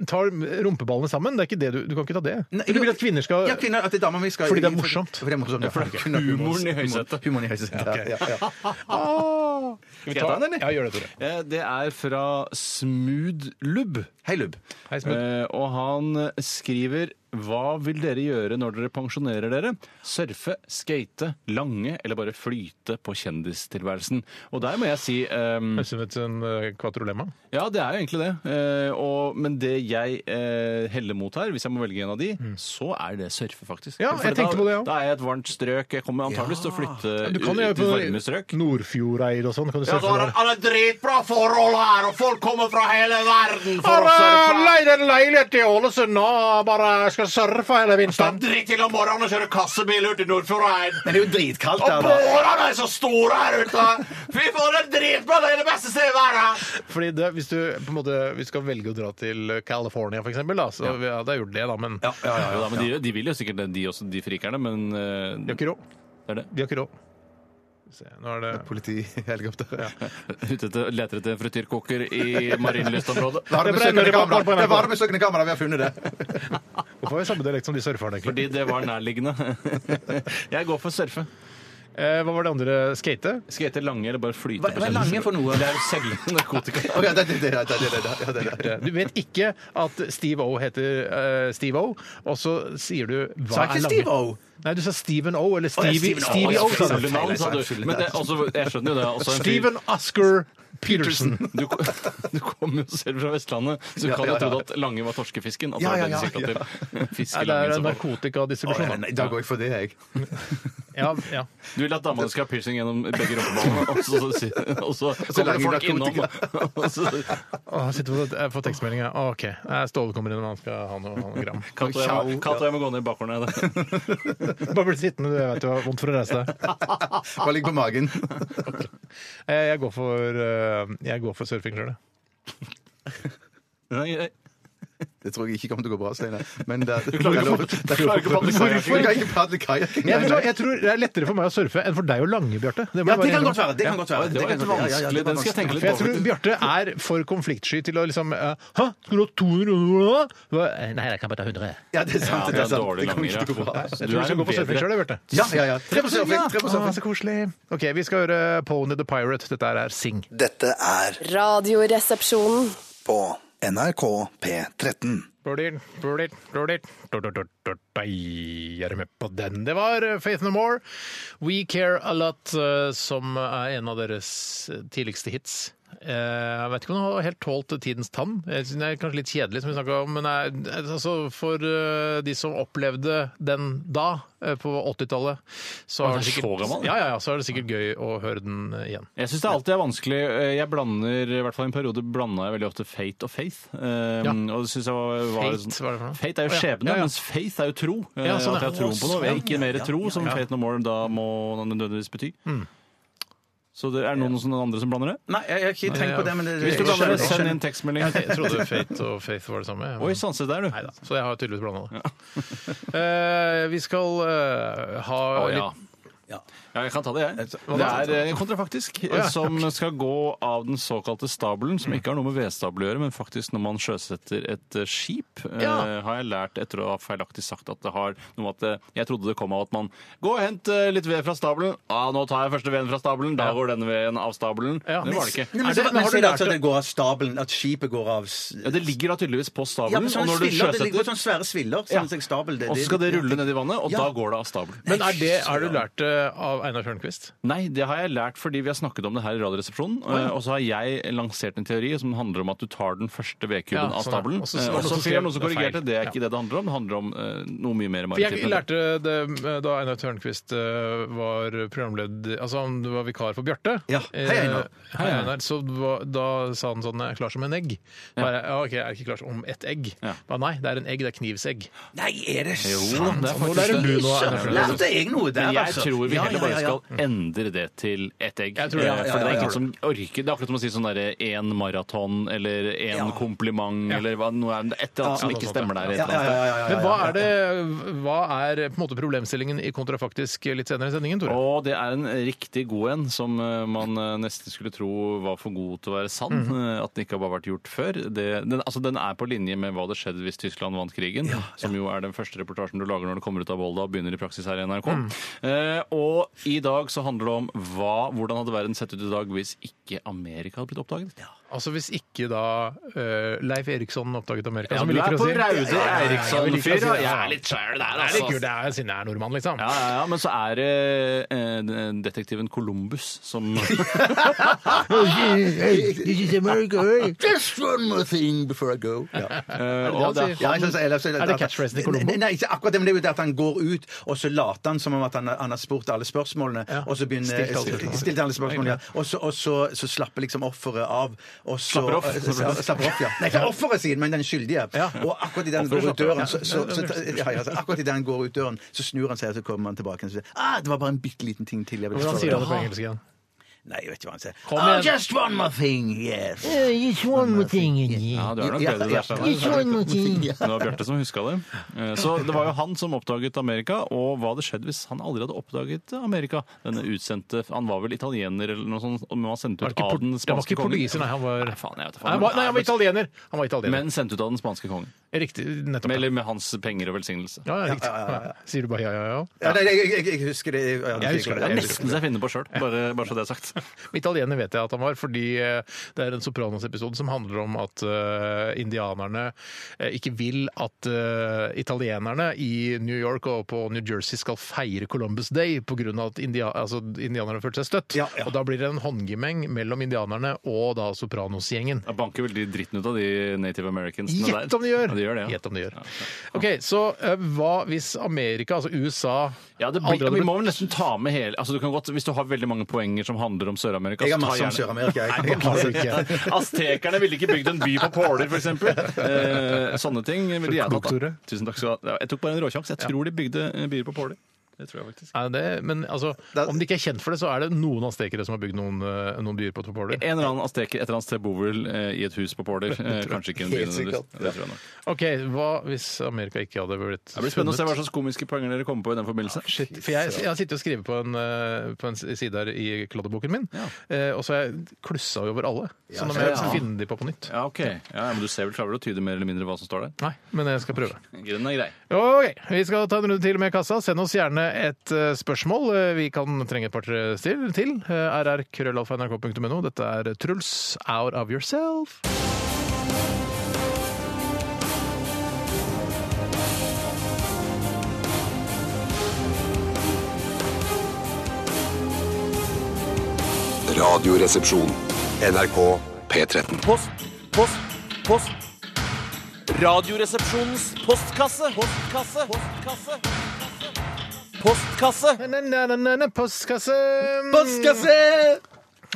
S1: tar rumpeballene sammen. Det er ikke det du, du kan ikke ta det.
S7: Nei,
S1: For du vil at kvinner skal
S7: Ja, kvinner, at dama mi skal
S1: Fordi det er morsomt.
S7: Fordi det er morsomt, ja.
S3: Fordi det er
S7: Kvinner-
S3: humoren i høysetet.
S7: Humor- Humoren i høysetet, ja, ja, ja.
S3: Skal vi ta den, eller?
S1: Ja, gjør det, Tore.
S3: Eh, Det er fra Smooth Lubb.
S7: Hei, Lubb.
S1: Hei, Smith.
S3: Eh, og han skriver Hva vil dere gjøre når dere pensjonerer dere? Surfe, skate, lange eller bare flyte på kjendistilværelsen? Og der må jeg si ehm,
S1: Høres ut som et sånn, eh, quadrolemma.
S3: Ja, det er jo egentlig det. Eh, og, men det jeg eh, heller mot her, hvis jeg må velge en av de, så er det surfe, faktisk.
S1: Ja,
S3: For
S1: jeg
S3: da,
S1: tenkte på det, ja.
S3: Da er jeg i et varmt strøk. Jeg kommer antakeligvis til å flytte
S1: Du kan jo
S3: ut til varme
S1: gjøre
S3: strøk.
S1: på Nordfjordeid og sånn. Kan du
S11: Ja,
S1: surfe
S11: så er
S1: der.
S11: det- er det dritbra forhold her, og folk kommer fra hele verden for å surfe.
S1: Bare leid Ah, en leilighet i Ålesund og bare skal surfe hele
S11: Stopp
S1: vinteren.
S11: dritt til om morgenen og kjører kassebil ut i Nordfjordeid.
S7: Men det er jo dritkaldt
S11: Og
S7: der, da.
S11: bårene er så store her ute! Fy faen, det er dritbra! Det er det beste stedet i verden!
S1: Fordi det, hvis, du, på en måte, hvis du skal velge å dra til California, for eksempel, da, så ja. vi hadde jeg gjort det, da, men
S7: Ja, ja, ja,
S3: Ja,
S7: ja.
S3: da, men de, de vil jo sikkert det, de også, de frikerne, men eh,
S1: vi har ikke råd.
S3: det er det.
S1: Vi har ikke råd. Se, nå er det
S7: Politihelikopter.
S3: Ute etter, leter etter en frityrkoker i Marienlystområdet.
S7: Det var det med
S1: brenner
S7: søkende
S1: i bakgården på
S7: kamera. Det
S1: NRK.
S7: var det med søkende kamera, vi har funnet det.
S1: Hvorfor har vi samme dialekt som de surferne, egentlig?
S3: Fordi det var nærliggende. Jeg går for surfe.
S1: Eh, hva var det andre? Skate?
S3: Skate lange eller bare flyte
S7: Hva- hva er lange for noe?
S3: Det er jo selge <laughs> narkotika.
S7: Ok, det, det, det, det, det, det, det, ja, det, det.
S1: Du vet ikke at Steve O heter eh, Steve O, og så sier du hva
S7: Sa jeg ikke
S1: er lange-
S7: Steve O?
S1: Nei, du sa Steven O, eller
S7: ja,
S1: Stevie,
S7: Steven O.
S1: Stevie O. sa
S3: Fulle
S1: du.
S3: navn, sa du. Men det, er også, jeg skjønner jo det. er Også altså en fyr-
S1: Steven Oscar Peterson.
S3: Du, ko- <laughs> du kommer jo selv fra Vestlandet, så du
S1: Ja,
S3: kan
S1: ja,
S3: jo
S1: ja.
S3: tro at Lange var torskefisken. At
S1: Ja, ja,
S3: det var det de
S1: ja,
S3: sikta til.
S1: Nei, det
S3: Fiskelangen
S1: er
S3: som var-
S1: narkotikadistribusjon.
S3: Å, ja, nei, da går jeg
S2: for det, jeg.
S1: Ja, ja.
S3: Du vil at damene skal ha piercing gjennom begge rumpeballene, og så, så, og så kommer det
S1: lager
S3: folk innom. og <laughs> så-
S1: Å, jeg sitter på, jeg får tekstmelding, ja. Å, OK. Nei, Ståle kommer inn, og han skal ha noe, ha noe gram.
S3: Katt og jeg må- Katt og jeg må gå ned i bakgården.
S1: Bare bli sittende, du. Jeg vet du har vondt for å reise deg. <laughs>
S2: Bare ligg på magen.
S1: Eh, Jeg går for, eh, jeg går for surfing sjøl, jeg.
S2: Det tror jeg ikke kommer til å gå bra, Steinar. Men det,
S1: Du klarer ikke å- du klarer ikke å padle kajakk.
S2: Hvorfor kan jeg ikke padle kajakk?
S1: Jeg, tror, jeg tror det er lettere for meg å surfe enn for deg å lange, Bjarte. må
S2: Ja,
S1: jeg
S2: det
S1: bare
S2: kan
S1: innrømme.
S2: godt være, det kan godt være.
S1: Ja,
S2: Det kan godt være. Ja, ja, ja, det var vanskelig.
S1: For jeg tror Bjarte er for konfliktsky til å liksom eh, Hæ, skal du ha 200 kroner? nå, da?» Eh, Nei, jeg kan bare ta 100.
S2: Ja, det er sant.
S3: Ja,
S2: det er sant.
S3: dårlig
S2: Det kommer ikke til å gå bra.
S3: langrenn, ja.
S1: Jeg
S3: Så
S1: tror du skal
S3: en
S1: gå på surfing
S3: bedre-
S1: sjøl, Bjarte.
S2: Ja, ja, ja. Tre på surfing, tre på
S1: Å,
S2: surfing.
S1: så koselig. OK, vi skal høre Pony the Pirate. Dette er Sing.
S12: Dette er
S8: Radioresepsjonen.
S12: på NRK P13.
S1: Bloddyr, bloddyr, bloddyr, bloddyr, bloddyr, bloddyr. Er du med på den? Det var uh, Faith No More, We Care A Lot, eh, som er en av deres tidligste hits. Eh, Jeg vet ikke om den har helt tålt tidens tann. Jeg synes Den er kanskje litt kjedelig, som vi snakka om, men jeg- altså, for eh, de som opplevde den da, eh, på 80-tallet, så,
S3: Å,
S1: er
S3: den er
S1: det
S3: så gammel,
S1: sikkert- ja, ja, ja, så er det sikkert gøy å høre den eh, igjen.
S3: Jeg syns det alltid er vanskelig. Jeg blander, i hvert fall i en periode blanda jeg veldig ofte fate og faith. Um, Og det synes jeg var, var
S1: Fate, hva er det for noe?
S3: Fate er
S1: Å,
S3: jo
S1: ja.
S3: skjebne,
S1: Ja, ja.
S3: mens faith er jo tro.
S1: Ja, sånn,
S3: At jeg har
S1: ja.
S3: troen på noe.
S1: Å,
S3: Jeg er ikke
S1: sånn,
S3: mer
S1: ja,
S3: tro,
S1: ja,
S3: som
S1: ja. Mm.
S3: faith no more da må nødvendigvis bety. Så det er det noen som andre som blander det?
S7: Nei, jeg har ikke tenkt på det, men det,
S3: Hvis du
S7: jeg
S3: blander det,
S7: skjønner.
S3: send inn tekstmelding.
S1: Jeg <laughs> trodde Fate og Faith var det samme. men-
S3: Oi, sanse der, du.
S1: Neida, Så jeg har tydeligvis blanda det. <laughs> Eh, vi skal eh, ha
S3: Å, ja.
S1: litt
S3: Ja. jeg kan ta det, jeg. Det
S1: da?
S3: er eh, kontrafaktisk,
S1: Å, ja.
S3: som skal gå av den såkalte stabelen, som ikke har noe med vedstabel å gjøre, men faktisk når man sjøsetter et eh, skip, eh,
S1: Ja.
S3: har jeg lært etter å ha feilaktig sagt at det har noe med at eh, Jeg trodde det kom av at man Gå og hent eh, litt ved fra stabelen. Ja, nå tar jeg første veden fra stabelen, da går denne veden av stabelen.
S1: Ja.
S3: Det var
S7: Nei,
S3: det ikke.
S7: men,
S1: Er det-
S7: så-
S1: men
S7: men
S1: har
S7: så
S1: du
S7: er det
S1: lært
S7: altså at
S1: det?
S7: det går av stabelen, at skipet går av s-
S3: Ja, det ligger da tydeligvis på
S7: Ja,
S3: stabelen,
S7: men sånne
S3: og når du
S7: sviller, det ligger
S3: sjøsetter
S7: sånne svære sviller,
S3: Ja.
S7: sånn som en stabel. det-
S3: og så
S7: det-
S3: skal det rulle
S7: ja.
S3: ned i vannet, og
S7: Ja.
S3: da går det av stabelen.
S1: Men er det, har du lært det av Einar Tørnquist?
S3: Nei, det har jeg lært fordi vi har snakket om det her i Radioresepsjonen. eh, Og så har jeg lansert en teori som handler om at du tar den første vedkuben
S1: Ja,
S3: av
S1: sånn, ja.
S3: stabelen.
S1: Og
S3: Og
S1: så-
S3: så
S1: og så
S3: sier
S1: skrev-
S3: jeg noen som
S1: det er feil.
S3: korrigerte. Det er ikke det det handler om. Det handler om eh, noe mye mer
S1: For jeg
S3: maritimt.
S1: lærte det eh, da Einar Tørnquist eh, var programleder Altså han var vikar for Bjarte.
S7: Ja. Hei, Einar.
S1: Eh, Hei, Einar. Så var- da sa han sånn 'Jeg er klar som en egg'. Da er jeg, ja, OK, jeg er ikke klar som om ett egg.
S3: Ja.
S1: Ba, nei, det er en egg. Det er knivsegg.
S7: Nei, er det
S3: Jo,
S7: sant?
S3: det er
S1: Hvor
S3: faktisk
S1: lærer du
S3: det.
S1: nå, Einar
S7: Søren,
S1: Tørnquist?
S7: lærte jeg noe der,
S3: Men jeg
S7: altså?
S3: tror vi
S7: Ja,
S3: heller
S7: ja,
S3: bare
S7: ja, ja.
S3: skal endre det til ett egg.
S1: Jeg tror det, ja,
S3: Eh,
S1: ja,
S3: For det
S1: ja,
S3: er
S1: ja.
S3: ingen som orker. Det er akkurat som å si sånn derre én maraton eller én
S7: Ja.
S3: kompliment eller hva, noe er et eller annet som
S1: Ja, noe
S3: ikke
S1: sånt,
S3: stemmer
S1: ja.
S3: der. Et
S7: Ja,
S3: eller
S7: ja,
S3: annet.
S7: ja, ja, ja, ja.
S1: Men hva er, det, hva er på en måte problemstillingen i Kontrafaktisk eh, litt senere i sendingen, Tore?
S3: Og det er en riktig god en som eh, man eh, nesten skulle tro var for god til å være sann. eh, At den ikke har bare vært gjort før. Det, den, altså, den er på linje med hva det skjedde hvis Tyskland vant krigen, som jo er den første reportasjen du lager når du kommer ut av Volda og begynner i praksis her i NRK. Eh, og i dag så handler det om hva, hvordan hadde verden sett ut i dag hvis ikke Amerika hadde blitt oppdaget.
S1: Altså Hvis ikke da eh, Leif Eriksson oppdaget Amerika, som
S3: Ja, du
S1: vi
S3: er
S1: liker å
S3: på
S1: si.
S3: Raude
S1: Eriksson-fyr,
S3: Eriksson-fyr,
S1: ja.
S3: og jeg er litt sjæl der,
S1: Det er litt
S3: altså.
S1: kult, det er siden jeg er nordmann, liksom.
S3: Ja, ja, ja, men så er det eh, den- detektiven Columbus <laughs> som eh,
S7: <laughs> Just one more thing before I go. Ja.
S3: Eh,
S1: det
S3: og
S1: det han
S3: det
S1: sier?
S7: Ja, jeg synes- jeg- jeg- jeg-
S1: Er det catchphrasen til Colombo?
S7: Nei, Nei, ikke akkurat det, men det er jo det at han går ut, og så later han som om at han, han har spurt alle spørsmålene,
S1: Ja.
S7: og så begynner
S1: Stilt alle spørsmålene.
S7: stilt alle spørsmålene, ja. Og så, og så, så slapper liksom offeret av, og så
S3: Slapper off.
S7: Ja, slapper off, ja. Nei, ikke offeret sin, men den skyldige. Og akkurat idet han går ut døren, så, så, så, ja, ja, så akkurat i det han går ut døren, så snur han seg, og så kommer han tilbake og sier ah, det var bare en bitte liten ting til jeg ville
S1: Hvordan sier
S7: spørre
S1: han
S7: om».
S1: det på engelsk igjen?
S7: Nei, jeg vet ikke hva han sier.
S1: Kom
S7: Ah,
S1: igjen.
S7: just one more thing, yes.
S3: Ja, du er nok
S7: Ja,
S3: bedre
S7: ja.
S3: der. Steinar. Men Det var Bjarte som huska det. Eh, Så det var jo han som oppdaget Amerika, og hva hadde skjedd hvis han aldri hadde oppdaget Amerika? Denne utsendte Han var vel italiener eller noe sånt, men han var sendt
S1: Var det
S3: ut
S1: ikke
S3: av
S1: port-
S3: den
S1: det var
S3: spanske
S1: ikke portugiser, nei. Han var,
S3: Nei, faen, jeg vet ikke,
S1: Nei, han var, nei, han var italiener. Han var italiener.
S3: Men sendt ut av den spanske kongen.
S1: riktig, nettopp.
S3: Med, eller med hans penger og velsignelse.
S1: ja, ja, riktig. Ja. Sier du bare ja, ja, ja?
S7: Ja, nei, jeg, jeg, jeg husker det. Ja,
S1: Jeg husker det.
S3: Det er nesten så jeg finner på sjøl, bare, bare så det er sagt.
S1: Italiener vet jeg at han var, fordi eh, det er en Sopranos-episode som handler om at eh, indianerne eh, ikke vil at eh, italienerne i New York og på New Jersey skal feire Columbus Day pga. at india altså, indianerne følte seg støtt. Og da blir det en håndgemeng mellom indianerne og da Sopranos-gjengen.
S3: Jeg banker vel de dritten ut av de Native Americansene der.
S1: Gjett om de gjør!
S3: Ja, de gjør det, ja.
S1: Gjett om de gjør. Ok, Så eh, hva hvis Amerika, altså USA
S3: Ja, det
S1: aldri
S3: blir,
S1: hadde
S3: vi
S1: blitt-
S3: må vel nesten ta med hele altså, du kan godt, Hvis du har veldig mange poenger som handler om Sør-Amerika
S2: Jeg har
S3: så ta
S2: masse om
S3: gjerne-
S2: Sør-Amerika, jeg.
S3: Nei,
S2: Jeg har masse.
S3: ikke. Aztekerne ville ikke bygd en by på påler, f.eks. Eh, sånne ting ville jeg tatt. da. Tusen takk skal du ha. Jeg tok bare en råsjanse. Jeg tror de bygde eh, byer på påler. Det tror jeg faktisk.
S1: Er det, det? men altså, om de ikke er kjent for det, så er det noen aztekere som har bygd noen, eh, noen byer på Topoler.
S3: En eller annen azteker et eller annet sted bor vel eh, i et hus på <laughs> påler. Eh, kanskje ikke en by.
S1: Helt
S3: nødvendigvis.
S1: sikkert.
S3: Det tror jeg nok.
S1: OK, hva hvis Amerika ikke hadde blitt
S3: Det blir spennende å se hva slags komiske poenger dere kommer på i den
S1: Ah,
S3: forbindelse.
S1: For jeg, jeg har sittet og skrevet på en, eh, på en side her i kladdeboken min, eh, og så har jeg klussa over alle. Så nå må jeg
S3: Ja.
S1: finne de på på nytt.
S3: Ja, ok. Ja, men du ser vel klarer du å tyde mer eller mindre hva som står der?
S1: Nei, men jeg skal prøve.
S3: Den er grei.
S1: Ok, Vi skal ta en runde til med kassa. Send oss gjerne et eh, spørsmål. Eh, Vi kan trenge et par-tre til. til. Eh, rrkrøllalfa.nrk.no. Dette er Truls, 'Out of Yourself'.
S4: Radioresepsjon. NRK P13.
S5: Post, post, post. Radioresepsjonens postkasse. Postkasse. Postkasse.
S1: Postkasse! Postkasse!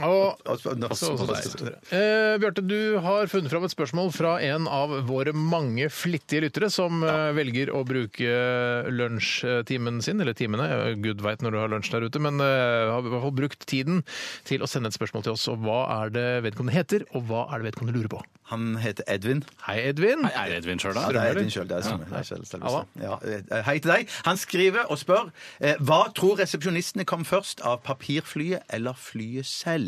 S1: Og Også- også deg. sånn Eh, Bjarte, du har funnet fram et spørsmål fra en av våre mange flittige lyttere som eh, velger å bruke eh, lunsjtimen sin, eller timene, eh, gud veit når du har lunsj der ute, men eh, har i hvert fall brukt tiden til å sende et spørsmål til oss. Og hva er det vedkommende heter, og hva er det vedkommende lurer på?
S7: Han heter Edvin.
S1: Hei, Edvin.
S3: Hei, er det Edvin sjøl, da?
S7: Ja, det er Edvin selv, det er som- det er selv- selveste. Ja, eh, Hei til deg. Han skriver og spør eh, Hva tror resepsjonistene kom først av papirflyet eller flyet selv?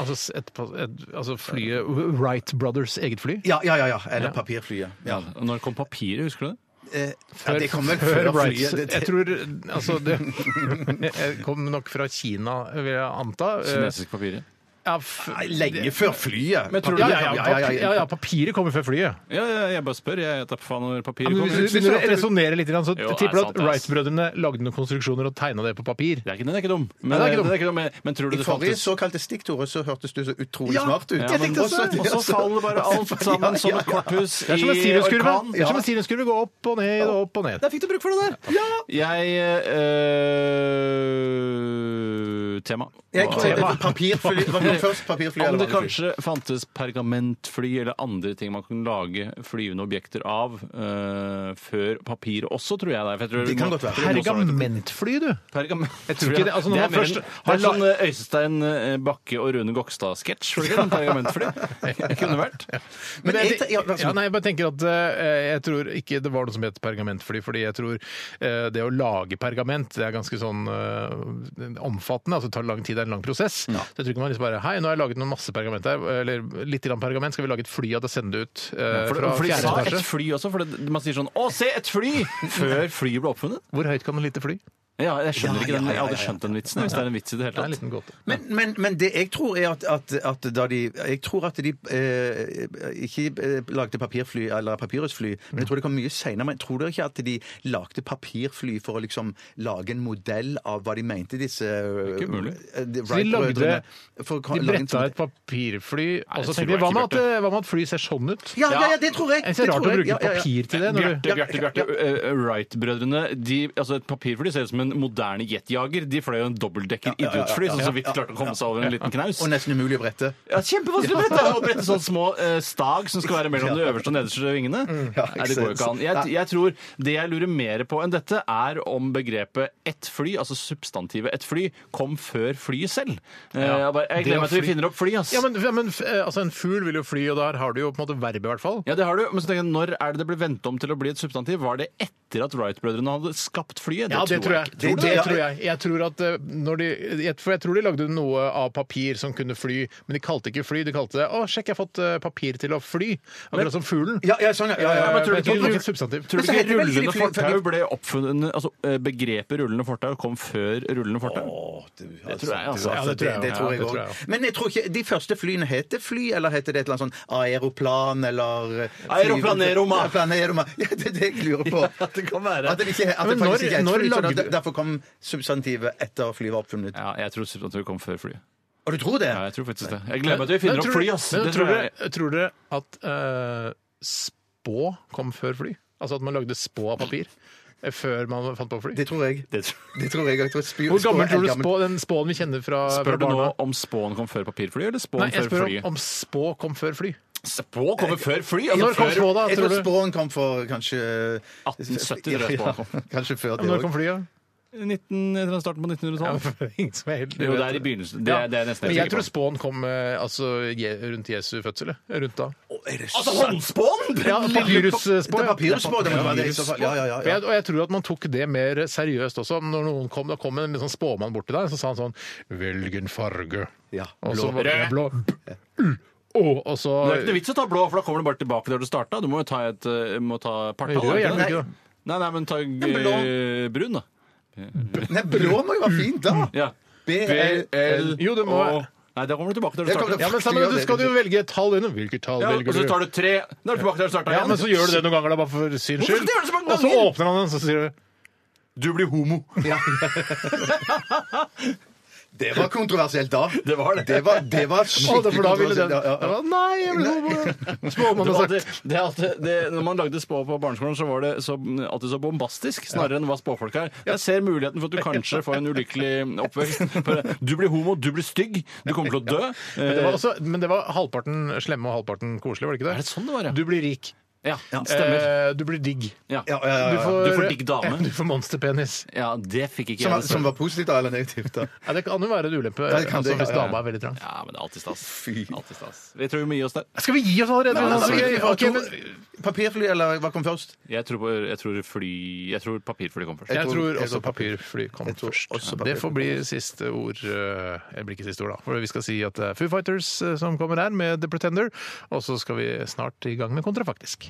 S1: Altså, s- et, pa- et, altså flyet Wright Brothers eget fly?
S7: Ja, ja, ja. ja. Eller papirflyet. Ja.
S3: Når kom papiret, husker du det?
S7: Eh,
S1: Før,
S7: ja, det kommer
S1: før
S7: før
S1: Wrights.
S7: flyet. Det-
S1: Jeg tror Altså, det <laughs> jeg kom nok fra Kina, vil jeg anta. Eh,
S3: Kinesisk papir.
S1: Ja, f-
S7: Nei, Lenge før flyet.
S1: Men tror du-
S7: Papir-
S1: ja, ja, ja, papir- ja, ja, papiret kommer før flyet.
S3: Ja, ja, jeg bare spør. Jeg vet da faen når
S1: Ja,
S3: papiret
S1: men
S3: kommer.
S1: hvis du begynner å resonnere litt, grann, så
S3: Jo, det er
S1: tipper du
S3: sant,
S1: at
S3: det, ass.
S1: Wright-brødrene lagde noen konstruksjoner og tegna det på papir.
S3: Det er ikke, den er ikke dum.
S1: Nei,
S3: Men, eh,
S1: det er ikke dum.
S3: den er ikke dum. men, men tror du
S7: I
S3: det
S7: forrige
S3: fantes
S7: såkalte stikk, Tore, så hørtes du så utrolig
S3: Ja,
S7: smart ut.
S3: ja, men også-
S1: sånn.
S3: og så faller
S1: <laughs>
S3: bare alt sammen som et korthus
S1: Det er som en
S3: I
S1: sinuskurve.
S3: orkan,
S1: Det er som en
S3: ja.
S1: sinuskurve går opp og ned og opp og ned.
S3: Der fikk du bruk for det der! Jeg eh, øh, Tema.
S7: Jeg
S3: Hva-
S7: tror det var papirfly. Hva kom først, papirfly
S3: Om
S7: eller
S3: det
S7: vanlig fly?
S3: kanskje fantes pergamentfly eller andre ting man kunne lage flyvende objekter av øh, før papir også, tror jeg. det er, for jeg tror
S1: Det
S3: vi
S1: kan
S3: må-
S1: godt være.
S3: tror vi må starte-
S1: Pergamentfly, du!
S3: Pergament.
S1: Jeg tror ikke det, altså når man
S3: er mer
S1: først
S3: en-
S1: har
S3: det er sånn eh, Øystein eh, Bakke og Rune Gokstad-sketsj. var det ikke? Den Pergamentfly. <laughs> Det kunne vært.
S1: Men
S3: Men
S1: jeg,
S3: jeg-
S1: te-
S3: ja, vær så
S1: ja,
S3: god.
S1: nei, jeg bare tenker at eh, jeg tror ikke det var noe som het pergamentfly, fordi jeg tror eh, det å lage pergament det er ganske sånn eh, omfattende, altså det tar lang tid, det er en lang prosess. Så jeg tror ikke man liksom bare Hei, nå har jeg laget noen masse pergament her, eller litt grann pergament, skal vi lage et fly av det og sende det ut eh,
S3: For,
S1: fra
S3: for de
S1: fjerde
S3: sa et
S1: etasje?
S3: fly også, for det, man sier sånn 'Å, se,
S7: <laughs>
S3: et fly!' før flyet ble oppfunnet.
S1: Hvor høyt kan et lite fly?
S3: Ja, jeg skjønner
S7: Ja,
S3: ikke
S7: ja,
S3: den.
S7: ja,
S3: Jeg
S7: ja,
S3: hadde
S7: ja.
S3: skjønt den vitsen, hvis det er en vits i det hele tatt.
S7: Men, men, men det jeg tror er at, at, at da de Jeg tror at de eh, ikke eh, lagde papirfly eller papirhusfly, men jeg tror det kom mye seinere. Men tror dere ikke at de lagde papirfly for å liksom lage en modell av hva de mente disse
S3: ikke umulig.
S7: eh, de
S1: Så de lagde
S7: Wright-brødrene for å ka-
S1: De
S7: lage en
S1: bretta
S7: sånn-
S1: et papirfly, og så tenkte de
S3: tror
S1: hva
S3: jeg ikke,
S1: med at,
S3: Bjarte.
S1: eh, hva med at fly ser sånn ut?
S7: ja, ja, ja, det tror jeg!
S1: Det er så rart
S7: tror
S1: å
S7: jeg.
S1: bruke
S7: Ja, ja, ja.
S1: papir til det. Når du...
S3: Bjarte, Bjarte, Bjarte. eh, eh, Wright-brødrene de, altså Et papirfly ser ut som en moderne jetjager. De fløy jo en
S7: ja,
S3: dobbeltdekker
S7: ja, ja,
S3: idrettsfly som
S7: ja,
S3: så vidt
S7: ja,
S3: klarte å komme seg over en liten knaus.
S7: Og nesten umulig å brette.
S3: Ja, Kjempevanskelig å <laughs> brette! Å brette sånne små eh, stag som skal være mellom de øverste og nederste vingene.
S7: Ja,
S3: Nei, det går jo ikke an. Jeg, jeg tror Det jeg lurer mer på enn dette, er om begrepet ett fly, altså substantivet ett fly, kom før flyet selv. Eh, Jeg, bare, jeg
S1: Det å
S3: gleder meg til
S1: fly-
S3: vi finner opp fly, ass.
S1: Ja, men, men eh, altså, En fugl vil jo fly, og der har du jo på en måte verbet, i hvert fall.
S3: Ja, det har du. Men så tenker jeg, når er det det ble vendt om til å bli et substantiv? Var det etter etter at Wright-brødrene hadde skapt flyet.
S1: Ja, det tror jeg.
S3: ikke.
S1: Det, det tror jeg. Jeg tror at eh, når de, jeg, For jeg tror de lagde noe av papir som kunne fly, men de kalte det ikke fly. De kalte det 'Å, sjekk, jeg har fått eh, papir til å fly'. Akkurat som fuglen.
S2: Ja, ja, sånn, ja, ja, ja.
S1: Eh,
S2: Men tror du
S1: jeg
S2: ikke-
S1: tror det var ikke et substantiv.
S3: Tror
S2: Men
S3: du
S2: så
S3: ikke
S2: heter det vel
S3: rullende
S2: fly- fly-
S3: fortau ble oppfunnet altså eh, Begrepet rullende fortau kom før rullende fortau? det tror jeg, altså.
S2: Ja, det tror jeg, det, tror jeg
S3: Ja, det tror jeg
S2: også. Men jeg tror ikke de første flyene heter fly, eller heter det et eller annet sånn aeroplan eller
S3: Aeroplaneroma.
S2: Aeroplaneroma. Ja, det er det jeg lurer på.
S3: også. det kan være.
S2: At det, ikke, at det
S1: Men når-
S2: faktisk ikke er et
S1: når
S2: fly. så
S1: lagde
S2: der-
S1: du-
S2: Derfor kom substantivet etter flyet var oppfunnet.
S3: Ja, jeg tror substantivet kom før flyet.
S2: Og du tror det?
S3: Ja, jeg tror faktisk det. Jeg gleder meg til vi finner
S1: Men
S3: opp
S1: tror-
S3: fly, ass.
S1: men
S3: Det
S1: tror
S3: tror jeg.
S1: dere- Tror dere at eh, spå kom før fly? Altså at man lagde spå av papir? eh, Før man fant på fly?
S2: Det tror jeg.
S3: Det tror-
S2: Det tror jeg. jeg tror spy-
S1: Hvor gammel
S2: spå-
S1: tror du
S2: gammel-
S1: spå, den spåen vi kjenner fra, fra
S3: Spør du nå
S1: barna?
S3: om spåen kom før papirfly, eller
S1: Nei,
S3: spåen
S1: jeg
S3: før
S1: spør
S3: flyet?
S1: om, om spå kom før fly.
S3: Spå kommer før altså fly!
S1: Når kom spå, da?
S2: Jeg
S1: Tror
S2: tror
S1: du?
S2: spåen kom for kanskje
S3: 1870 tror
S2: Ja,
S3: jeg spåen kom.
S2: Kanskje før det
S1: Når kom
S2: også.
S1: flyet?
S3: 19, jeg tror det starten på 1900-tallet.
S1: Ingen som er helt
S3: Jo, det er i begynnelsen. Det,
S1: Ja.
S3: er- det er nesten
S1: Men
S3: helt
S1: jeg tror
S3: sikker på.
S1: spåen kom eh, altså, je, rundt Jesu fødsel. eh, Rundt da.
S3: Altså håndspåen!
S1: Ja,
S2: Det
S1: papyrusspå.
S2: er
S1: ja.
S2: papyrusspå, det må være det i så fall. Ja, ja, ja,
S1: Og
S2: ja.
S1: jeg, og jeg tror at man tok det mer seriøst også. Når noen kom, da kom en sånn spåmann bort til deg, så sa han sånn Velg en farge.
S2: Ja.
S1: Og så
S3: Blå.
S1: var det
S3: Rød.
S1: blå. Å, og så
S3: Det er ikke noe vits å ta blå, for da kommer du bare tilbake der du starta. Du må jo ta et eh, må ta partall.
S1: Rød,
S3: er
S1: gjerne
S3: det ikke
S1: ikke,
S3: det?
S1: da.
S3: Nei, nei, men ta eh,
S2: blå.
S3: brun, da.
S2: Nei, blå må jo være fint, da!
S3: Ja.
S2: BL.
S1: Jo, det må være-
S3: Nei, da kommer du tilbake der du
S2: Det kommer til-
S3: starta.
S1: Ja, men sammen, du skal jo velge et tall under. Hvilket tall
S3: Ja, og
S1: velger
S3: så
S1: du?
S3: tar du tre Da er du tilbake der du starta.
S1: Ja, men så gjør du det noen ganger, da, bare for syns
S3: Hvorfor
S1: skyld.
S3: gjør du det så mange
S1: Og så
S3: ganger?
S1: åpner han den, så sier du
S3: Du blir homo.
S2: Det var kontroversielt da.
S3: Det var det.
S2: Det var, det var
S1: Å, det
S2: skikkelig
S1: er for da ville
S2: kontroversielt.
S1: den
S2: Ja, ja, ja.
S1: Ja, Nei, jeg vil
S3: <laughs>
S1: homo.
S3: Det
S1: Spåmannen
S3: var
S1: har
S3: alltid,
S1: sagt
S3: det er alltid, det, når man lagde spå på barneskolen, så var det så, alltid så bombastisk, snarere enn hva spåfolk er. Jeg ser muligheten for at du kanskje får en ulykkelig oppvekst. For Du blir homo, du blir stygg, du kommer til å dø. Eh,
S1: men det, var også, men det var halvparten slemme og halvparten koselig, var det ikke det?
S3: Er det sånn det var, ja?
S1: Du blir rik.
S3: Ja, stemmer.
S1: Eh, du blir digg.
S3: Ja.
S2: Ja, ja, ja, ja.
S3: Du får digg
S1: <laughs>
S3: dame.
S1: Du får monsterpenis.
S3: ja, det fikk ikke
S2: Som, var-
S3: jeg.
S2: som
S3: dessverre.
S2: var positivt da, eller negativt? da?
S1: Ja, det kan jo være en ulempe
S2: Ja, det kan
S1: altså,
S2: det,
S1: hvis
S2: ja, ja.
S1: dama er veldig trang.
S3: Ja, men det er alltid stas.
S2: Fy.
S3: Alltid stas. Vi tror vi må gi oss der.
S1: Skal vi gi oss allerede?
S2: Ja,
S1: Altså, jeg-
S2: papirfly-
S1: ok, men-
S2: Papirfly, eller hva kom først?
S3: Jeg tror, på- jeg tror fly Jeg tror papirfly kom først.
S2: Jeg
S1: jeg
S2: tror-
S1: tror
S2: jeg tror
S1: også
S2: papir-
S1: papirfly kom
S2: jeg tror
S1: først.
S2: også
S1: det får
S2: papirfly
S1: bli siste ord eh, Det blir ikke siste ord, da. For vi skal si at det er Foo Fighters eh, som kommer her med The Pretender. Og så skal vi snart i gang med Kontrafaktisk.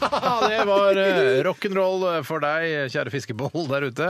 S1: Ja, det var eh, rock'n'roll for deg, kjære fiskeboll der ute.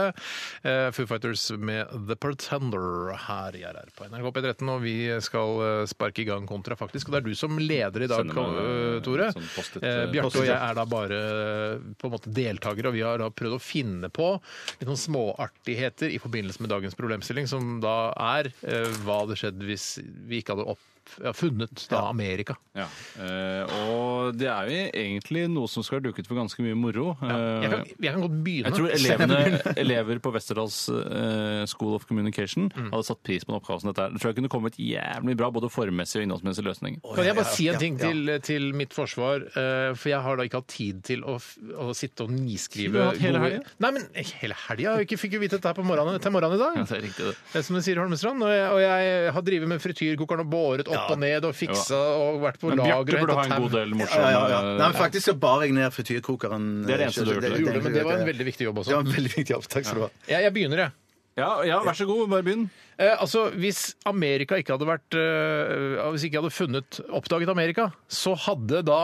S1: Eh, Foo Fighters med The Pretender her i RR på NRK P13. Og vi skal eh, sparke i gang kontra, faktisk. Og det er du som leder i dag,
S3: Sender meg,
S1: Kal- Tore.
S3: sånn post-it,
S1: Eh,
S3: eh,
S1: Bjarte
S3: post-it,
S1: og jeg
S3: ja.
S1: er da bare eh, på en måte deltakere, og vi har da prøvd å finne på litt sånn småartigheter i forbindelse med dagens problemstilling, som da er eh, hva hadde skjedd hvis vi ikke hadde opp, ja, funnet da Amerika.
S3: Ja. eh, og det er jo egentlig noe som skal være duket for ganske mye moro.
S1: Jeg kan,
S3: Eh,
S1: jeg kan godt begynne.
S3: Jeg tror elevene, elever på Westerdals eh, School of Communication hadde satt pris på den oppgaven som dette er. Jeg tror jeg kunne kommet jævlig bra, både formmessig og innholdsmessig løsning.
S1: Kan jeg bare si en ting
S2: ja.
S1: til, eh, til mitt forsvar? Eh, For jeg har da ikke hatt tid til å, f- å sitte og niskrive.
S3: Du har hatt hele
S1: gode-
S3: helgen?
S1: Nei, men hele helga! Jeg fikk jo vite dette her på morgenen, til morgenen i dag.
S3: Ja, det er riktig, det.
S1: Det er Som du sier, Holmestrand. Og jeg, og jeg har drevet med frityrkokeren og båret opp og ned og fiksa og vært på
S3: Men Bjarte
S1: lageret
S3: burde ha en god del eh, morsomme
S2: Ja, ja. Nei, men faktisk så bar jeg ned frityrkokeren. eh,
S3: Det er det eneste du gjorde.
S1: Du gjorde det, men det var en veldig viktig
S2: Det
S1: jobb også.
S2: var en veldig viktig jobb. Takk skal du ha.
S1: Jeg, jeg begynner, jeg.
S3: ja, ja, vær så god, bare begynn.
S1: Eh, altså, Hvis Amerika ikke hadde vært eh, Hvis ikke jeg hadde funnet, oppdaget Amerika, så hadde da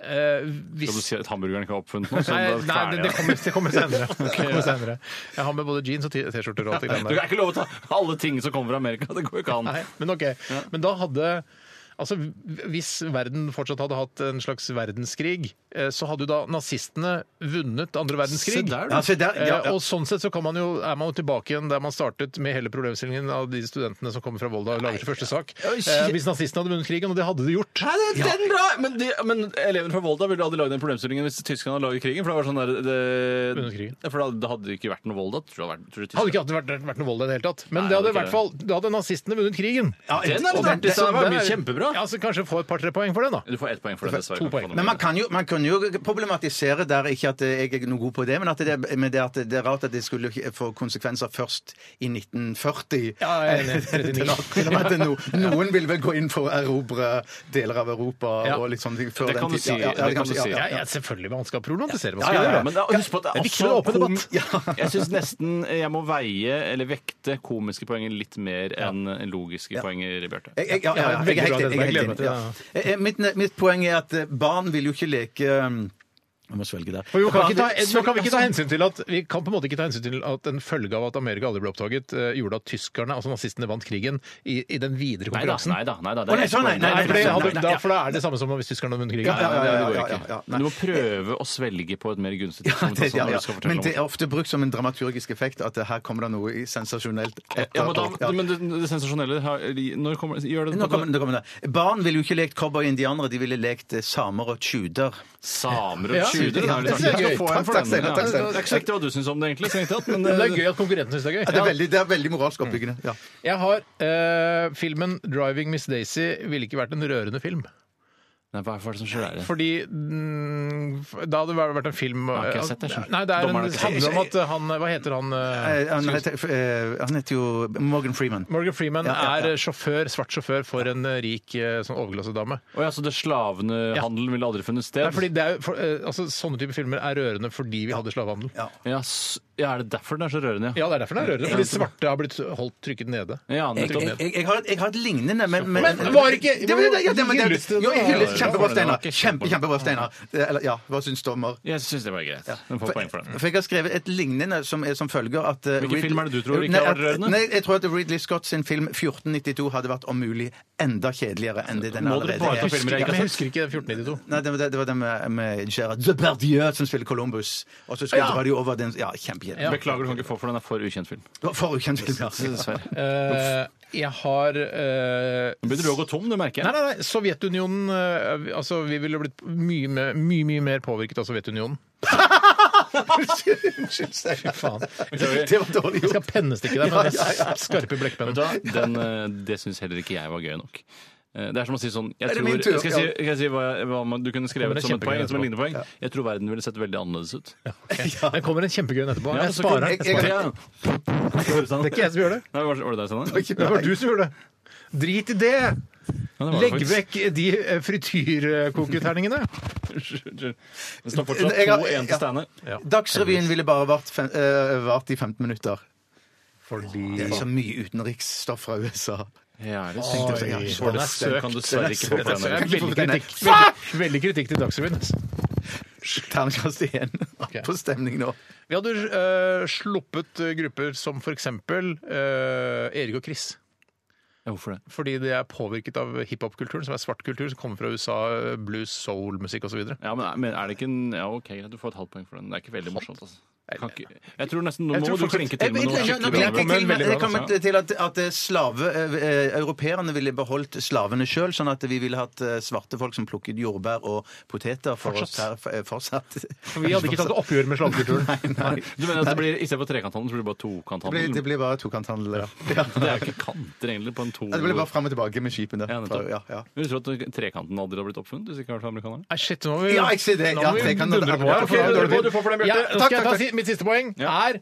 S1: eh, hvis...
S3: Skal du si at hamburgeren ikke er oppfunnet nå? Så
S1: Nei,
S3: det
S1: nei
S3: er
S1: det,
S3: ferdig,
S1: det,
S3: da.
S1: kommer, det kommer <laughs> senere. Det kommer senere. Jeg har med både jeans og t- T-skjorter. og alt det grann
S3: Du
S1: der.
S3: er ikke lov å ta alle ting som kommer fra Amerika. Det går jo ikke an.
S1: Nei, Men ok. Men da hadde Altså, Hvis verden fortsatt hadde hatt en slags verdenskrig, eh, så hadde jo da nazistene vunnet andre verdenskrig.
S3: Se der, du.
S2: Ja, se der, ja,
S1: Eh,
S2: ja.
S1: Og sånn sett så kan man jo, er man jo tilbake igjen der man startet med hele problemstillingen av de studentene som kommer fra Volda og lager sin første sak. Eh, Hvis nazistene hadde vunnet krigen, og det hadde de gjort
S3: Nei, det, den er bra! Men, de, men elevene fra Volda ville aldri lagd den problemstillingen hvis tyskerne hadde laget krigen. For det var sånn der det,
S1: Under krigen.
S3: Ja, For da, da hadde det ikke vært noe Volda. Tror jeg,
S1: Det hadde
S3: det hadde vært- tror jeg, tyskerne-
S1: ikke alltid vært, vært noe vold i det hele tatt. Men
S3: Nei,
S1: det hadde i
S3: det hadde
S1: hvert fall, da hadde nazistene vunnet krigen.
S3: Den er litt
S1: Og den-
S3: artig! så Det var
S1: den
S3: mye
S1: er-
S3: kjempebra.
S1: altså, kanskje få et par-tre poeng for den, da.
S3: Du får ett poeng for den, dessverre.
S1: To poeng.
S7: Men man kan, jo, man kan jo problematisere der, ikke at jeg er noe god på det, men at det, men det, at det er rart at det skulle få konsekvenser først i 1940.
S1: Ja, jeg er
S7: <laughs>
S1: enig. 39.
S7: Det er rart at no, noen vil vel gå inn for å erobre deler av Europa
S1: Ja.
S7: og litt sånne ting før
S3: Det kan
S7: den
S3: du
S7: tid.
S3: si,
S7: Ja, ja,
S3: det kan du si.
S1: Ja, ja, selvfølgelig man skal problematisere. Man
S3: Ja,
S1: skal
S3: ja,
S1: gjøre
S3: ja, men da, husk på at det
S1: Det
S3: er
S1: er viktig
S3: også
S1: med åpen
S3: kom-
S1: debatt.
S3: Jeg syns nesten jeg må veie eller vekte komiske poenger litt mer enn logiske poenger, Bjarte.
S7: <laughs> Jeg, jeg, ja, ja,
S1: Ja,
S7: jeg,
S1: veldig
S7: er helt
S1: bra,
S7: enig. Jeg er
S1: jeg
S7: helt
S1: gleder
S7: enig.
S1: meg til
S7: Ja. Eh, eh, Mitt, mitt poeng er at eh, barn vil jo ikke leke um, Jeg må svelge der.
S1: For jo, kan vi ikke
S7: Barn
S1: ta,
S7: vil-
S1: nå kan vi ikke ta hensyn til at vi kan på en måte ikke ta hensyn til at en følge av at Amerika aldri ble oppdaget, eh, gjorde at tyskerne, altså nazistene, vant krigen i, i den videre
S3: Nei da,
S1: konkurransen.
S3: nei da. Nei, da,
S7: Å, nei, sånn, nei, nei,
S1: Nei, for det,
S7: nei,
S1: hadde,
S7: nei,
S1: da,
S7: ja.
S1: for da er det samme som hvis tyskerne hadde vunnet krigen.
S7: Ja, ja, ja,
S3: det
S7: ja,
S3: går
S7: ja,
S3: ikke.
S7: ja, ja,
S3: Men Du må prøve å svelge på et mer gunstig
S7: Ja,
S3: tidspunkt.
S7: det,
S3: altså,
S7: ja,
S3: når
S7: ja.
S3: du skal fortelle
S7: Men
S3: om
S7: det er ofte brukt som en dramaturgisk effekt at eh, her kommer det noe i- sensasjonelt etter.
S3: Ja, men, da,
S7: Ja.
S3: men det, det sensasjonelle har- Når kommer Gjør det
S7: Nå kommer, det- nå kommer det. Barn ville jo ikke lekt cowboy-indianere, de ville lekt eh, samer og tuder.
S3: Samer og
S1: Ja,
S3: tjuder.
S7: ja,
S3: det
S7: det
S3: er
S7: er
S3: gøy.
S7: gøy. Takk, takk, Steinar, takk, Steinar.
S3: Det er ikke sikkert hva du syns om det, egentlig. Strengt tatt, men
S1: Men det er gøy at konkurrenten syns det er
S7: Ja, det, er
S1: gøy.
S7: veldig, det er veldig moralsk oppbyggende. Ja.
S1: Jeg har eh, filmen 'Driving Miss Daisy' ville ikke vært en rørende film.
S3: Nei, hva er det som skjer der?
S1: Fordi mm, f- da hadde det vært en film
S3: har
S1: eh,
S3: ikke jeg sett det, skjønner du.
S1: Nei, det er en,
S3: Dommeren har
S1: det
S3: ikke sett det.
S1: handler om at han Hva heter han? eh,
S7: Eh, Han, heter, f- eh, han heter jo Morgan Freeman.
S1: Morgan Freeman
S7: Ja, ja, ja.
S1: er eh, sjåfør, svart sjåfør for en eh, rik eh, sånn overklassedame.
S3: Å ja, så det slavehandelen ville aldri funnet sted?
S1: Nei, fordi det er, jo- for, eh, altså, sånne type filmer er rørende fordi vi hadde slavehandel.
S7: Ja.
S3: ja, s- ja, er det derfor den er så rørende?
S1: Ja, det er derfor den er rørende. Fordi svarte har blitt holdt trykket nede.
S3: ja
S7: Jeg,
S3: nettopp.
S7: jeg, jeg, jeg, har, et- jeg har et lignende, men Men,
S1: var ikke-
S7: det, var- ja, det, men,
S1: Hylles
S7: det,
S1: det da?
S7: Jo, jeg hylles
S3: Ja,
S7: kjempebra,
S3: det var
S7: Steinar.
S3: ikke
S7: Kjempe, kjempebra, Steinar. Eh, Eller, ja, hva syns dommer?
S3: Jeg syns det var greit. Den får
S7: For,
S3: poeng for den.
S7: for jeg har skrevet et lignende som er som følger at eh,
S3: Hvilken
S7: Rid-
S3: film er det du tror ikke
S7: nei,
S3: har
S7: at-
S3: vært rørende?
S7: Nei, jeg tror at Ridley Scott sin film 1492 hadde vært om mulig enda kjedeligere enn det den
S3: Må
S7: allerede
S3: dere bare ta Altså,
S7: er.
S3: filmer
S1: Men
S3: jeg ikke
S1: jeg
S3: har sett?
S1: husker ikke 1492.
S7: Nei, det, var- det var den med, med Gerard Depardieu som spiller Columbus. Og så skulle
S3: Ja.
S7: dra de over den Ja, kjempekjedelig.
S3: Beklager, du kan ikke få for den er for ukjent film.
S7: Det var For ukjent film. ja.
S3: Dessverre.
S1: Eh, jeg har eh,
S3: Nå begynner du å gå tom, det merker
S1: Nei,
S3: jeg.
S1: nei, nei, Sovjetunionen eh, vi- Altså, vi ville blitt mye, mer- mye, mye mer påvirket av Sovjetunionen.
S7: Unnskyld, Steinar.
S1: Faen.
S7: Det var dårlig
S1: Jeg skal
S7: gjort.
S1: pennestikke deg med den skarpe
S3: Vet
S1: blekkpennen.
S3: du hva? Den, eh, det syns heller ikke jeg var gøy nok. Eh, Det er som å si sånn jeg
S7: Er det
S3: tror,
S7: min tur?
S3: Skal jeg si, skal jeg si hva, hva man, du kunne
S1: Kommer
S3: skrevet
S1: det
S3: som et poeng?
S1: kjempegøy
S3: Som en
S1: etterpå.
S3: lignepoeng? Jeg tror verden ville sett veldig annerledes ut.
S1: Ok. Det kommer en kjempegøy en etterpå.
S3: Ja,
S1: Jeg
S3: så
S1: sparer
S3: kan-
S1: den. Jeg sparer den.
S3: Ja.
S1: Det er ikke jeg som gjør det.
S3: Nei, var, var det deg, Steinar?
S1: Det var du som gjorde det. Drit i det!
S3: Ja, det var det
S1: Legg
S3: faktisk.
S1: vekk de eh, <laughs> frityrkoketerningene.
S3: Unnskyld. Det står fortsatt
S7: Jeg har-
S3: 2-1 til
S7: ja.
S3: Steinar.
S7: Dagsrevyen ville bare vart, fem, eh, vart i 15 minutter. Det er
S1: Fordi
S7: så mye utenriksstoff fra USA.
S3: Ja, det
S7: Tenkte
S3: tenkte
S7: jeg,
S3: jeg.
S7: ja,
S3: Den er søkt. Kan du dessverre ikke få
S7: Den er
S3: på
S7: søkt. Jeg
S3: den.
S7: kan ikke få
S1: Veldig
S7: den, nei.
S1: kritikk, veldig, veldig kritikk til Dagsrevyen. altså.
S7: Terningkast igjen på stemning nå.
S1: Vi hadde eh, sluppet eh, grupper som for eksempel eh, Erik og Chris.
S3: Ja, Hvorfor det?
S1: Fordi de er påvirket av hiphop-kulturen, som er svart kultur, som kommer fra USA, eh, blues, soul-musikk osv.
S3: Ja, men er- men er det ikke en Ja, OK, greit, du får et halvt poeng for den. Det er ikke veldig morsomt, altså. Kan ikke, jeg tror nesten Nå
S1: Jeg tror
S3: må
S1: folk-
S3: du klinke
S7: Jeg
S3: til med noe skikkelig bra. altså.
S1: klinker til, men-
S7: er kommet til at, at slave, eh, europeerne ville beholdt slavene sjøl, sånn at vi ville hatt eh, svarte folk som plukket jordbær og poteter for oss her eh, fortsatt.
S1: For vi hadde ikke tatt oppgjør med slavekulturen.
S7: Nei.
S3: Du mener at det blir, istedenfor trekanthandel, så blir det bare
S7: Det blir,
S3: tokanthandel?
S7: det blir bare tokanthandel. Ja. Ja.
S3: Det er jo ikke kanter egentlig på en to...
S7: Ja, Det blir bare fram og tilbake med skipene.
S3: Ja, nettopp.
S7: Ja, ja.
S3: Vil du tro at trekanten aldri hadde blitt oppfunnet hvis ikke hadde vært for amerikanerne?
S1: Nei, shit, nå må vi
S7: Ja, jeg ser det.
S1: Nå
S7: Ja,
S1: må vi
S7: det kan-
S1: dundre på her, for
S7: Ok,
S1: da er det dårlig
S3: du får-
S1: tid.
S3: du får for den, Bjarte.
S1: Ja, nå
S7: Takk,
S1: skal jeg ta
S7: takk,
S1: si- Mitt siste poeng er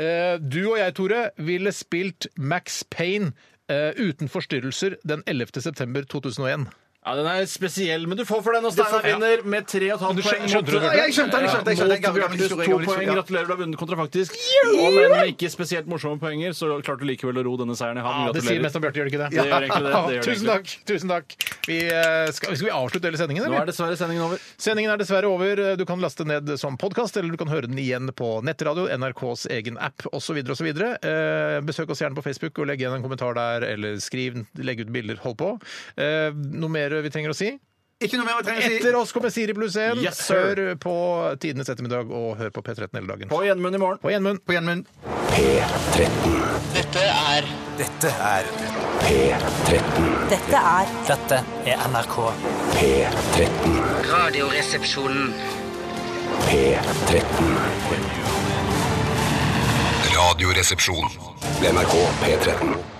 S1: eh, Du og jeg, Tore, ville spilt Max Payne eh, uten forstyrrelser den 11. september 2001.
S3: Ja, den er spesiell, men du får for den, og Steinar
S1: Ja.
S3: vinner med tre og et halvt poeng.
S1: skjønte
S3: mot-
S1: du det, Bjarte?
S7: Ja, jeg skjønte det, jeg skjønte det, jeg skjønte det.
S3: Mot
S7: Gammel- gammel
S3: Bjørtes
S7: historie,
S3: to
S7: gammel
S3: poeng.
S7: historie, ja.
S3: Gratulerer, du har vunnet kontrafaktisk. Og men ikke spesielt morsomme poenger, så klarte du likevel å ro denne seieren i havn.
S1: Ja, det sier
S3: Gratulerer.
S1: mest om Bjarte, gjør det ikke det?
S3: Det gjør egentlig det, det gjør
S1: <laughs> tusen takk. tusen takk. Vi, eh, skal, skal vi avslutte hele sendingen?
S3: Nå
S1: Eller?
S3: er dessverre sendingen over.
S1: Sendingen er dessverre over. Du kan laste ned som podkast, eller du kan høre den igjen på nettradio, NRKs egen app osv. osv. Eh, besøk oss gjerne på Facebook og legg igjen en kommentar der, eller skriv, legg ut bilder, hold på. Eh, noe mer vi trenger å si?
S7: Ikke noe mer å trenge å si.
S1: Etter oss kommer Siri pluss 1.
S3: Yes, sir.
S1: hør på Tidenes ettermiddag, og hør på P13 hele dagen.
S3: På gjenmunn i morgen.
S1: På gjenmunn.
S7: På gjenmunn.
S13: Dette er
S5: Dette er
S14: Dette er
S5: Dette er NRK.
S13: Radioresepsjonen.
S15: Radioresepsjon.
S4: NRK P13.